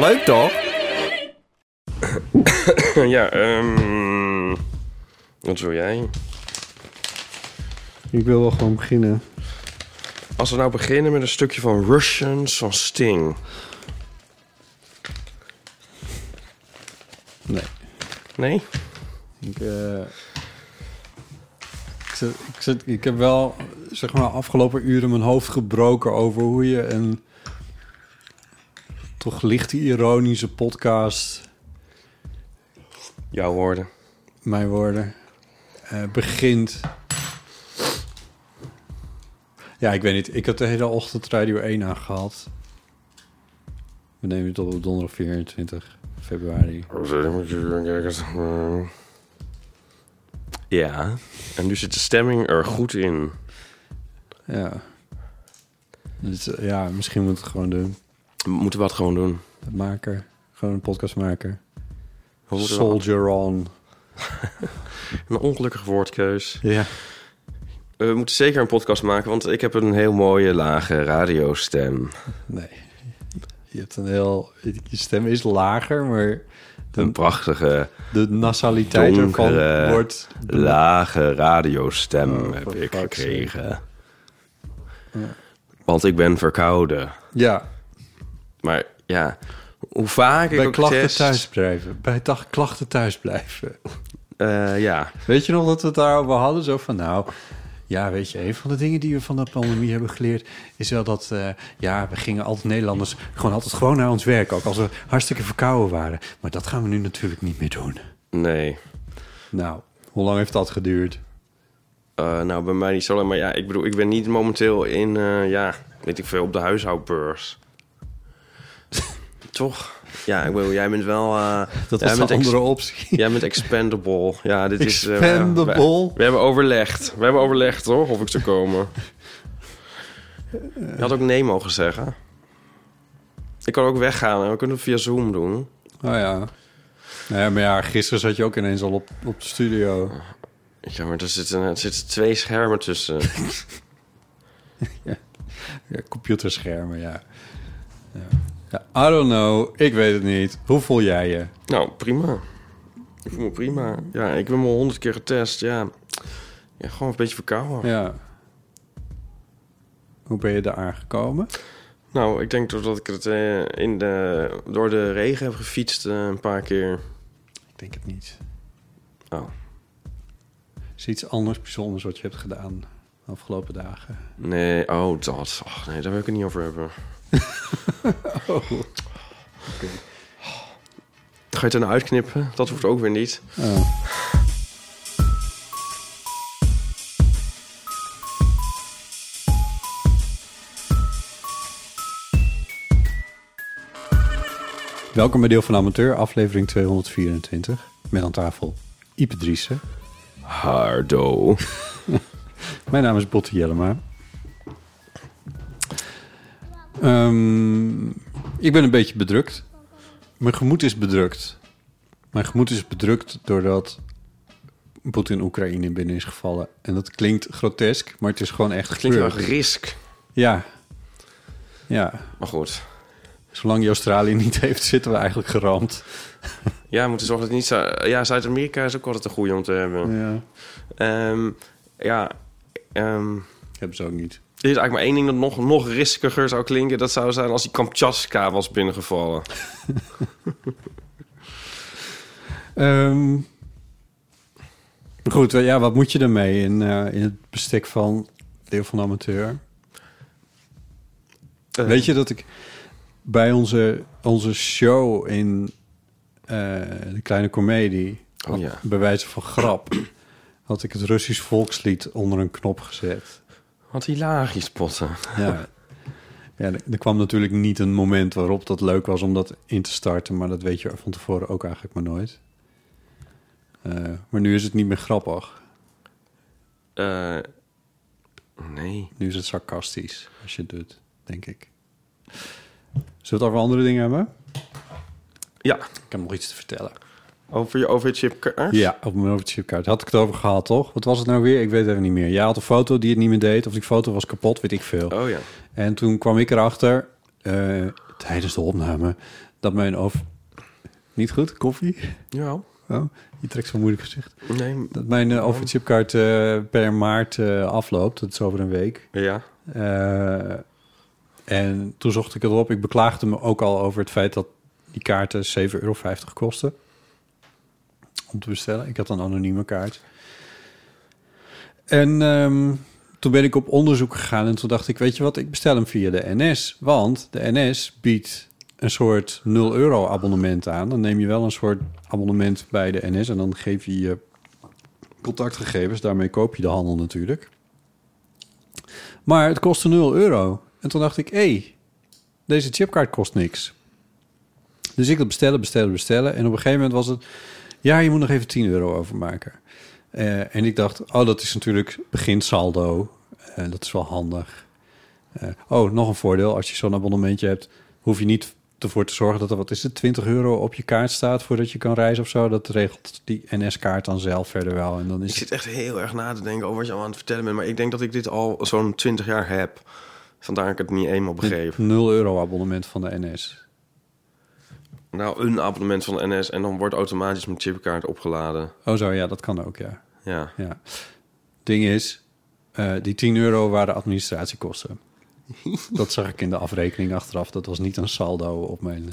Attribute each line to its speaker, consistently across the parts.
Speaker 1: Leuk toch?
Speaker 2: Ja, ehm. wat wil jij?
Speaker 3: Ik wil wel gewoon beginnen.
Speaker 2: Als we nou beginnen met een stukje van Russians van Sting.
Speaker 3: Nee.
Speaker 2: Nee?
Speaker 3: Ik, eh, ik, zit, ik, zit, ik heb wel, zeg maar, afgelopen uren mijn hoofd gebroken over hoe je een toch licht ironische podcast,
Speaker 2: Jouw woorden.
Speaker 3: mijn woorden, eh, begint. Ja, ik weet niet. Ik heb de hele ochtend Radio 1 aangehad. We nemen het op op donderdag 24 februari.
Speaker 2: Ja. En nu zit de stemming er goed in.
Speaker 3: Ja. Dus, eh, ja, misschien moet ik het gewoon doen.
Speaker 2: We moeten wat gewoon doen.
Speaker 3: De maker. Gewoon een podcastmaker.
Speaker 2: We moeten
Speaker 3: Soldier on.
Speaker 2: wel- Een ongelukkige woordkeus.
Speaker 3: Ja.
Speaker 2: We moeten zeker een podcast maken, want ik heb een heel mooie lage radiostem.
Speaker 3: Nee. Je hebt een heel... Je stem is lager, maar
Speaker 2: Een prachtige,
Speaker 3: de nasaliteit
Speaker 2: Donkere
Speaker 3: ervan wordt...
Speaker 2: lage radiostem
Speaker 3: Oh,
Speaker 2: heb
Speaker 3: for
Speaker 2: ik
Speaker 3: fuck's
Speaker 2: gekregen. Want ik ben verkouden.
Speaker 3: Ja,
Speaker 2: Maar ja, hoe vaak ik
Speaker 3: bij
Speaker 2: ook
Speaker 3: klachten
Speaker 2: test,
Speaker 3: thuis blijven. Bij dag, klachten thuis blijven.
Speaker 2: eh, ja,
Speaker 3: Weet je nog dat we het daarover hadden? Zo van, nou... Ja, weet je, een van de dingen die we van de pandemie hebben geleerd... is wel dat, eh, ja, we gingen altijd Nederlanders... gewoon altijd gewoon naar ons werk, ook als we hartstikke verkouden waren. Maar dat gaan we nu natuurlijk niet meer doen.
Speaker 2: nee.
Speaker 3: Nou, hoe lang heeft dat geduurd?
Speaker 2: Eh, nou, bij mij niet zo lang. Maar ja, ik bedoel, ik ben niet momenteel in, eh, ja, weet ik veel, op de huishoudbeurs. Toch? Ja, ik bedoel, jij bent wel... eh,
Speaker 3: Dat
Speaker 2: jij
Speaker 3: was
Speaker 2: bent
Speaker 3: een
Speaker 2: ex-
Speaker 3: andere optie.
Speaker 2: Jij bent expendable. Ja, dit is... eh,
Speaker 3: Expendable?
Speaker 2: we, we hebben overlegd. We hebben overlegd, hoor, of ik zou komen.
Speaker 3: Eh.
Speaker 2: Je had ook nee mogen zeggen. Ik kan ook weggaan. en We kunnen het via Zoom doen.
Speaker 3: Oh ja. Nou ja, maar ja, gisteren zat je ook ineens al op, op de studio.
Speaker 2: Ja, maar er zitten, er zitten twee schermen tussen.
Speaker 3: Ja, computerschermen, ja. ja. Ja, I don't know, ik weet het niet. Hoe voel jij je?
Speaker 2: nou, prima. Ik voel me prima. Ja, ik ben me honderd keer getest. Ja. ja, gewoon een beetje verkouden.
Speaker 3: Ja. Hoe ben je daar aangekomen?
Speaker 2: Nou, ik denk doordat ik het eh, in de, door de regen heb gefietst eh, een paar keer.
Speaker 3: Ik denk het niet.
Speaker 2: Oh,
Speaker 3: Is iets anders bijzonders wat je hebt gedaan de afgelopen dagen?
Speaker 2: nee. Oh, dat. Och, nee, daar wil ik het niet over hebben. Oh.
Speaker 3: Oh.
Speaker 2: Ga je het er nou uitknippen? Dat hoeft ook weer niet.
Speaker 3: Oh. Welkom bij Deel van Amateur, aflevering 224. Met aan tafel Ipe Driessen.
Speaker 2: Hardo.
Speaker 3: Mijn naam is Botte Jellema. Ehm, ik ben een beetje bedrukt. Mijn gemoed is bedrukt. Mijn gemoed is bedrukt doordat Poetin Oekraïne binnen is gevallen. En dat klinkt grotesk, maar het is gewoon echt
Speaker 2: Klinkt wel
Speaker 3: gebeurd.
Speaker 2: risk.
Speaker 3: Ja. Ja.
Speaker 2: Maar goed.
Speaker 3: Zolang je Australië niet heeft, zitten we eigenlijk geramd.
Speaker 2: Ja, we moeten zorgen dat het niet... Zu- Ja, Zuid-Amerika is ook altijd een goede om te hebben.
Speaker 3: Ja.
Speaker 2: Ehm, ja, ehm,
Speaker 3: Hebben ze ook niet.
Speaker 2: er is eigenlijk maar één ding dat nog, nog riskiger zou klinken. Dat zou zijn als die Kamchatka was binnengevallen.
Speaker 3: Ehm, goed, eh, ja, wat moet je ermee in, eh, in het bestek van deel van de amateur?
Speaker 2: Eh,
Speaker 3: Weet je dat ik bij onze, onze show in eh, de kleine komedie,
Speaker 2: Oh
Speaker 3: had-
Speaker 2: ja.
Speaker 3: bij wijze van grap, had ik het Russisch volkslied onder een knop gezet.
Speaker 2: Wat hilarisch, Potten.
Speaker 3: Ja. Ja, er er kwam natuurlijk niet een moment waarop dat leuk was om dat in te starten, maar dat weet je van tevoren ook eigenlijk maar nooit. Eh, maar nu is het niet meer grappig.
Speaker 2: Eh, nee.
Speaker 3: Nu is het sarcastisch als je het doet, denk ik. Zullen we het over andere dingen hebben?
Speaker 2: Ja,
Speaker 3: Ik heb nog iets te vertellen.
Speaker 2: over, je, over het chip.
Speaker 3: Ja, op mijn overchipkaart. Had ik het over gehad, toch? Wat was het nou weer? Ik weet het even niet meer. Jij had een foto die het niet meer deed. Of die foto was kapot, weet ik veel.
Speaker 2: Oh ja.
Speaker 3: En toen kwam ik erachter, eh, tijdens de opname, dat mijn over... Niet goed? Koffie?
Speaker 2: Ja.
Speaker 3: Oh, je trekt zo'n moeilijk gezicht.
Speaker 2: Nee.
Speaker 3: Dat mijn eh, overchipkaart eh, per maart eh, afloopt. Dat is over een week.
Speaker 2: Ja.
Speaker 3: Eh, en toen zocht ik het op. Ik beklaagde me ook al over het feit dat die kaarten 7,50 euro kosten. Om te bestellen. Ik had een anonieme kaart. En ehm, toen ben ik op onderzoek gegaan. En toen dacht ik, weet je wat, ik bestel hem via de NS. Want de NS biedt een soort 0 euro abonnement aan. Dan neem je wel een soort abonnement bij de NS. En dan geef je je contactgegevens. Daarmee koop je de handel natuurlijk. Maar het kostte 0 euro. En toen dacht ik, hé, deze chipkaart kost niks. Dus ik dat bestellen, bestellen, bestellen. En op een gegeven moment was het, ja, je moet nog even 10 euro overmaken. Eh, en ik dacht, oh, dat is natuurlijk beginsaldo. Eh dat is wel handig. Eh, oh, nog een voordeel, als je zo'n abonnementje hebt, hoef je niet ervoor te zorgen dat er, wat is het, 20 euro op je kaart staat voordat je kan reizen of zo. Dat regelt die NS-kaart dan zelf verder wel. En dan
Speaker 2: Ik
Speaker 3: is
Speaker 2: zit echt heel erg na te denken over wat je allemaal aan het vertellen bent. Maar ik denk dat ik dit al zo'n 20 jaar heb. Vandaar dat ik het niet eenmaal
Speaker 3: het
Speaker 2: begreep.
Speaker 3: 0 euro abonnement van de NS.
Speaker 2: Nou, een abonnement van de NS en dan wordt automatisch mijn chipkaart opgeladen.
Speaker 3: Oh zo, ja, dat kan ook, ja.
Speaker 2: Ja.
Speaker 3: ja. Ding is, eh, die 10 euro waren administratiekosten. dat zag ik in de afrekening achteraf. Dat was niet een saldo op mijn...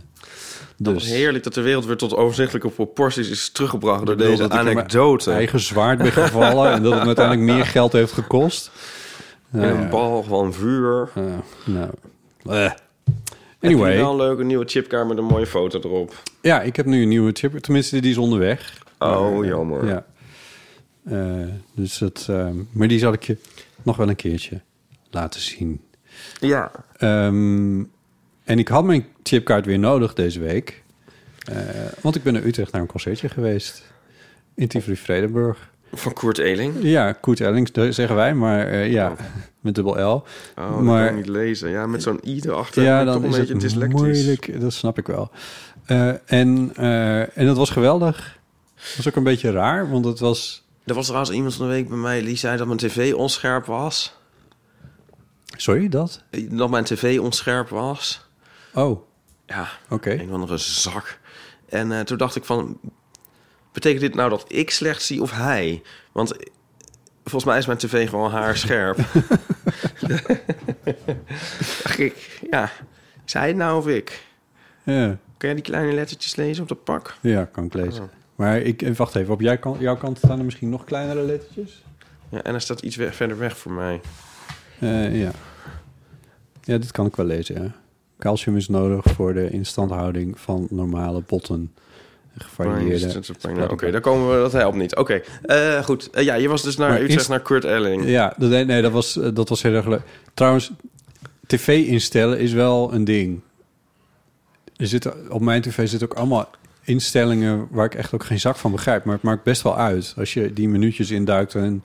Speaker 2: Dat is
Speaker 3: Dus
Speaker 2: heerlijk dat de wereld weer tot overzichtelijke proporties is teruggebracht door deze
Speaker 3: dat ik in mijn
Speaker 2: anekdote.
Speaker 3: eigen zwaard ben gevallen en dat het me uiteindelijk meer geld heeft gekost. Nou
Speaker 2: En
Speaker 3: ja,
Speaker 2: een bal van vuur.
Speaker 3: eh, nou, eh.
Speaker 2: Heb je wel
Speaker 3: Anyway,
Speaker 2: een leuke nieuwe chipkaart met een mooie foto erop.
Speaker 3: ja, ik heb nu een nieuwe chip. Tenminste, die is onderweg.
Speaker 2: Oh, jammer.
Speaker 3: Ja. Eh, dus dat, eh, maar die zal ik je nog wel een keertje laten zien.
Speaker 2: Ja.
Speaker 3: Ehm, en ik had mijn chipkaart weer nodig deze week. Eh, want ik ben naar Utrecht naar een concertje geweest. In Tivoli Vredenburg.
Speaker 2: Van Koert Eling. Oh,
Speaker 3: Ja, Koet Ellings dat zeggen wij, maar eh, ja, met dubbel L.
Speaker 2: Oh, dat
Speaker 3: Maar-
Speaker 2: kan ik niet lezen. Ja, met zo'n i erachter.
Speaker 3: ja,
Speaker 2: ben ik
Speaker 3: dan
Speaker 2: toch
Speaker 3: is
Speaker 2: een beetje
Speaker 3: het
Speaker 2: dyslectisch.
Speaker 3: moeilijk. Dat snap ik wel. Eh, en, eh, en dat was geweldig. Dat was ook een beetje raar, want het was...
Speaker 2: Er was trouwens iemand van de week bij mij die zei dat mijn tv onscherp was.
Speaker 3: Sorry, dat?
Speaker 2: Eh, Dat mijn tv onscherp was.
Speaker 3: Oh, oké.
Speaker 2: Ja, een of andere zak. En eh, toen dacht ik van... Betekent dit nou dat ik slecht zie of hij? Want eh, volgens mij is mijn tv gewoon haarscherp. dacht ik, ja. Is hij het nou of ik?
Speaker 3: Ja,
Speaker 2: Kun jij die kleine lettertjes lezen op dat pak?
Speaker 3: ja kan ik lezen.
Speaker 2: Oh.
Speaker 3: Maar ik, eh, wacht even, op jouw kant, jouw kant staan er misschien nog kleinere lettertjes?
Speaker 2: Ja, en hij staat iets we- verder weg voor mij.
Speaker 3: Eh, ja. ja, dit kan ik wel lezen. Ja. Calcium is nodig voor de instandhouding van normale botten.
Speaker 2: Pijn,
Speaker 3: Gevarieerde.
Speaker 2: is het een pijn? Oké, daar komen we, dat helpt niet. Oké, eh, goed. Eh, ja, je was dus naar
Speaker 3: Maar
Speaker 2: Utrecht,
Speaker 3: inst-
Speaker 2: naar Kurt Elling.
Speaker 3: Ja, dat, nee, nee, dat was, eh, dat was heel erg leuk. Trouwens, tv instellen is wel een ding. Er zitten, op mijn tv zitten ook allemaal instellingen waar ik echt ook geen zak van begrijp. Maar het maakt best wel uit als je die minuutjes induikt. En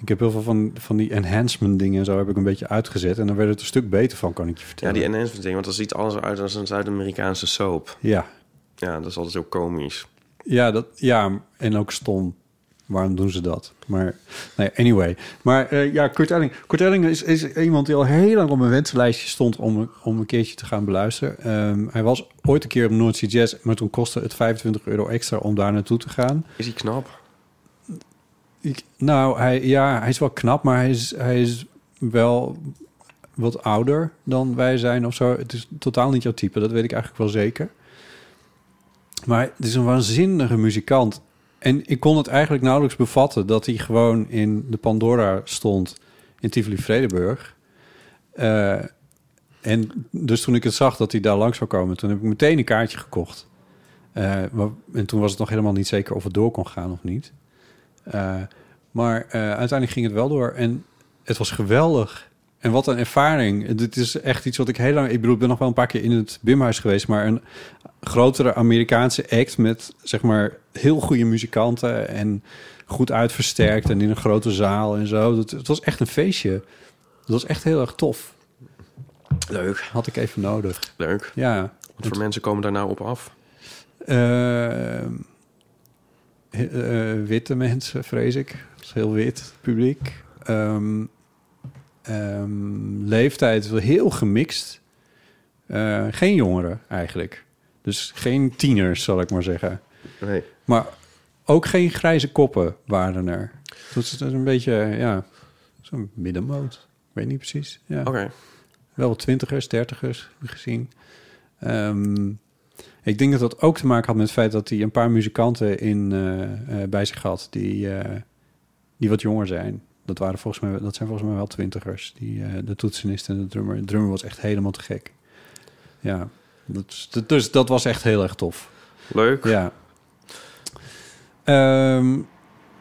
Speaker 3: ik heb heel veel van, van die enhancement dingen en zo heb ik een beetje uitgezet. En dan werd het een stuk beter van, kan ik je
Speaker 2: Ja,
Speaker 3: vertellen.
Speaker 2: die enhancement ding, want dat ziet alles uit als een Zuid-Amerikaanse soap.
Speaker 3: ja,
Speaker 2: Ja, dat is altijd zo komisch.
Speaker 3: Ja, dat, ja, en ook stom. Waarom doen ze dat? Maar nee, anyway. Maar eh, ja, Kurt Elling. Kurt Elling is, is iemand die al heel lang op mijn wenslijstje stond om, om een keertje te gaan beluisteren. Ehm, hij was ooit een keer op North Sea Jazz, maar toen kostte het 25 euro extra om daar naartoe te gaan.
Speaker 2: Is hij knap?
Speaker 3: Ik, nou, hij, ja, hij is wel knap, maar hij is, hij is wel wat ouder dan wij zijn of zo. Het is totaal niet jouw type, dat weet ik eigenlijk wel zeker. Maar het is een waanzinnige muzikant. En ik kon het eigenlijk nauwelijks bevatten dat hij gewoon in de Pandora stond in Tivoli Vredenburg. Eh, en dus toen ik het zag dat hij daar langs zou komen, toen heb ik meteen een kaartje gekocht. Eh, wa- en toen was het nog helemaal niet zeker of het door kon gaan of niet. Eh, maar eh, uiteindelijk ging het wel door en het was geweldig. En wat een ervaring. Dit is echt iets wat ik heel lang... Ik bedoel, ik ben nog wel een paar keer in het Bimhuis geweest... maar een grotere Amerikaanse act met, zeg maar, heel goede muzikanten... en goed uitversterkt en in een grote zaal en zo. Dat, het was echt een feestje. Dat was echt heel erg tof.
Speaker 2: Leuk,
Speaker 3: Had ik even nodig.
Speaker 2: leuk.
Speaker 3: Ja.
Speaker 2: Wat voor mensen komen daar nou op af?
Speaker 3: Eh, eh, witte mensen, vrees ik. Dat is heel wit publiek. Ehm, ehm, leeftijd wel heel gemixt. Eh, geen jongeren eigenlijk. Dus geen tieners, zal ik maar zeggen.
Speaker 2: Nee.
Speaker 3: Maar ook geen grijze koppen waren er. Dus het is een beetje, ja, zo'n middenmoot. Ik weet niet precies. Ja
Speaker 2: Oké.
Speaker 3: wel twintigers, dertigers gezien. Ehm, ik denk dat dat ook te maken had met het feit dat hij een paar muzikanten in, eh, eh, bij zich had die, eh, die wat jonger zijn. Dat, waren volgens mij, dat zijn volgens mij wel twintigers. Die, eh, de toetsenist en de drummer. De drummer was echt helemaal te gek. Ja, dat, is- dat- dus dat was echt heel erg tof.
Speaker 2: Leuk.
Speaker 3: Ja. Ehm,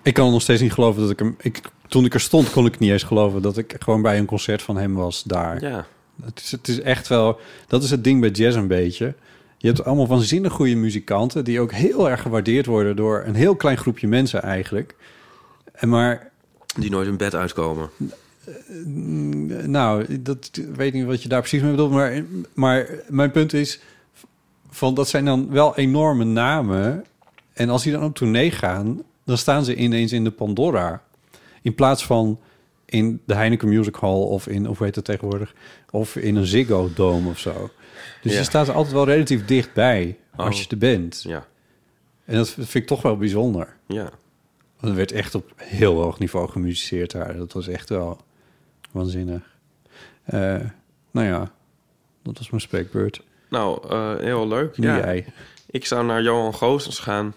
Speaker 3: ik kan nog steeds niet geloven dat ik hem... Ik, toen ik er stond, kon ik niet eens geloven dat ik gewoon bij een concert van hem was daar.
Speaker 2: Ja.
Speaker 3: Het is, het is echt wel... Dat is het ding bij jazz een beetje. Je hebt allemaal waanzinnig goede muzikanten... die ook heel erg gewaardeerd worden door een heel klein groepje mensen eigenlijk. En maar,
Speaker 2: Die nooit in bed uitkomen.
Speaker 3: nou, dat ik weet niet wat je daar precies mee bedoelt... maar, maar mijn punt is, van, dat zijn dan wel enorme namen. En als die dan op tournee gaan... dan staan ze ineens in de Pandora. In plaats van in de Heineken Music Hall of in, of hoe heet dat tegenwoordig, of in een Ziggo Dome of zo. Dus
Speaker 2: Ja.
Speaker 3: je staat er altijd wel relatief dichtbij als
Speaker 2: Oh.
Speaker 3: je er bent.
Speaker 2: Ja.
Speaker 3: En dat vind ik toch wel bijzonder.
Speaker 2: Ja.
Speaker 3: Want er werd echt op heel hoog niveau gemusiceerd daar. Dat was echt wel waanzinnig. Eh, nou ja, dat was mijn spreekbeurt.
Speaker 2: Nou, eh, heel leuk.
Speaker 3: Nu
Speaker 2: ja.
Speaker 3: jij.
Speaker 2: Ik zou naar Johan Goossens gaan,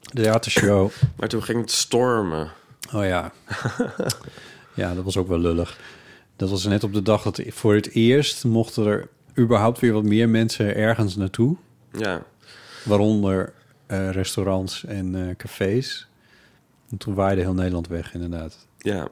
Speaker 3: De theatershow.
Speaker 2: maar toen ging het stormen.
Speaker 3: Oh ja. ja, dat was ook wel lullig. Dat was net op de dag dat voor het eerst mochten er überhaupt weer wat meer mensen ergens naartoe.
Speaker 2: Ja.
Speaker 3: Waaronder eh, restaurants en eh, cafés. En toen waaide heel Nederland weg, inderdaad.
Speaker 2: Ja.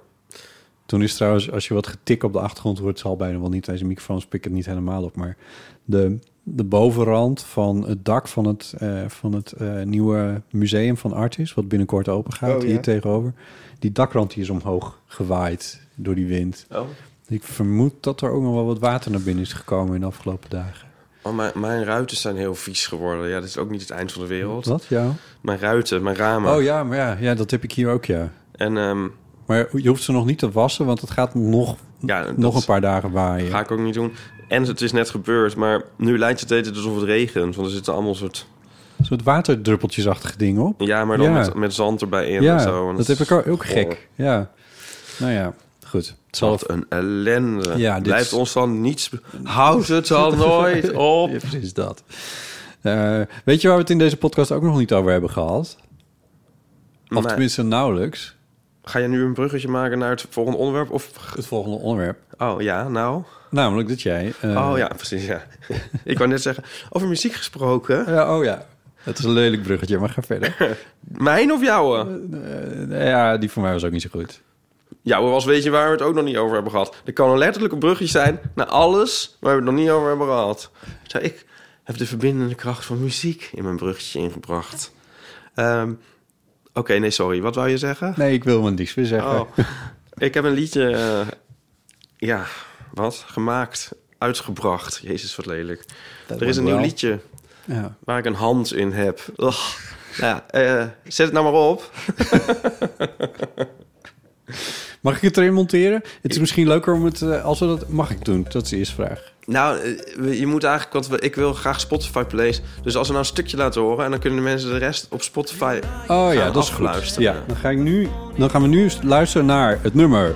Speaker 3: Toen is trouwens, als je wat getik op de achtergrond hoort, zal bijna wel niet. Deze microfoons pikken het niet helemaal op. Maar de, de bovenrand van het dak van het, eh, van het eh, nieuwe museum van Artis, wat binnenkort open gaat,
Speaker 1: Oh, ja.
Speaker 3: hier tegenover. Die dakrand die is omhoog gewaaid door die wind.
Speaker 2: Oh.
Speaker 3: Ik vermoed dat er ook nog wel wat water naar binnen is gekomen in de afgelopen dagen.
Speaker 2: Oh, mijn, mijn ruiten zijn heel vies geworden. Ja, dat is ook niet het eind van de wereld.
Speaker 3: Wat? Ja.
Speaker 2: Mijn ruiten, mijn ramen.
Speaker 3: Oh ja, maar ja, ja, dat heb ik hier ook, ja.
Speaker 2: En ehm,
Speaker 3: Maar je hoeft ze nog niet te wassen, want het gaat nog,
Speaker 2: Ja,
Speaker 3: nog
Speaker 2: dat-
Speaker 3: een paar dagen waaien.
Speaker 2: ga ik ook niet doen. En het is net gebeurd, maar nu lijkt het eten alsof het regent. Want er zitten allemaal soort...
Speaker 3: Een soort waterdruppeltjesachtige dingen op.
Speaker 2: Ja, maar dan
Speaker 3: Ja.
Speaker 2: Met, met zand erbij in
Speaker 3: Ja,
Speaker 2: en zo. En
Speaker 3: dat heb ik ook, ook gek. Ja. Nou ja, goed. Het zal
Speaker 2: Wat een ellende.
Speaker 3: Ja, dit
Speaker 2: Blijft
Speaker 3: is-
Speaker 2: ons dan niets... be- Houd het dan nooit op.
Speaker 3: Ja, precies dat. Eh, weet je waar we het in deze podcast ook nog niet over hebben gehad? Of
Speaker 2: Nee.
Speaker 3: tenminste nauwelijks.
Speaker 2: Ga je nu een bruggetje maken naar het volgende onderwerp? Of...
Speaker 3: Het volgende onderwerp.
Speaker 2: Oh ja, nou...
Speaker 3: Namelijk dat jij... eh,
Speaker 2: Oh ja, precies, ja. ik wou net zeggen, over muziek gesproken.
Speaker 3: ja, oh ja. Het is een lelijk bruggetje, maar ga verder.
Speaker 2: Mijn of jouwe?
Speaker 3: Eh, ja, die voor mij was ook niet zo goed.
Speaker 2: Jouwe was weet je waar we het ook nog niet over hebben gehad. Er kan een letterlijk een bruggetje zijn naar alles waar we het nog niet over hebben gehad. Zo, ik heb de verbindende kracht van muziek in mijn bruggetje ingebracht. Ehm, Oké, nee, sorry. Wat wou je zeggen?
Speaker 3: Nee, ik wil mijn niks weer zeggen.
Speaker 2: Oh, ik heb een liedje, eh, ja, wat? Gemaakt, uitgebracht. Jezus, wat lelijk. er is
Speaker 3: wordt
Speaker 2: een nieuw
Speaker 3: wel.
Speaker 2: liedje
Speaker 3: Ja.
Speaker 2: waar ik een hand in heb. Ugh. Nou ja, eh, zet het nou maar op.
Speaker 3: Mag ik het erin monteren? Het is misschien leuker om het... eh, als we dat... Mag ik doen? Dat is de eerste vraag.
Speaker 2: Nou, eh, je moet eigenlijk, want we- ik wil graag Spotify plays. Dus als we nou een stukje laten horen en dan kunnen de mensen de rest op Spotify.
Speaker 3: Oh ja,
Speaker 2: Gaan
Speaker 3: dat is goed.
Speaker 2: afluisteren.
Speaker 3: Ja, dan, ga ik nu, dan gaan we nu eens luisteren naar het nummer.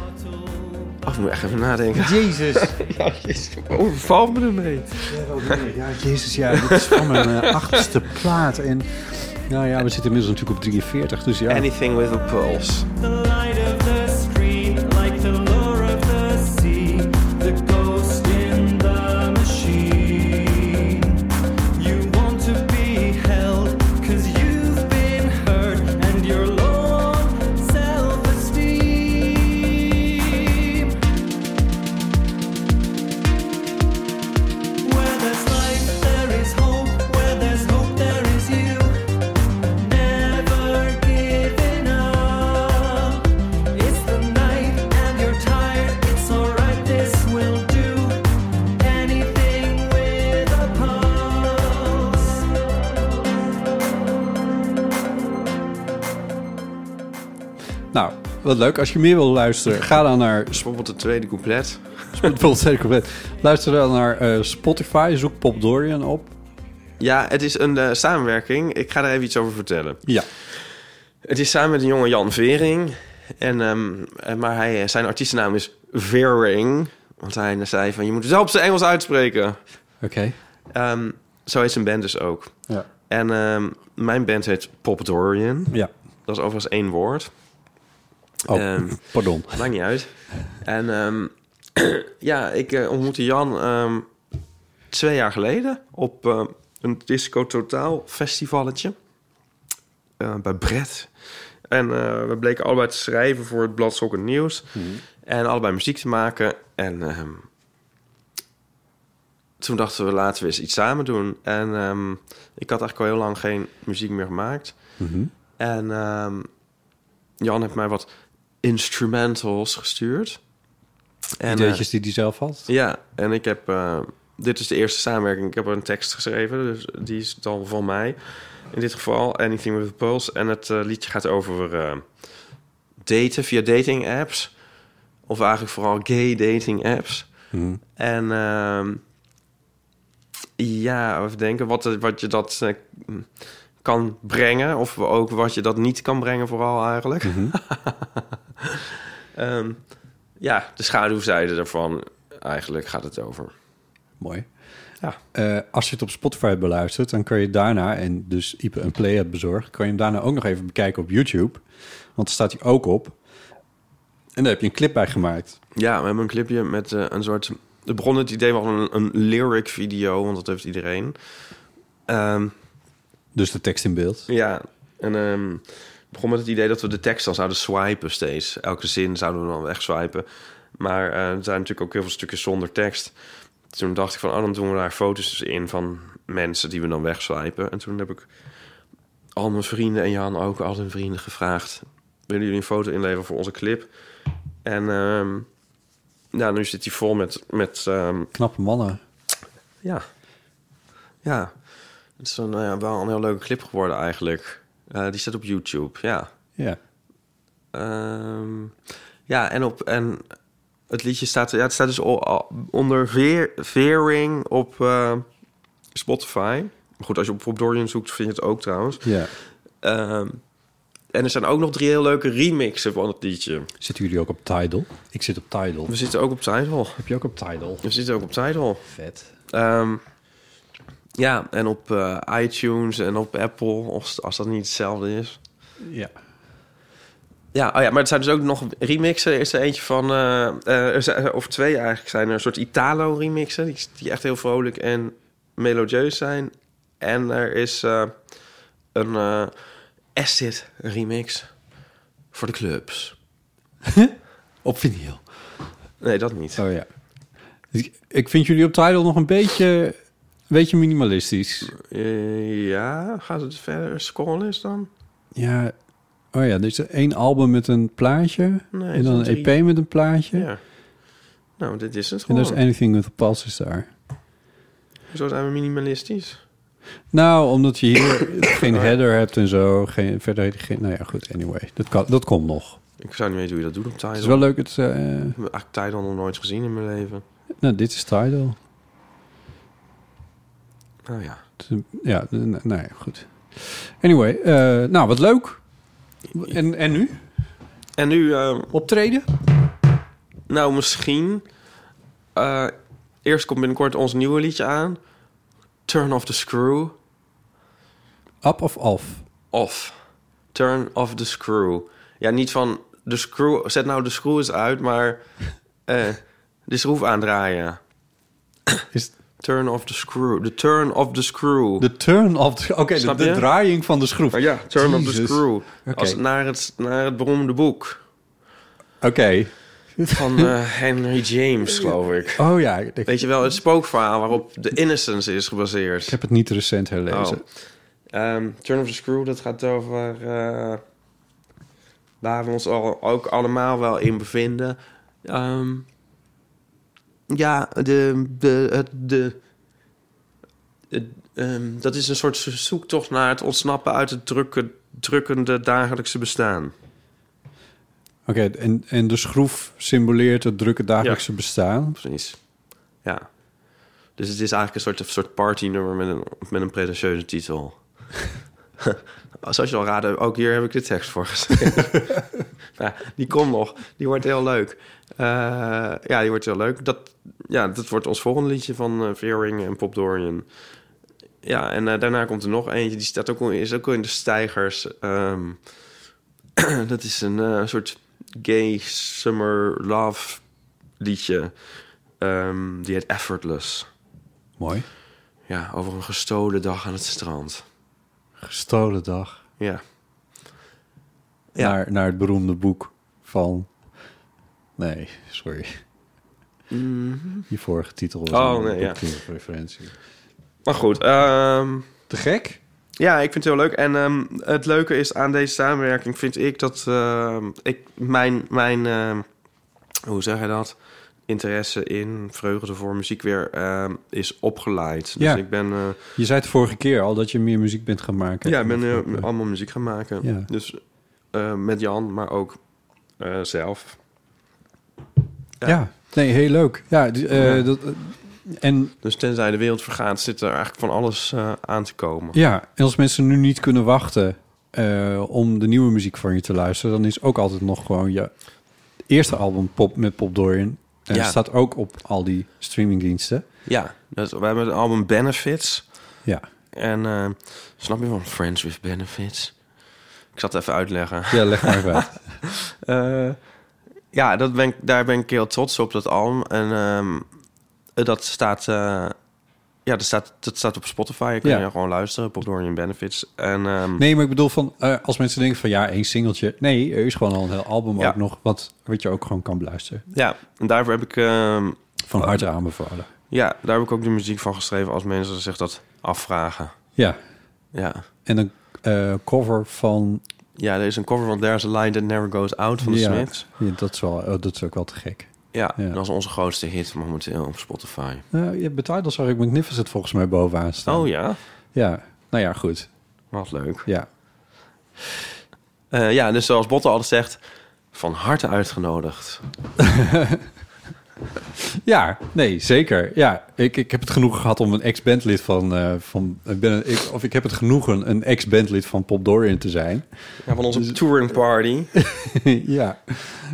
Speaker 2: Oh, ik moet echt even nadenken.
Speaker 3: Jezus.
Speaker 2: Ja, Oh, jezus, overval me ermee.
Speaker 3: Ja, Jezus, ja. Dit is van mijn eh, achtste plaat. En nou ja, we zitten inmiddels natuurlijk op 43, dus ja.
Speaker 2: Anything with a pulse.
Speaker 4: The light of the street, like the lure of the sea, the ghost in the machine. You want to be held, cause you've been hurt, and your low self esteem.
Speaker 3: Nou, wat leuk. Als je meer wil luisteren, ga dan naar
Speaker 2: Bijvoorbeeld het tweede couplet.
Speaker 3: Bijvoorbeeld zeker compleet. Luister dan naar eh, Spotify, zoek Pop Dorian op.
Speaker 2: Ja, het is een eh, samenwerking. Ik ga daar even iets over vertellen.
Speaker 3: Ja.
Speaker 2: Het is samen met een jongen Jan Vering. En, ehm, eh, maar hij, zijn artiestennaam is Vering. Want hij zei van, je moet het wel op zijn Engels uitspreken.
Speaker 3: Oké.
Speaker 2: Ehm, zo heet zijn band dus ook.
Speaker 3: Ja.
Speaker 2: En ehm, mijn band heet Pop Dorian.
Speaker 3: Ja.
Speaker 2: Dat is overigens één woord.
Speaker 3: Oh,
Speaker 2: Ehm.
Speaker 3: pardon.
Speaker 2: Maakt niet uit. En ehm, ja, ik eh, ontmoette Jan ehm, twee jaar geleden op eh, een Disco Totaal festivalletje eh, bij Brett. En eh, we bleken allebei te schrijven voor het blad Sokken Nieuws. En allebei muziek te maken. En ehm, toen dachten we, laten we eens iets samen doen. En ehm, ik had eigenlijk al heel lang geen muziek meer gemaakt. En ehm, Jan heeft mij wat instrumentals gestuurd. En, eh,
Speaker 3: Ideetjes die hij zelf had.
Speaker 2: ja, en ik heb... eh, dit is de eerste samenwerking. Ik heb een tekst geschreven, dus die is dan van mij. In dit geval Anything With A Pulse. En het eh, liedje gaat over eh, daten via dating apps. Of eigenlijk vooral gay dating apps. En ehm, ja, even denken wat, wat je dat eh, kan brengen. Of ook wat je dat niet kan brengen vooral eigenlijk. Ehm, ja, de schaduwzijde daarvan eigenlijk gaat het over.
Speaker 3: Mooi.
Speaker 2: Ja.
Speaker 3: Eh, als je het op Spotify beluistert, dan kun je daarna, en dus Ipe een play hebt bezorgd, kan je hem daarna ook nog even bekijken op YouTube. Want daar staat hij ook op. En daar heb je een clip bij gemaakt.
Speaker 2: Ja, we hebben een clipje met eh, een soort... Er begon het idee van een, een lyric video, want dat heeft iedereen. Ehm,
Speaker 3: Dus de tekst in beeld.
Speaker 2: ja, en ehm, het begon met het idee dat we de tekst dan zouden swipen steeds. Elke zin zouden we dan weg swipen. Maar eh, er zijn natuurlijk ook heel veel stukjes zonder tekst. Toen dacht ik van, oh, dan doen we daar foto's in van mensen die we dan wegswipen. En toen heb ik al mijn vrienden en Jan ook, al hun vrienden gevraagd... willen jullie een foto inleveren voor onze clip? En ehm, nou, nu zit hij vol met, met ehm,
Speaker 3: Knappe mannen.
Speaker 2: ja. Ja. Het is een, eh, wel een heel leuke clip geworden eigenlijk. Eh, die staat op YouTube, ja.
Speaker 3: Ja.
Speaker 2: Ehm, ja, en, op, en het liedje staat... Ja, het staat dus o- o- onder Veer- Veering op eh, Spotify. Maar goed, als je op Bob Dorian zoekt, vind je het ook trouwens.
Speaker 3: ja.
Speaker 2: Ehm, en er zijn ook nog drie heel leuke remixen van het liedje.
Speaker 3: Zitten jullie ook op Tidal? Ik zit op Tidal.
Speaker 2: We zitten ook op Tidal.
Speaker 3: Heb je ook op Tidal?
Speaker 2: We zitten ook op Tidal.
Speaker 3: Vet.
Speaker 2: Ehm, ja, en op eh, iTunes en op Apple, als, als dat niet hetzelfde is.
Speaker 3: Ja.
Speaker 2: Ja, oh ja, maar er zijn dus ook nog remixen. Er is er eentje van, eh, eh, er zijn- of twee eigenlijk, zijn er een soort Italo-remixen... Die, die echt heel vrolijk en melodieus zijn. En er is eh, een eh acid-remix voor de clubs.
Speaker 3: Op vinyl.
Speaker 2: Nee, dat niet.
Speaker 3: Oh ja. Ik- Ik vind jullie op Tidal nog een beetje, een beetje minimalistisch.
Speaker 2: Eh, ja, gaat het verder scrollen is dan?
Speaker 3: Ja. Oh ja, er is één album met een plaatje.
Speaker 2: Nee,
Speaker 3: en dan
Speaker 2: het zijn
Speaker 3: een EP met een plaatje.
Speaker 2: Ja. Nou, dit is het
Speaker 3: En
Speaker 2: gewoon.
Speaker 3: dat is Anything with a Pulse is daar.
Speaker 2: Zo zijn we minimalistisch.
Speaker 3: Nou, omdat je hier geen header hebt en zo. Geen, verder heet geen... Nou ja, goed, anyway. Dat, kan, dat komt nog.
Speaker 2: Ik zou niet weten hoe je dat doet op
Speaker 3: Het is
Speaker 2: Tidal.
Speaker 3: wel leuk. Het, eh,
Speaker 2: Ik heb eigenlijk Tidal nog nooit gezien in mijn leven.
Speaker 3: nou, dit is Tidal.
Speaker 2: Nou ja.
Speaker 3: Het is een- Ja, eh, nou nou ja, goed. Anyway, eh, nou, wat leuk. En, en nu?
Speaker 2: En nu, eh,
Speaker 3: Optreden?
Speaker 2: nou misschien... eh, eerst komt binnenkort ons nieuwe liedje aan. Turn off the screw.
Speaker 3: Up of off?
Speaker 2: Off. Turn off the screw. Ja, niet van de screw... Zet nou de screw eens uit, maar... eh, de schroef aandraaien.
Speaker 3: Is
Speaker 2: Turn off the screw. De turn off the screw.
Speaker 3: de turn off... the- Oké, de,
Speaker 2: Snap
Speaker 3: de
Speaker 2: je?
Speaker 3: draaiing van de schroef.
Speaker 2: Maar ja, turn off the
Speaker 3: Jezus.
Speaker 2: screw.
Speaker 3: Oké.
Speaker 2: Als nou- naar, het, naar het beroemde boek.
Speaker 3: Oké.
Speaker 2: Van eh, Henry James, geloof ik.
Speaker 3: Oh ja, ik, ik
Speaker 2: Weet je wel, het spookverhaal waarop The Innocence is gebaseerd. Oh.
Speaker 3: heb het niet recent herlezen.
Speaker 2: Ehm, Turn of the Screw, dat gaat over... eh, waar we ons al, ook allemaal wel in bevinden. Ehm, ja, de... de, het- de het, ehm, dat is een soort zoektocht naar het ontsnappen uit het drukke, drukkende dagelijkse bestaan.
Speaker 3: en, en de schroef symboleert het drukke dagelijkse bestaan.
Speaker 2: Precies. Ja. Dus het is eigenlijk een soort, een soort partynummer met een, met een pretentieuze titel. Zoals je al raadde, ook hier heb ik de tekst voor geschreven. ja, die komt nog. Die wordt heel leuk. Eh, ja, die wordt heel leuk. Dat, ja, dat wordt ons volgende liedje van eh Veering en Pop Dorian. Ja, en eh, daarna komt er nog eentje. Die staat ook, al- is ook al in de stijgers. Ehm, dat is een eh, soort gay summer love liedje. Ehm, die heet Effortless.
Speaker 3: Mooi.
Speaker 2: Ja, over een gestolen dag aan het strand.
Speaker 3: Gestolen dag.
Speaker 2: Ja. Ja.
Speaker 3: Naar, naar het beroemde boek van... Nee, sorry. Je vorige titel was
Speaker 2: Oh,
Speaker 3: een
Speaker 2: nee, ja.
Speaker 3: boekreferentie.
Speaker 2: Maar goed, ehm,
Speaker 3: Te gek?
Speaker 2: ja, ik vind het heel leuk. En ehm, het leuke is aan deze samenwerking vind ik dat ehm, ik mijn, mijn ehm, hoe zeg je dat? Interesse in vreugde voor muziek weer ehm, is opgeleid. Dus
Speaker 3: Ja.
Speaker 2: ik ben, eh,
Speaker 3: Je zei het vorige keer al dat je meer muziek bent gaan maken.
Speaker 2: ja, ik ben eh, allemaal muziek gaan maken.
Speaker 3: Ja.
Speaker 2: Dus eh, met Jan, maar ook eh, zelf.
Speaker 3: Ja. nee, heel leuk. Ja, d- eh, Dat, eh, en
Speaker 2: Dus tenzij de wereld vergaat, zit er eigenlijk van alles eh, aan te komen.
Speaker 3: ja, en als mensen nu niet kunnen wachten eh, om de nieuwe muziek van je te luisteren, dan is ook altijd nog gewoon je eerste album Pop met Pop Dorian. En
Speaker 2: Ja.
Speaker 3: staat ook op al die streamingdiensten.
Speaker 2: Ja, dat, we hebben het album Benefits.
Speaker 3: Ja,
Speaker 2: En eh, snap je van Friends with Benefits? Ik zal het even uitleggen.
Speaker 3: ja leg maar even uit.
Speaker 2: Eh, ja, dat ben ik, daar ben ik heel trots op, dat album. En ehm, dat staat... eh, ja, dat staat, dat staat op Spotify. Je kan
Speaker 3: Ja.
Speaker 2: je gewoon luisteren. Pop Dorian Benefits. En, ehm,
Speaker 3: Nee, maar ik bedoel van, eh, als mensen denken van ja, één singeltje. Nee, er is gewoon al een heel album
Speaker 2: Ja.
Speaker 3: ook nog, wat, wat je ook gewoon kan beluisteren.
Speaker 2: Ja, en daarvoor heb ik... ehm,
Speaker 3: Van harte aanbevolen.
Speaker 2: ja, daar heb ik ook de muziek van geschreven... als mensen zich dat afvragen.
Speaker 3: Ja,
Speaker 2: Ja.
Speaker 3: en een eh, cover van...
Speaker 2: Ja, er is een cover van There's a Line That Never Goes Out van de
Speaker 3: ja,
Speaker 2: Smiths.
Speaker 3: ja, dat, is wel, oh, dat is ook wel te gek.
Speaker 2: Ja,
Speaker 3: Ja.
Speaker 2: dat is onze grootste hit momenteel op Spotify.
Speaker 3: Nou, je betaalt zag ik Magnificent volgens mij bovenaan staan.
Speaker 2: Oh ja,
Speaker 3: Ja, nou ja, goed.
Speaker 2: wat leuk.
Speaker 3: Ja,
Speaker 2: Eh, ja, dus zoals Botte altijd zegt, van harte uitgenodigd.
Speaker 3: ja nee, zeker. Ja, ik, ik heb het genoegen gehad om een ex-bandlid van... eh, van ik ben, een- ik, of ik heb het genoegen een ex-bandlid van Pop Dorian te zijn.
Speaker 2: Ja, van
Speaker 3: Dus-
Speaker 2: onze touring party.
Speaker 3: ja,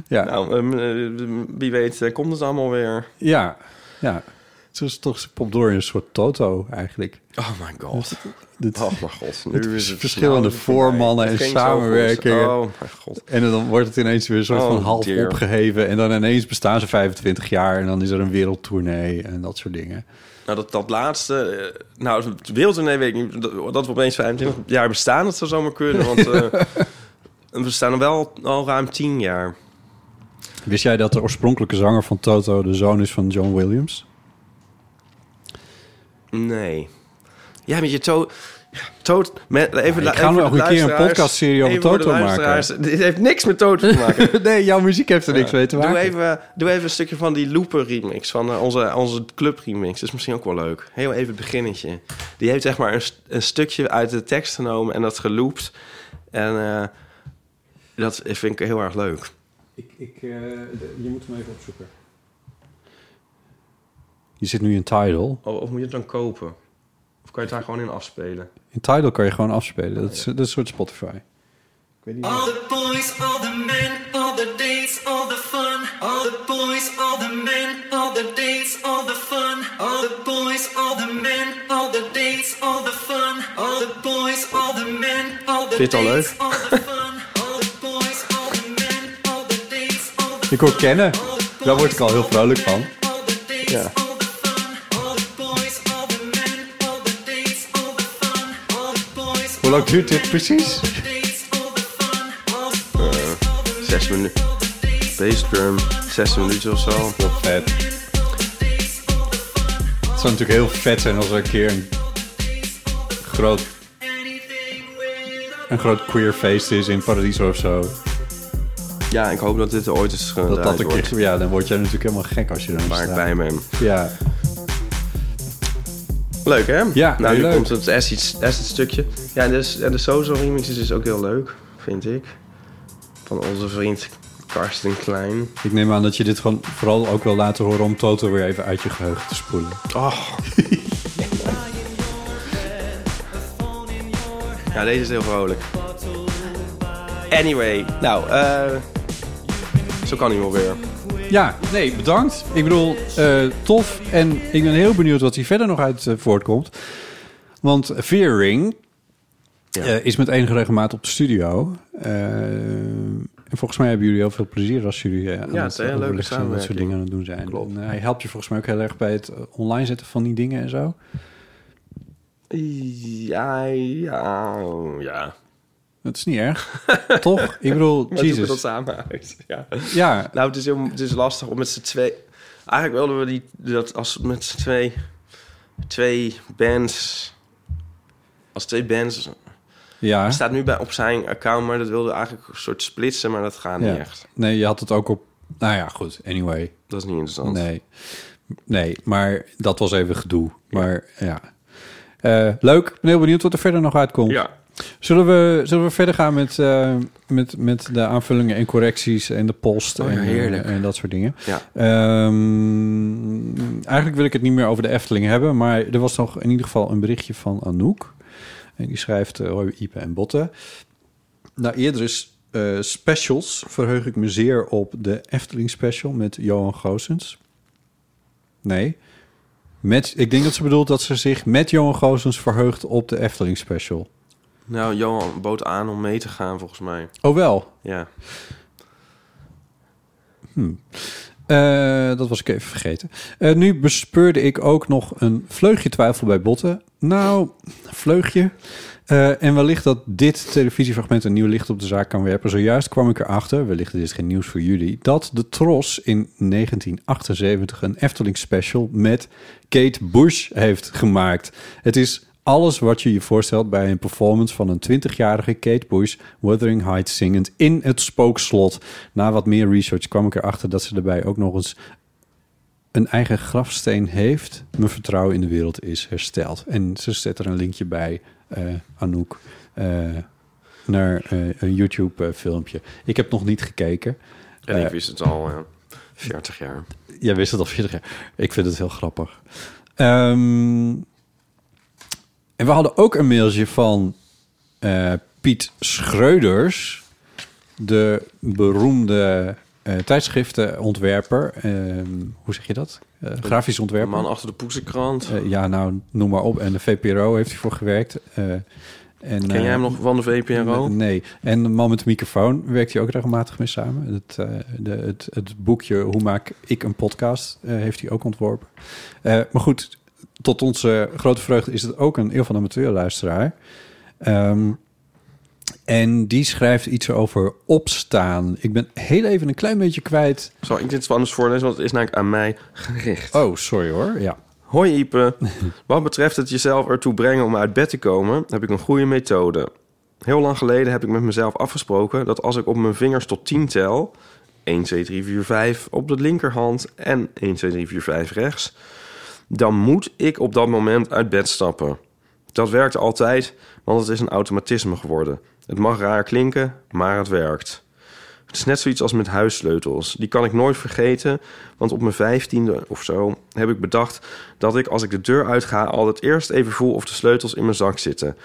Speaker 3: ja,
Speaker 2: nou, ehm, eh, wie weet eh, komt het allemaal weer.
Speaker 3: ja, ja. Zo is toch Pop Dorian een soort Toto eigenlijk.
Speaker 2: Oh my god.
Speaker 3: Dit,
Speaker 2: Oh mijn god. Nu
Speaker 3: Het
Speaker 2: is het
Speaker 3: verschillende
Speaker 2: nou,
Speaker 3: voormannen
Speaker 2: het
Speaker 3: en
Speaker 2: ging zo goed.
Speaker 3: samenwerkingen.
Speaker 2: Oh mijn god.
Speaker 3: En dan wordt het ineens weer een soort
Speaker 2: Oh,
Speaker 3: van half
Speaker 2: dear.
Speaker 3: opgeheven. En dan ineens bestaan ze 25 jaar. En dan is er een wereldtournee en dat soort dingen.
Speaker 2: Nou, dat, dat laatste... eh, nou, het wereldtournee weet ik niet. Dat, dat we opeens 25 jaar bestaan, dat zou zomaar kunnen. Want eh, we staan er wel al ruim 10 jaar.
Speaker 3: Wist jij dat de oorspronkelijke zanger van Toto de zoon is van John Williams?
Speaker 2: Nee. Ja, met je to... Toot, met, even,
Speaker 3: Ja, ik ga
Speaker 2: even
Speaker 3: nu
Speaker 2: voor
Speaker 3: ook
Speaker 2: de
Speaker 3: een keer een
Speaker 2: luisteraars-
Speaker 3: podcastserie over
Speaker 2: even voor de
Speaker 3: Toto maken.
Speaker 2: luisteraars. Dit heeft niks met Toto te maken.
Speaker 3: nee, jouw muziek heeft er niks mee te maken.
Speaker 2: Doe even, doe even een stukje van die Looper remix, van eh, onze, onze club remix. Dat is misschien ook wel leuk. Heel even het beginnetje. Die heeft zeg maar een, st- een stukje uit de tekst genomen en dat geloopt. En eh, dat vind ik heel erg leuk.
Speaker 3: Ik, ik, je moet hem even opzoeken. Je zit nu in Tidal.
Speaker 2: Oh, Of, of moet je het dan kopen? Of kan je het daar gewoon in afspelen?
Speaker 3: In Tidal kan je gewoon afspelen. Dat is, dat is een soort Spotify.
Speaker 5: All the boys, all the men, all the days, all the fun. All the boys, all the men, all the days, all the fun. All the boys, all the men, all the days, all the fun. All the boys, all the men, all the
Speaker 2: Vind je het al
Speaker 5: days, all the fun. All the boys, all the men, all the days, all the
Speaker 3: Ik hoor kennen. Daar word ik al heel vrolijk van.
Speaker 5: All the days, all the fun. All the boys, all the men, all the days, all the fun. All the boys,
Speaker 3: Hoe lang duurt dit precies?
Speaker 5: all the days, all the fun. All the
Speaker 2: Zes minuten. Bassdrum, zes minuten of zo.
Speaker 3: Heel vet. Het zou natuurlijk heel vet zijn als er een keer een groot, een groot queer feest is in Paradiso of zo.
Speaker 2: Ja, ik hoop dat dit er ooit is
Speaker 3: Dat dat
Speaker 2: gedraaid
Speaker 3: een
Speaker 2: wordt.
Speaker 3: keer, ja, dan word jij natuurlijk helemaal gek als je er
Speaker 2: Waar ik
Speaker 3: staat.
Speaker 2: bij ben.
Speaker 3: Ja,
Speaker 2: Leuk, hè?
Speaker 3: Ja,
Speaker 2: Nou, nu
Speaker 3: heel leuk.
Speaker 2: komt het acid, acid stukje. Ja, dus, en de Sozo remix is dus ook heel leuk, vind ik. Van onze vriend Karsten Klein.
Speaker 3: Ik neem aan dat je dit gewoon vooral ook wil laten horen om Toto weer even uit je geheugen te spoelen.
Speaker 2: Oh. ja, deze is heel vrolijk. Anyway, nou, eh zo kan hij wel weer.
Speaker 3: Ja, nee, bedankt. Ik bedoel, eh, tof. En ik ben heel benieuwd wat hier verder nog uit eh, voortkomt. Want Veering eh, is met enige regelmaat op de studio. Eh, en volgens mij hebben jullie heel veel plezier als jullie eh, aan
Speaker 2: het
Speaker 3: het
Speaker 2: is een hele leuke
Speaker 3: overleg zijn en dat soort
Speaker 2: samenwerking.
Speaker 3: dingen aan het doen zijn. En, eh, hij helpt je volgens mij ook heel erg bij het eh, online zetten van die dingen en zo.
Speaker 2: Ja, ja, Oh, ja.
Speaker 3: Dat is niet erg, toch? Ik bedoel,
Speaker 2: We zoeken dat
Speaker 3: Jesus.
Speaker 2: samen uit, ja.
Speaker 3: Ja,
Speaker 2: Nou, het is, heel, het is lastig om met z'n twee... Eigenlijk wilden we die, dat als met z'n twee, twee bands... Als twee bands...
Speaker 3: ja.
Speaker 2: Het staat nu bij, op zijn account, maar dat wilde we eigenlijk een soort splitsen, maar dat gaat
Speaker 3: ja.
Speaker 2: niet echt.
Speaker 3: Nee, je had het ook op... Nou ja, goed, anyway.
Speaker 2: Dat is niet interessant.
Speaker 3: Nee. nee, maar dat was even gedoe. Maar ja. Eh, leuk, ik ben heel benieuwd wat er verder nog uitkomt.
Speaker 2: Ja,
Speaker 3: Zullen, we, zullen we verder gaan met, eh, met, met de aanvullingen en correcties en de post en,
Speaker 2: Oh
Speaker 3: eh,
Speaker 2: heerlijk.
Speaker 3: en dat soort dingen?
Speaker 2: Ja.
Speaker 3: Ehm, eigenlijk wil ik het niet meer over de Efteling hebben, maar er was nog in ieder geval een berichtje van Anouk. En die schrijft, eh hoi Ipe en Botten. Na eerdere eh, specials verheug ik me zeer op de Efteling special met Johan Goosens. Nee. Met, ik denk dat ze bedoelt dat ze zich met Johan Goosens verheugt op de Efteling special.
Speaker 2: nou, Johan bood aan om mee te gaan, volgens mij.
Speaker 3: Oh wel.
Speaker 2: Ja.
Speaker 3: Eh, dat was ik even vergeten. Eh, nu bespeurde ik ook nog een vleugje twijfel bij Botten. Nou, vleugje. Eh, en wellicht dat dit televisiefragment een nieuw licht op de zaak kan werpen. Zojuist kwam ik erachter, wellicht dit is geen nieuws voor jullie... dat de Tros in 1978 een Efteling special met Kate Bush heeft gemaakt. Het is alles wat je je voorstelt bij een performance van een 20-jarige Kate Bush... Wuthering Heights zingend in het spookslot. Na wat meer research kwam ik erachter dat ze daarbij ook nog eens een eigen grafsteen heeft, mijn vertrouwen in de wereld is hersteld. En ze zet er een linkje bij, eh, Anouk, eh, naar eh, een YouTube-filmpje. ik heb nog niet gekeken.
Speaker 2: En
Speaker 3: Eh,
Speaker 2: ik wist het al, ja. 40 jaar.
Speaker 3: Jij wist het al verder. Ik vind het heel grappig. Ehm, en we hadden ook een mailtje van eh, Piet Schreuders, de beroemde eh, tijdschriftenontwerper. Ehm, hoe zeg je dat? Eh, grafisch
Speaker 2: De
Speaker 3: ontwerper.
Speaker 2: man achter de poesenkrant.
Speaker 3: Eh, ja, nou, noem maar op. En de VPRO heeft hij voor gewerkt. Eh, en, eh,
Speaker 2: Ken jij hem nog van de VPRO?
Speaker 3: Nee. En de man met de microfoon werkt hij ook regelmatig mee samen. Het, eh, de, het, het boekje Hoe maak ik een podcast eh, heeft hij ook ontworpen. Eh, maar goed, tot onze grote vreugde is het ook een eeuw van amateurluisteraar. Ehm en die schrijft iets over opstaan. Ik ben heel even een klein beetje kwijt.
Speaker 2: Zal ik dit anders voorlezen, want het is namelijk aan mij gericht.
Speaker 3: Oh, sorry hoor. Ja.
Speaker 2: Hoi Ipe. Wat betreft het jezelf ertoe brengen om uit bed te komen, heb ik een goede methode. Heel lang geleden heb ik met mezelf afgesproken dat als ik op mijn vingers tot 10 tel, 1, 2, 3, 4, 5 op de linkerhand en 1, 2, 3, 4, 5 rechts, dan moet ik op dat moment uit bed stappen. Dat werkt altijd, want het is een automatisme geworden. Het mag raar klinken, maar het werkt. Het is net zoiets als met huissleutels. Die kan ik nooit vergeten, want op mijn vijftiende of zo heb ik bedacht dat ik als ik de deur uitga altijd eerst even voel of de sleutels in mijn zak zitten.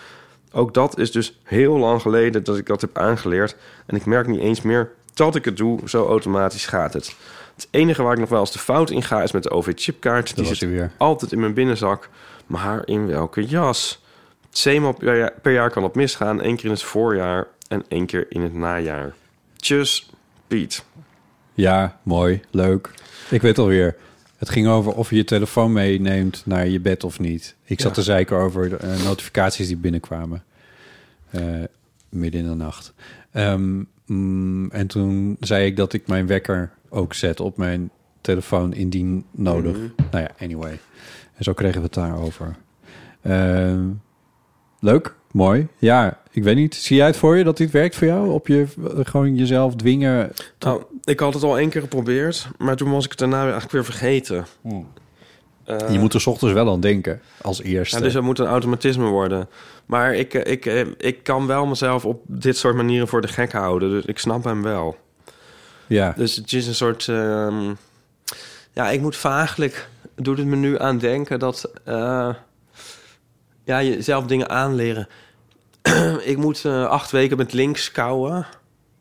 Speaker 2: Ook dat is dus heel lang geleden dat ik dat heb aangeleerd en ik merk niet eens meer dat ik het doe, zo automatisch gaat het. Het enige waar ik nog wel eens de fout in ga is met de OV-chipkaart. Die
Speaker 3: was
Speaker 2: zit
Speaker 3: hij weer.
Speaker 2: altijd in mijn binnenzak, maar in welke jas? Tweemaal per jaar, per jaar kan dat misgaan. Eén keer in het voorjaar en één keer in het najaar. Tjus, Piet.
Speaker 3: Ja, mooi, leuk. Ik weet alweer. Het ging over of je je telefoon meeneemt naar je bed of niet. Ik zat te zeiken over de, eh, notificaties die binnenkwamen. Eh, midden in de nacht. Ehm, mm, en toen zei ik dat ik mijn wekker ook zet op mijn telefoon indien nodig. Nou ja, anyway. En zo kregen we het daarover. Ehm, leuk, mooi. Ja, ik weet niet. Zie jij het voor je dat dit werkt voor jou? Op je eh, gewoon jezelf dwingen
Speaker 2: Nou, ik had het al één keer geprobeerd, maar toen was ik het daarna weer eigenlijk weer vergeten. Eh,
Speaker 3: Je moet er 's ochtends wel aan denken, als eerste.
Speaker 2: ja, dus dat moet een automatisme worden. Maar ik, eh, ik, eh, ik kan wel mezelf op dit soort manieren voor de gek houden. Dus ik snap hem wel.
Speaker 3: Ja.
Speaker 2: Dus het is een soort... ehm, ja, ik moet vaaglijk... Doet het me nu aan denken dat... eh, ja, jezelf dingen aanleren. ik moet eh, acht weken met links kouwen.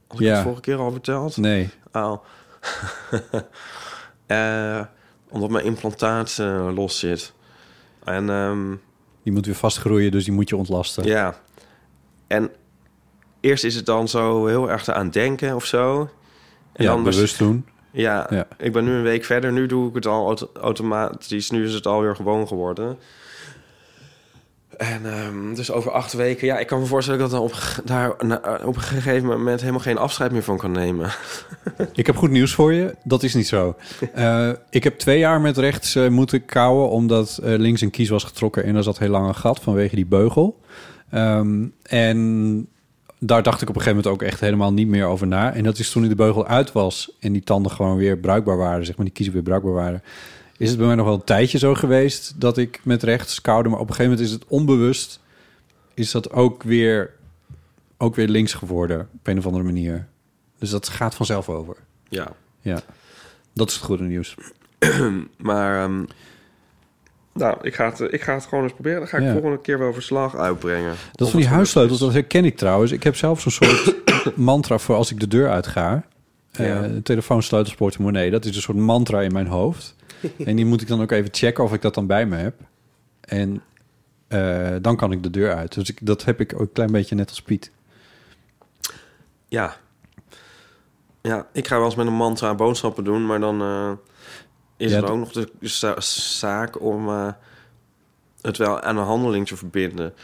Speaker 2: Had ik
Speaker 3: Ja.
Speaker 2: het vorige keer al verteld?
Speaker 3: Nee.
Speaker 2: Oh. Eh, omdat mijn implantaat eh, los zit. En... ehm,
Speaker 3: Die moet weer vastgroeien, dus die moet je ontlasten.
Speaker 2: ja. En eerst is het dan zo heel erg aan denken of zo. En
Speaker 3: Ja,
Speaker 2: dan bes-
Speaker 3: bewust doen.
Speaker 2: Ja,
Speaker 3: Ja.
Speaker 2: ik ben nu een week verder. Nu doe ik het al auto- automatisch. Nu is het alweer gewoon geworden. En ehm, dus over acht weken... Ja, ik kan me voorstellen dat ik dat dan op, ge- daar na- op een gegeven moment... helemaal geen afscheid meer van kan nemen.
Speaker 3: Ik heb goed nieuws voor je. Dat is niet zo. Eh, ik heb twee jaar met rechts eh, moeten kouwen... omdat eh, links een kies was getrokken en er zat heel lang een gat vanwege die beugel. Ehm, en daar dacht ik op een gegeven moment ook echt helemaal niet meer over na. En dat is toen die de beugel uit was en die tanden gewoon weer bruikbaar waren... zeg maar, die kiezen weer bruikbaar waren... is het bij mij nog wel een tijdje zo geweest dat ik met rechts koude. Maar op een gegeven moment is het onbewust... is dat ook weer, ook weer links geworden op een of andere manier. Dus dat gaat vanzelf over.
Speaker 2: Ja.
Speaker 3: Ja, dat is het goede nieuws.
Speaker 2: Maar... ehm, nou, ik ga, het, ik ga het gewoon eens proberen. Dan ga ik
Speaker 3: Ja.
Speaker 2: volgende keer wel verslag uitbrengen.
Speaker 3: Dat van die huissleutels, dat herken ik trouwens. Ik heb zelf zo'n soort mantra voor als ik de deur uitga. Eh
Speaker 2: Ja.
Speaker 3: telefoon, sleutels, portemonnee. Dat is een soort mantra in mijn hoofd. en die moet ik dan ook even checken of ik dat dan bij me heb. En eh, dan kan ik de deur uit. Dus ik, dat heb ik ook een klein beetje net als Piet.
Speaker 2: Ja. Ja, ik ga wel eens met een mantra boodschappen doen, maar dan eh, is
Speaker 3: Ja,
Speaker 2: het
Speaker 3: dat-
Speaker 2: ook nog de za- zaak om eh, het wel aan een handeling te verbinden.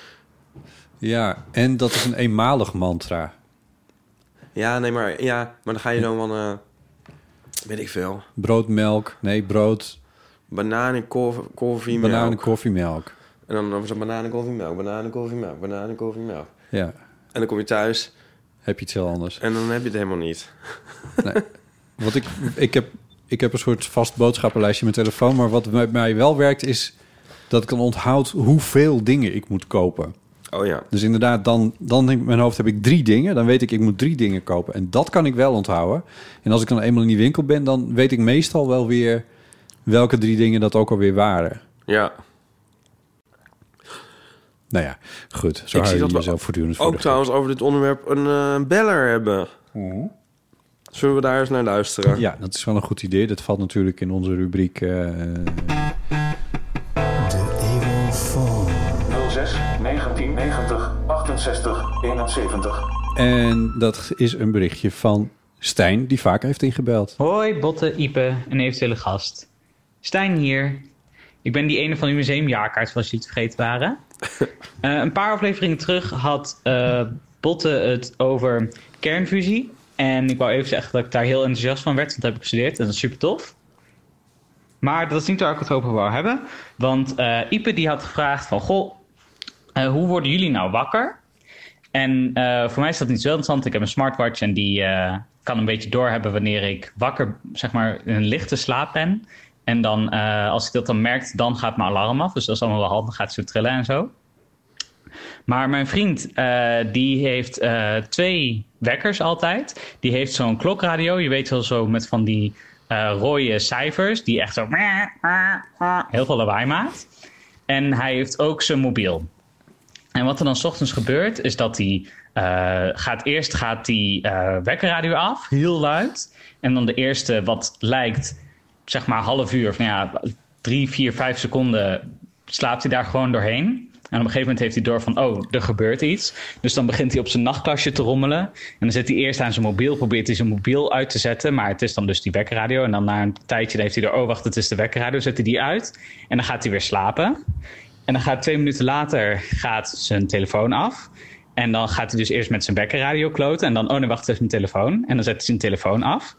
Speaker 3: Ja, en dat is een eenmalig mantra.
Speaker 2: Ja, nee, maar, ja, maar dan ga je dan van, eh, weet ik veel,
Speaker 3: Brood, melk. Nee, brood,
Speaker 2: bananen, koffie, koffie melk.
Speaker 3: bananen, koffie, melk.
Speaker 2: En dan dan is het bananen, koffie, melk, bananen, koffie, melk, bananen, koffie, melk.
Speaker 3: Ja,
Speaker 2: En dan kom je thuis
Speaker 3: heb je iets heel anders.
Speaker 2: en dan heb je het helemaal niet.
Speaker 3: Wat ik, ik, heb, ik heb een soort vast boodschappenlijstje in mijn telefoon. Maar wat bij mij wel werkt is dat ik dan onthoud hoeveel dingen ik moet kopen.
Speaker 2: Oh ja,
Speaker 3: Dus inderdaad, dan, dan in mijn hoofd heb ik drie dingen. Dan weet ik, ik moet drie dingen kopen. En dat kan ik wel onthouden. En als ik dan eenmaal in die winkel ben, dan weet ik meestal wel weer welke drie dingen dat ook alweer waren.
Speaker 2: ja.
Speaker 3: Nou ja, goed. Zo
Speaker 2: Ik
Speaker 3: hou
Speaker 2: zie
Speaker 3: je
Speaker 2: dat we
Speaker 3: jezelf voortdurend voor
Speaker 2: Ook
Speaker 3: de gek.
Speaker 2: trouwens over dit onderwerp een eh, beller hebben. Zullen we daar eens naar luisteren?
Speaker 3: Ja, dat is wel een goed idee. Dat valt natuurlijk in onze rubriek... eh,
Speaker 6: 06 1990 68 71.
Speaker 3: En dat is een berichtje van Stijn, die vaak heeft ingebeld.
Speaker 7: Hoi Botte, Ipe en eventuele gast. Stijn hier. Ik ben die ene van uw museumjaarkaart, zoals jullie het vergeten waren. Eh, een paar afleveringen terug had eh, Botte het over kernfusie. En ik wou even zeggen dat ik daar heel enthousiast van werd, want dat heb ik gestudeerd en dat is super tof. Maar dat is niet waar ik het over wou hebben. Want eh, Ipe die had gevraagd van, goh, eh, hoe worden jullie nou wakker? En eh, voor mij is dat niet zo interessant. Ik heb een smartwatch en die eh, kan een beetje doorhebben wanneer ik wakker, zeg maar, in een lichte slaap ben. En dan, eh, als ik dat dan merkt, dan gaat mijn alarm af. Dus dat is allemaal wel handig. Gaat zo trillen en zo. Maar mijn vriend, eh, die heeft eh, twee wekkers altijd. Die heeft zo'n klokradio. Je weet wel zo met van die eh, rode cijfers. Die echt zo heel veel lawaai maakt. En hij heeft ook zijn mobiel. En wat er dan 's ochtends gebeurt, is dat hij eh, gaat eerst gaat die eh, wekkerradio af, heel luid. En dan de eerste wat lijkt, zeg maar half uur, of nou ja, drie, vier, vijf seconden slaapt hij daar gewoon doorheen. En op een gegeven moment heeft hij door van, oh, er gebeurt iets. Dus dan begint hij op zijn nachtkastje te rommelen. En dan zet hij eerst aan zijn mobiel, probeert hij zijn mobiel uit te zetten. Maar het is dan dus die wekkerradio. En dan na een tijdje heeft hij door, oh, wacht, het is de wekkerradio. Zet hij die uit en dan gaat hij weer slapen. En dan gaat twee minuten later gaat zijn telefoon af. En dan gaat hij dus eerst met zijn wekkerradio kloten. En dan, oh nee, wacht, het is mijn telefoon. En dan zet hij zijn telefoon af.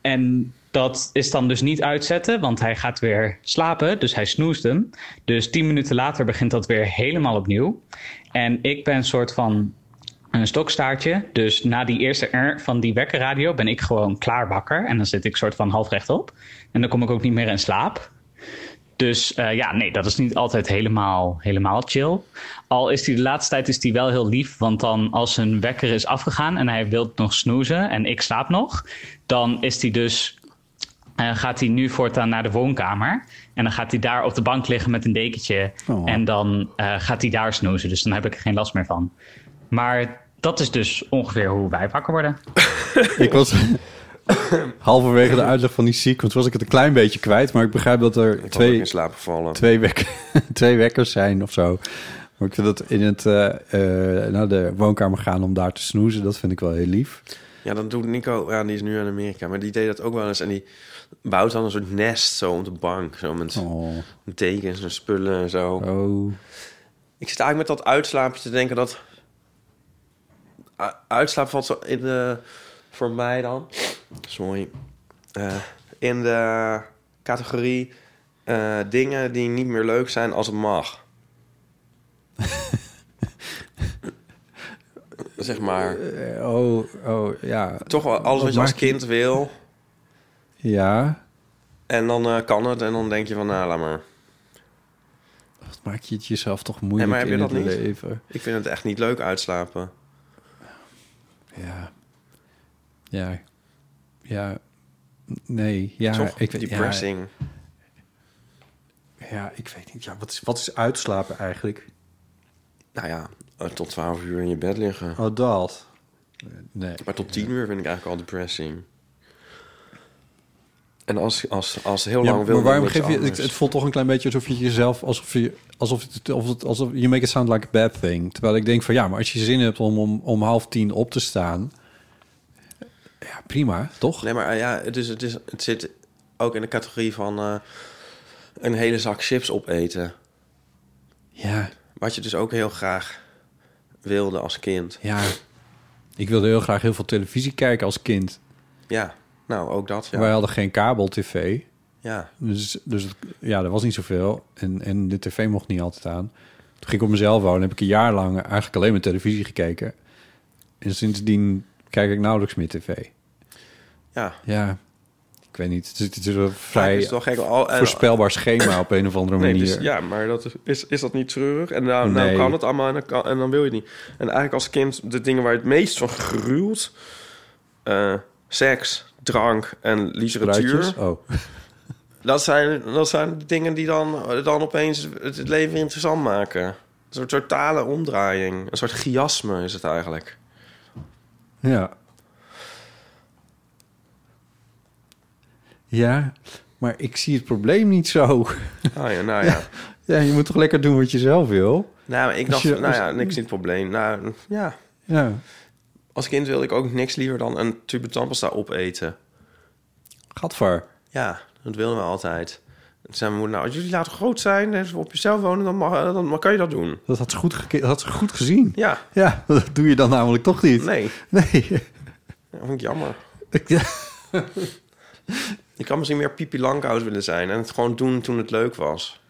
Speaker 7: En dat is dan dus niet uitzetten, want hij gaat weer slapen. Dus hij snoest hem. Dus tien minuten later begint dat weer helemaal opnieuw. En ik ben een soort van een stokstaartje. Dus na die eerste R van die wekkerradio ben ik gewoon klaar wakker. En dan zit ik soort van half rechtop. En dan kom ik ook niet meer in slaap. Dus eh, ja, nee, dat is niet altijd helemaal, helemaal chill. Al is hij de laatste tijd is die wel heel lief. Want dan als zijn wekker is afgegaan en hij wil nog snoezen en ik slaap nog. Dan is hij dus, eh, gaat hij nu voortaan naar de woonkamer. En dan gaat hij daar op de bank liggen met een dekentje.
Speaker 3: Oh.
Speaker 7: En dan eh, gaat hij daar snoezen. Dus dan heb ik er geen last meer van. Maar dat is dus ongeveer hoe wij wakker worden.
Speaker 3: Ik was halverwege de uitleg van die sequence was ik het een klein beetje kwijt. Maar ik begrijp dat er
Speaker 2: Ik was ook
Speaker 3: twee,
Speaker 2: in slaap gevallen.
Speaker 3: twee, wek- twee wekkers zijn of zo. Maar ik vind dat in het, eh, eh, naar de woonkamer gaan om daar te snoezen, dat vind ik wel heel lief.
Speaker 2: Ja, dan doet Nico, ja, die is nu in Amerika, maar die deed dat ook wel eens. En die bouwt dan een soort nest zo op de bank, zo met
Speaker 3: Oh,
Speaker 2: tekens en spullen en zo.
Speaker 3: oh.
Speaker 2: Ik zit eigenlijk met dat uitslaapje te denken dat... U- Uitslaap valt zo in de... Voor mij dan... Sorry. Eh, in de categorie eh, dingen die niet meer leuk zijn als het mag. zeg maar.
Speaker 3: Eh, oh, oh, ja.
Speaker 2: Toch wel alles wat je als
Speaker 3: maakt je-
Speaker 2: kind wil.
Speaker 3: Ja,
Speaker 2: En dan eh, kan het. En dan denk je van, nou, laat maar.
Speaker 3: wat maak je het jezelf toch moeilijk
Speaker 2: maar heb je
Speaker 3: in
Speaker 2: dat
Speaker 3: het
Speaker 2: niet?
Speaker 3: leven?
Speaker 2: Ik vind het echt niet leuk uitslapen.
Speaker 3: Ja. Ja. Ja. Nee, ja.
Speaker 2: Toch?
Speaker 3: Ik, weet- ja,
Speaker 2: Depressing.
Speaker 3: ja, ik weet niet. Ja, wat, is, wat is uitslapen eigenlijk?
Speaker 2: Nou ja, eh, tot 12 uur in je bed liggen.
Speaker 3: Oh, dat. Nee.
Speaker 2: Maar tot tien uur vind ik eigenlijk al depressing. En als, als, als heel
Speaker 3: Ja,
Speaker 2: lang wil
Speaker 3: maar waarom
Speaker 2: dan niks
Speaker 3: geef je... Het,
Speaker 2: anders.
Speaker 3: het voelt toch een klein beetje alsof je jezelf... Alsof je... Alsof het, of het, alsof you make it sound like a bad thing. Terwijl ik denk van... Ja, maar als je zin hebt om om, om half tien op te staan... Ja, prima, toch?
Speaker 2: Nee, maar eh, ja, het, is, het, is, het zit ook in de categorie van eh, een hele zak chips opeten.
Speaker 3: Ja,
Speaker 2: Wat je dus ook heel graag wilde als kind.
Speaker 3: ja. Ik wilde heel graag heel veel televisie kijken als kind.
Speaker 2: Ja, nou, ook dat, ja.
Speaker 3: Wij hadden geen kabel-tv.
Speaker 2: ja.
Speaker 3: Dus, dus het- ja, er was niet zoveel. En, en de tv mocht niet altijd aan. Toen ging ik op mezelf wonen. Heb ik een jaar lang eigenlijk alleen maar televisie gekeken. En sindsdien kijk ik nauwelijks meer tv.
Speaker 2: Ja,
Speaker 3: Ja, ik weet niet. Het is, het is een
Speaker 2: Vaak
Speaker 3: vrij
Speaker 2: is het wel gek. Al, en-
Speaker 3: voorspelbaar schema op een of andere
Speaker 2: Nee,
Speaker 3: manier.
Speaker 2: dus, ja, maar dat is- is, is dat niet treurig? En nou, nou
Speaker 3: Nee.
Speaker 2: kan het allemaal en dan, kan- en dan wil je het niet. En eigenlijk als kind de dingen waar je het meest van gruwt... eh, seks, drank en literatuur...
Speaker 3: Ruitjes? Oh,
Speaker 2: Dat zijn, dat zijn de dingen die dan, dan opeens het, het leven interessant maken. Een soort totale omdraaiing. Een soort chiasme is het eigenlijk.
Speaker 3: ja. Ja, maar ik zie het probleem niet zo.
Speaker 2: Ah ja, nou ja.
Speaker 3: Ja, je moet toch lekker doen wat je zelf wil?
Speaker 2: Nou, ik dacht,
Speaker 3: Als je-
Speaker 2: nou ja,
Speaker 3: als-
Speaker 2: niks in het probleem. Nou, ja.
Speaker 3: Ja,
Speaker 2: Als kind wilde ik ook niks liever dan een tube tandpasta opeten.
Speaker 3: gadver.
Speaker 2: Ja, dat wilden we altijd. Toen zei mijn moeder, nou, als jullie later groot zijn en op jezelf wonen, dan, mag, dan, mag- kan je dat doen.
Speaker 3: Dat had ze goed, geke- dat had ze goed gezien.
Speaker 2: Ja,
Speaker 3: Ja, dat doe je dan namelijk toch niet.
Speaker 2: nee.
Speaker 3: Nee.
Speaker 2: Dat vond ik jammer.
Speaker 3: Ik- ja.
Speaker 2: Ik kan misschien meer Pipi Langkous willen zijn en het gewoon doen toen het leuk was.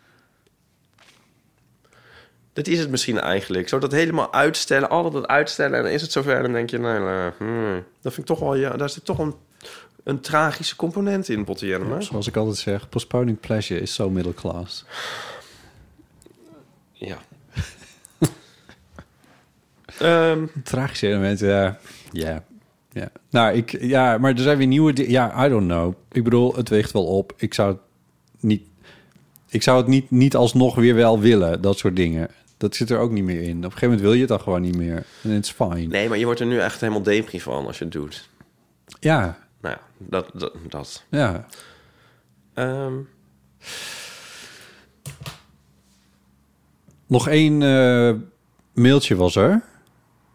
Speaker 2: Dat is het misschien eigenlijk. Zo dat helemaal uitstellen, altijd dat uitstellen en dan is het zover en dan denk je, nee, nee, hmm. dat vind ik toch wel, ja, daar zit toch een, een tragische component in, Botte Jellema.
Speaker 3: Zoals ik altijd zeg, postponing pleasure is so middle class.
Speaker 2: Ja. Ehm,
Speaker 3: Tragische elementen, ja. Ja. ja. Nou, ik, ja, maar er zijn weer nieuwe di- Ja, I don't know. Ik bedoel, het weegt wel op. Ik zou het niet, ik zou het niet, niet alsnog weer wel willen, dat soort dingen. Dat zit er ook niet meer in. Op een gegeven moment wil je het dan gewoon niet meer. En it's fine.
Speaker 2: nee, maar je wordt er nu echt helemaal depri van als je het doet.
Speaker 3: Ja,
Speaker 2: Nou ja, dat... dat, dat.
Speaker 3: ja.
Speaker 2: Ehm,
Speaker 3: Nog één eh, mailtje was er.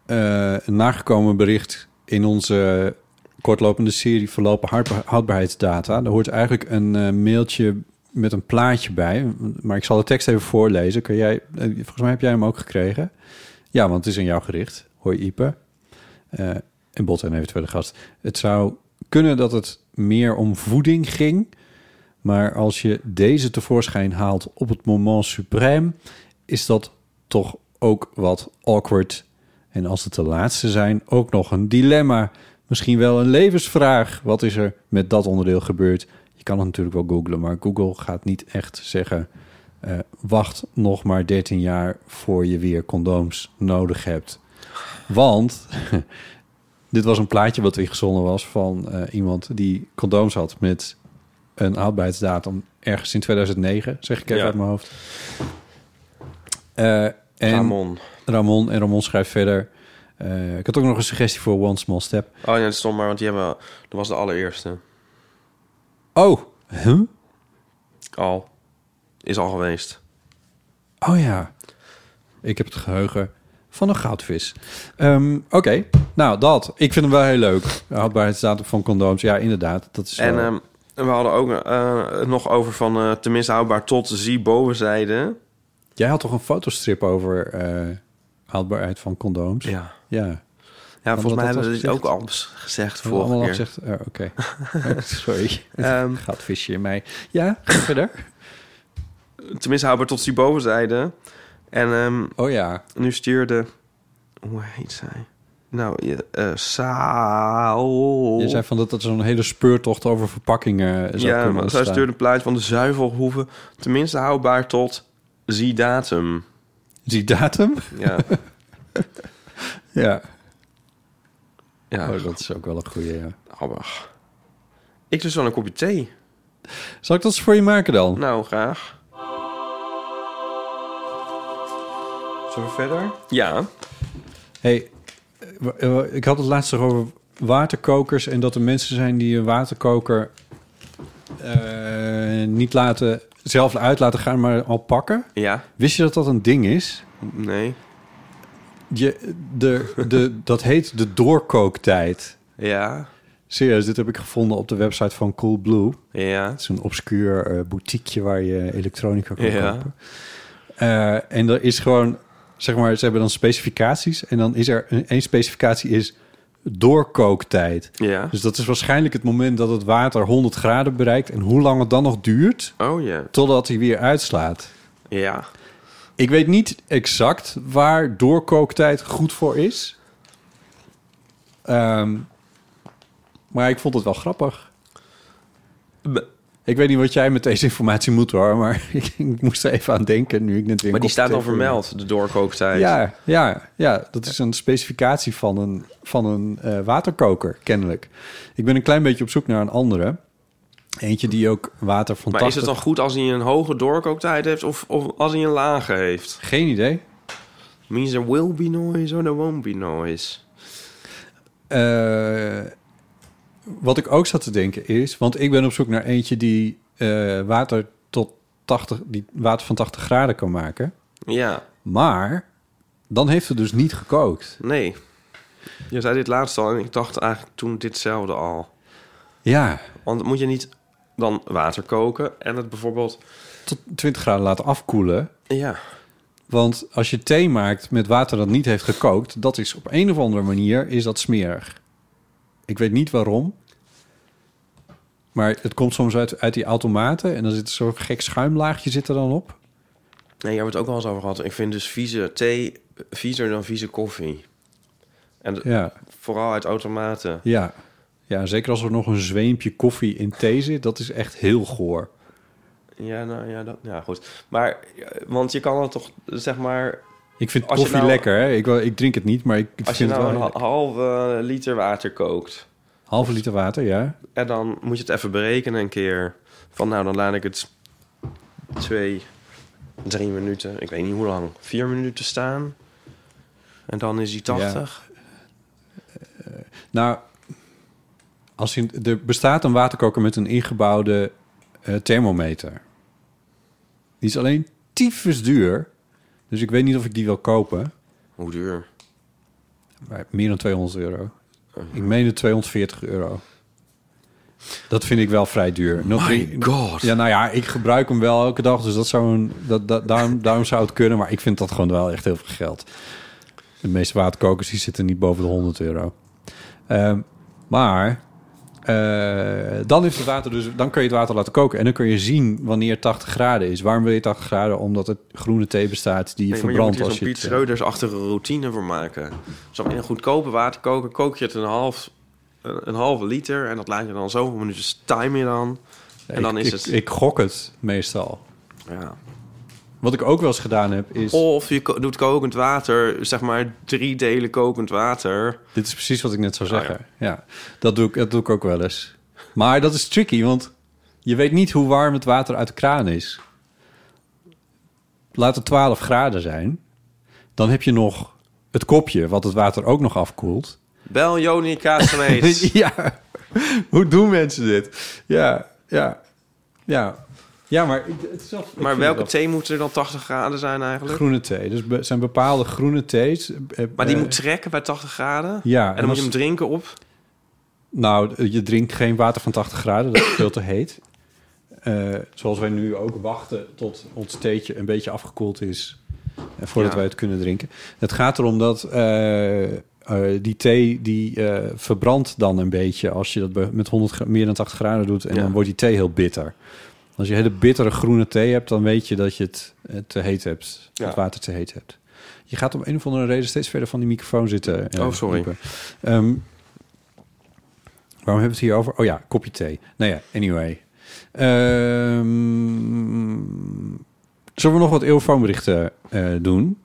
Speaker 3: Eh, een nagekomen bericht in onze kortlopende serie Verlopen hardba- houdbaarheidsdata. Daar hoort eigenlijk een eh, mailtje met een plaatje bij. Maar ik zal de tekst even voorlezen. Kun jij, eh, volgens mij heb jij hem ook gekregen. Ja, want het is aan jou gericht. Hoi Ipe. Eh, en Bot en eventuele gast. Het zou kunnen dat het meer om voeding ging. Maar als je deze tevoorschijn haalt op het moment suprême, is dat toch ook wat awkward. En als het de laatste zijn, ook nog een dilemma. Misschien wel een levensvraag. Wat is er met dat onderdeel gebeurd? Je kan het natuurlijk wel googlen, maar Google gaat niet echt zeggen... eh, wacht nog maar 13 jaar voor je weer condooms nodig hebt. Want dit was een plaatje wat ingezonden was van eh, iemand die condooms had met een houdbaarheidsdatum ergens in 2009, zeg ik even
Speaker 2: Ja.
Speaker 3: uit mijn hoofd. Eh, en
Speaker 2: Ramon.
Speaker 3: Ramon. En Ramon schrijft verder. eh, ik had ook nog een suggestie voor One Small Step.
Speaker 2: Oh ja, dat stond maar, want die hebben, dat was de allereerste.
Speaker 3: Oh, huh?
Speaker 2: Al. Is al geweest.
Speaker 3: Oh ja. Ik heb het geheugen van een goudvis. Ehm, Oké, nou dat. Ik vind hem wel heel leuk. Houdbaarheidsdatum van condooms. Ja, inderdaad. Dat is
Speaker 2: En
Speaker 3: wel-
Speaker 2: ehm, we hadden ook eh, nog over van eh tenminste houdbaar tot zie bovenzijde.
Speaker 3: Jij had toch een fotostrip over eh, houdbaarheid van condooms?
Speaker 2: Ja.
Speaker 3: Ja.
Speaker 2: Ja, volgens
Speaker 3: dat
Speaker 2: mij hebben we
Speaker 3: was
Speaker 2: dit ook
Speaker 3: gezegd?
Speaker 2: al eens gezegd vorige
Speaker 3: Allemaal al
Speaker 2: keer.
Speaker 3: gezegd. eh, Oké. Sorry.
Speaker 2: Ehm,
Speaker 3: Goudvisje in mij. Ja, ga verder.
Speaker 2: tenminste houdbaar tot zie bovenzijde. En ehm,
Speaker 3: Oh ja.
Speaker 2: nu stuurde... Hoe heet zij? Nou, je- eh Saal...
Speaker 3: Je zei van dat dat zo'n hele speurtocht over verpakkingen eh, zou
Speaker 2: Ja,
Speaker 3: kunnen
Speaker 2: maar zij
Speaker 3: ontstaan.
Speaker 2: stuurde een plaatje van de zuivelhoeven. Tenminste houdbaar tot zie datum.
Speaker 3: Die datum?
Speaker 2: Ja,
Speaker 3: Ja.
Speaker 2: ja.
Speaker 3: Oh, dat is ook wel een goede. Ja.
Speaker 2: Abba. Oh, Ik dus wel een kopje thee.
Speaker 3: Zal ik dat eens voor je maken dan?
Speaker 2: Nou, graag.
Speaker 3: Zullen we verder?
Speaker 2: Ja.
Speaker 3: hey, eh, wa- eh, wa- ik had het laatst nog over waterkokers... en dat er mensen zijn die een waterkoker eh, niet laten, zelf uit laten gaan, maar al pakken.
Speaker 2: Ja.
Speaker 3: Wist je dat dat een ding is?
Speaker 2: Nee.
Speaker 3: Je, de, de, dat heet de doorkooktijd.
Speaker 2: Ja.
Speaker 3: Serieus, dit heb ik gevonden op de website van Coolblue.
Speaker 2: Ja.
Speaker 3: Het is een obscuur eh, boutiqueje waar je elektronica kan
Speaker 2: Ja.
Speaker 3: kopen. Eh, en er is gewoon, zeg maar, ze hebben dan specificaties. En dan is er een, één specificatie is doorkooktijd.
Speaker 2: Ja.
Speaker 3: Dus dat is waarschijnlijk het moment dat het water 100 graden bereikt. En hoe lang het dan nog duurt,
Speaker 2: Oh ja.
Speaker 3: totdat hij weer uitslaat.
Speaker 2: Ja.
Speaker 3: Ik weet niet exact waar doorkooktijd goed voor is. Ehm, maar ik vond het wel grappig. Ik weet niet wat jij met deze informatie moet hoor, maar ik, ik moest er even aan denken nu ik net weer.
Speaker 2: Maar die
Speaker 3: een kopje
Speaker 2: staat
Speaker 3: thee
Speaker 2: al
Speaker 3: voor
Speaker 2: vermeld, de
Speaker 3: me-
Speaker 2: doorkooktijd.
Speaker 3: Ja, ja, ja, dat is een specificatie van een, van een eh, waterkoker, kennelijk. Ik ben een klein beetje op zoek naar een andere. Eentje die ook water van
Speaker 2: Maar is
Speaker 3: 80
Speaker 2: het dan goed als hij een hoge doorkooktijd heeft of, of als hij een lage heeft?
Speaker 3: Geen idee.
Speaker 2: Means there will be noise or there won't be noise.
Speaker 3: Eh, wat ik ook zat te denken is, want ik ben op zoek naar eentje die eh, water tot 80, die water van 80 graden kan maken.
Speaker 2: Ja.
Speaker 3: Maar dan heeft het dus niet gekookt.
Speaker 2: Nee. Je zei dit laatst al en ik dacht eigenlijk toen ditzelfde al.
Speaker 3: Ja,
Speaker 2: Want moet je niet dan water koken en het bijvoorbeeld...
Speaker 3: tot 20 graden laten afkoelen.
Speaker 2: Ja.
Speaker 3: Want als je thee maakt met water dat niet heeft gekookt, dat is op een of andere manier is dat smerig. Ik weet niet waarom. Maar het komt soms uit, uit die automaten en dan zit zo'n gek schuimlaagje zit er dan op.
Speaker 2: Nee, daar hebben we het ook wel eens over gehad. Ik vind dus vieze thee viezer dan vieze koffie. En d-
Speaker 3: Ja.
Speaker 2: vooral uit automaten.
Speaker 3: Ja. ja, zeker als er nog een zweempje koffie in thee zit. Dat is echt heel goor.
Speaker 2: Ja, nou ja, dat, ja goed. Maar, eh, want je kan het toch, eh, zeg maar...
Speaker 3: Ik vind
Speaker 2: Als je
Speaker 3: koffie
Speaker 2: nou-
Speaker 3: lekker, hè? Ik, wel- ik drink het niet, maar ik
Speaker 2: Als
Speaker 3: vind
Speaker 2: je
Speaker 3: het wel...
Speaker 2: nou een
Speaker 3: heerlijk.
Speaker 2: ha- halve liter water kookt...
Speaker 3: Halve liter water, ja.
Speaker 2: en dan moet je het even berekenen een keer. Van nou, dan laat ik het twee, drie minuten... ik weet niet hoe lang, vier minuten staan... En dan is die 80.
Speaker 3: Nou, als je, er bestaat een waterkoker met een ingebouwde eh, thermometer. Die is alleen tyfus duur. Dus ik weet niet of ik die wil kopen.
Speaker 2: Hoe duur?
Speaker 3: Maar meer dan 200 euro. Ik meende 240 euro. Dat vind ik wel vrij duur. Nog drie-
Speaker 2: god.
Speaker 3: Ja, nou ja, ik gebruik hem wel elke dag. Dus dat zou een, dat, dat, daarom, daarom zou het kunnen. Maar ik vind dat gewoon wel echt heel veel geld. De meeste waterkokers die zitten niet boven de 100 euro. Ehm, maar eh, dan, is het water dus, dan kun je het water laten koken. En dan kun je zien wanneer 80 graden is. Waarom wil je 80 graden? Omdat er groene thee bestaat die je
Speaker 2: Nee, maar je moet
Speaker 3: verbrandt
Speaker 2: hier
Speaker 3: als je
Speaker 2: zo'n Piet
Speaker 3: het, eh,
Speaker 2: Schreuders-achtige routine voor maken. Zo in een goedkope waterkoker eh, kook je het een half, een halve liter... en dat laat je dan zoveel minuten timen je dan. En dan
Speaker 3: Ik-
Speaker 2: is
Speaker 3: ik,
Speaker 2: het.
Speaker 3: Ik gok het meestal.
Speaker 2: ja.
Speaker 3: Wat ik ook wel eens gedaan heb is...
Speaker 2: Of je ko- doet kokend water, zeg maar drie delen kokend water.
Speaker 3: Dit is precies wat ik net zou
Speaker 2: Oh,
Speaker 3: zeggen. ja. dat doe ik, dat doe ik ook wel eens. Maar dat is tricky, want je weet niet hoe warm het water uit de kraan is. Laat het 12 graden zijn. Dan heb je nog het kopje, wat het water ook nog afkoelt.
Speaker 2: Bel Joni Kaasmeet.
Speaker 3: ja, hoe doen mensen dit? Ja, ja, ja. Ja, maar ik- het is wel- ik vind
Speaker 2: maar
Speaker 3: het
Speaker 2: welke
Speaker 3: wel-
Speaker 2: thee moet er dan 80 graden zijn eigenlijk?
Speaker 3: Groene thee. Dus be- zijn bepaalde groene thees. eh,
Speaker 2: Maar die
Speaker 3: eh,
Speaker 2: moet trekken bij 80 graden?
Speaker 3: Ja,
Speaker 2: En
Speaker 3: en
Speaker 2: dan moet je hem
Speaker 3: als-
Speaker 2: drinken op?
Speaker 3: Nou, je drinkt geen water van 80 graden, dat is veel te heet. Eh, zoals wij nu ook wachten tot ons theetje een beetje afgekoeld is. En voordat
Speaker 2: Ja.
Speaker 3: wij het kunnen drinken. Het gaat erom dat eh, eh, die thee die eh, verbrandt dan een beetje als je dat be- met 100 gra- meer dan 80 graden doet. En
Speaker 2: Ja.
Speaker 3: dan wordt die thee heel bitter. Als je hele bittere groene thee hebt, dan weet je dat je het eh, te heet hebt.
Speaker 2: Ja.
Speaker 3: Het water te heet hebt. Je gaat om een of andere reden steeds verder van die microfoon zitten. eh,
Speaker 2: Oh, sorry.
Speaker 3: Ieper. Ehm, waarom hebben we het hier over? Oh ja, kopje thee. Nou ja, anyway. Ehm, zullen we nog wat eeuwfoonberichten eh doen?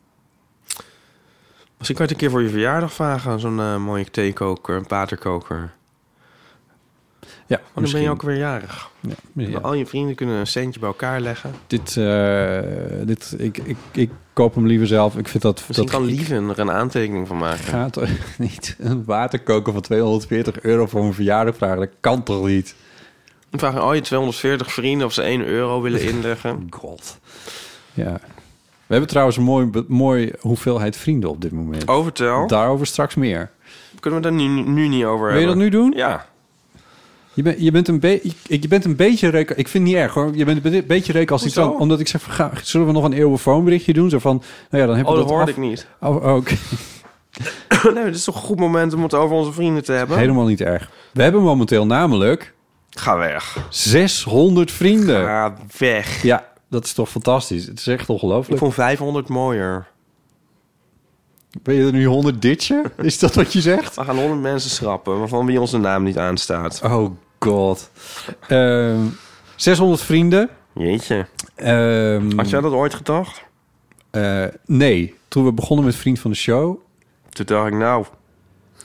Speaker 2: Misschien kan je het een keer voor je verjaardag vragen. Zo'n eh, mooie theekoker, een paterkoker. Want dan ben
Speaker 3: Ja,
Speaker 2: Oh, je
Speaker 3: misschien.
Speaker 2: ook weer jarig.
Speaker 3: Ja,
Speaker 2: Dan
Speaker 3: ja.
Speaker 2: Al je vrienden kunnen een centje bij elkaar leggen.
Speaker 3: Dit, eh, dit ik, ik, ik koop hem liever zelf. Ik vind dat...
Speaker 2: Misschien
Speaker 3: dat
Speaker 2: kan Lieven er een aantekening van maken.
Speaker 3: gaat toch niet een waterkoker van 240 euro voor mijn verjaardag vragen. Dat kan toch niet?
Speaker 2: Dan vragen al je 240 vrienden of ze 1 euro willen inleggen.
Speaker 3: God. Ja. We hebben trouwens een mooi, be- mooi hoeveelheid vrienden op dit moment.
Speaker 2: Overtel.
Speaker 3: Daarover straks meer.
Speaker 2: Kunnen we daar nu, nu niet over
Speaker 3: Wil je
Speaker 2: hebben?
Speaker 3: dat nu doen?
Speaker 2: Ja.
Speaker 3: Je, bent je, bent een be- je, je bent een beetje reken. Ik vind het niet erg hoor. Je bent een be- beetje reken als iets
Speaker 2: Hoezo?
Speaker 3: dan. Omdat ik zeg, van, ga, zullen we nog een eeuwenfoonberichtje doen? Zo van, nou ja, dan heb
Speaker 2: Oh,
Speaker 3: je
Speaker 2: dat
Speaker 3: dat
Speaker 2: hoorde
Speaker 3: af-
Speaker 2: ik niet.
Speaker 3: Oh, oké.
Speaker 2: nee, dit is toch een goed moment om het over onze vrienden te hebben?
Speaker 3: Helemaal niet erg. We hebben momenteel namelijk
Speaker 2: Ga weg.
Speaker 3: 600 vrienden.
Speaker 2: Ga weg.
Speaker 3: Ja, dat is toch fantastisch. Het is echt
Speaker 2: Ik
Speaker 3: ongelooflijk.
Speaker 2: vond 500 mooier.
Speaker 3: Ben je er nu 100 ditje? Is dat wat je zegt?
Speaker 2: We gaan 100 mensen schrappen, waarvan wie onze naam niet aanstaat.
Speaker 3: Oh god. Ehm, 600 vrienden.
Speaker 2: Jeetje.
Speaker 3: Ehm,
Speaker 2: Had jij dat ooit gedacht?
Speaker 3: eh, nee, toen we begonnen met Vriend van de Show.
Speaker 2: Toen dacht ik, nou,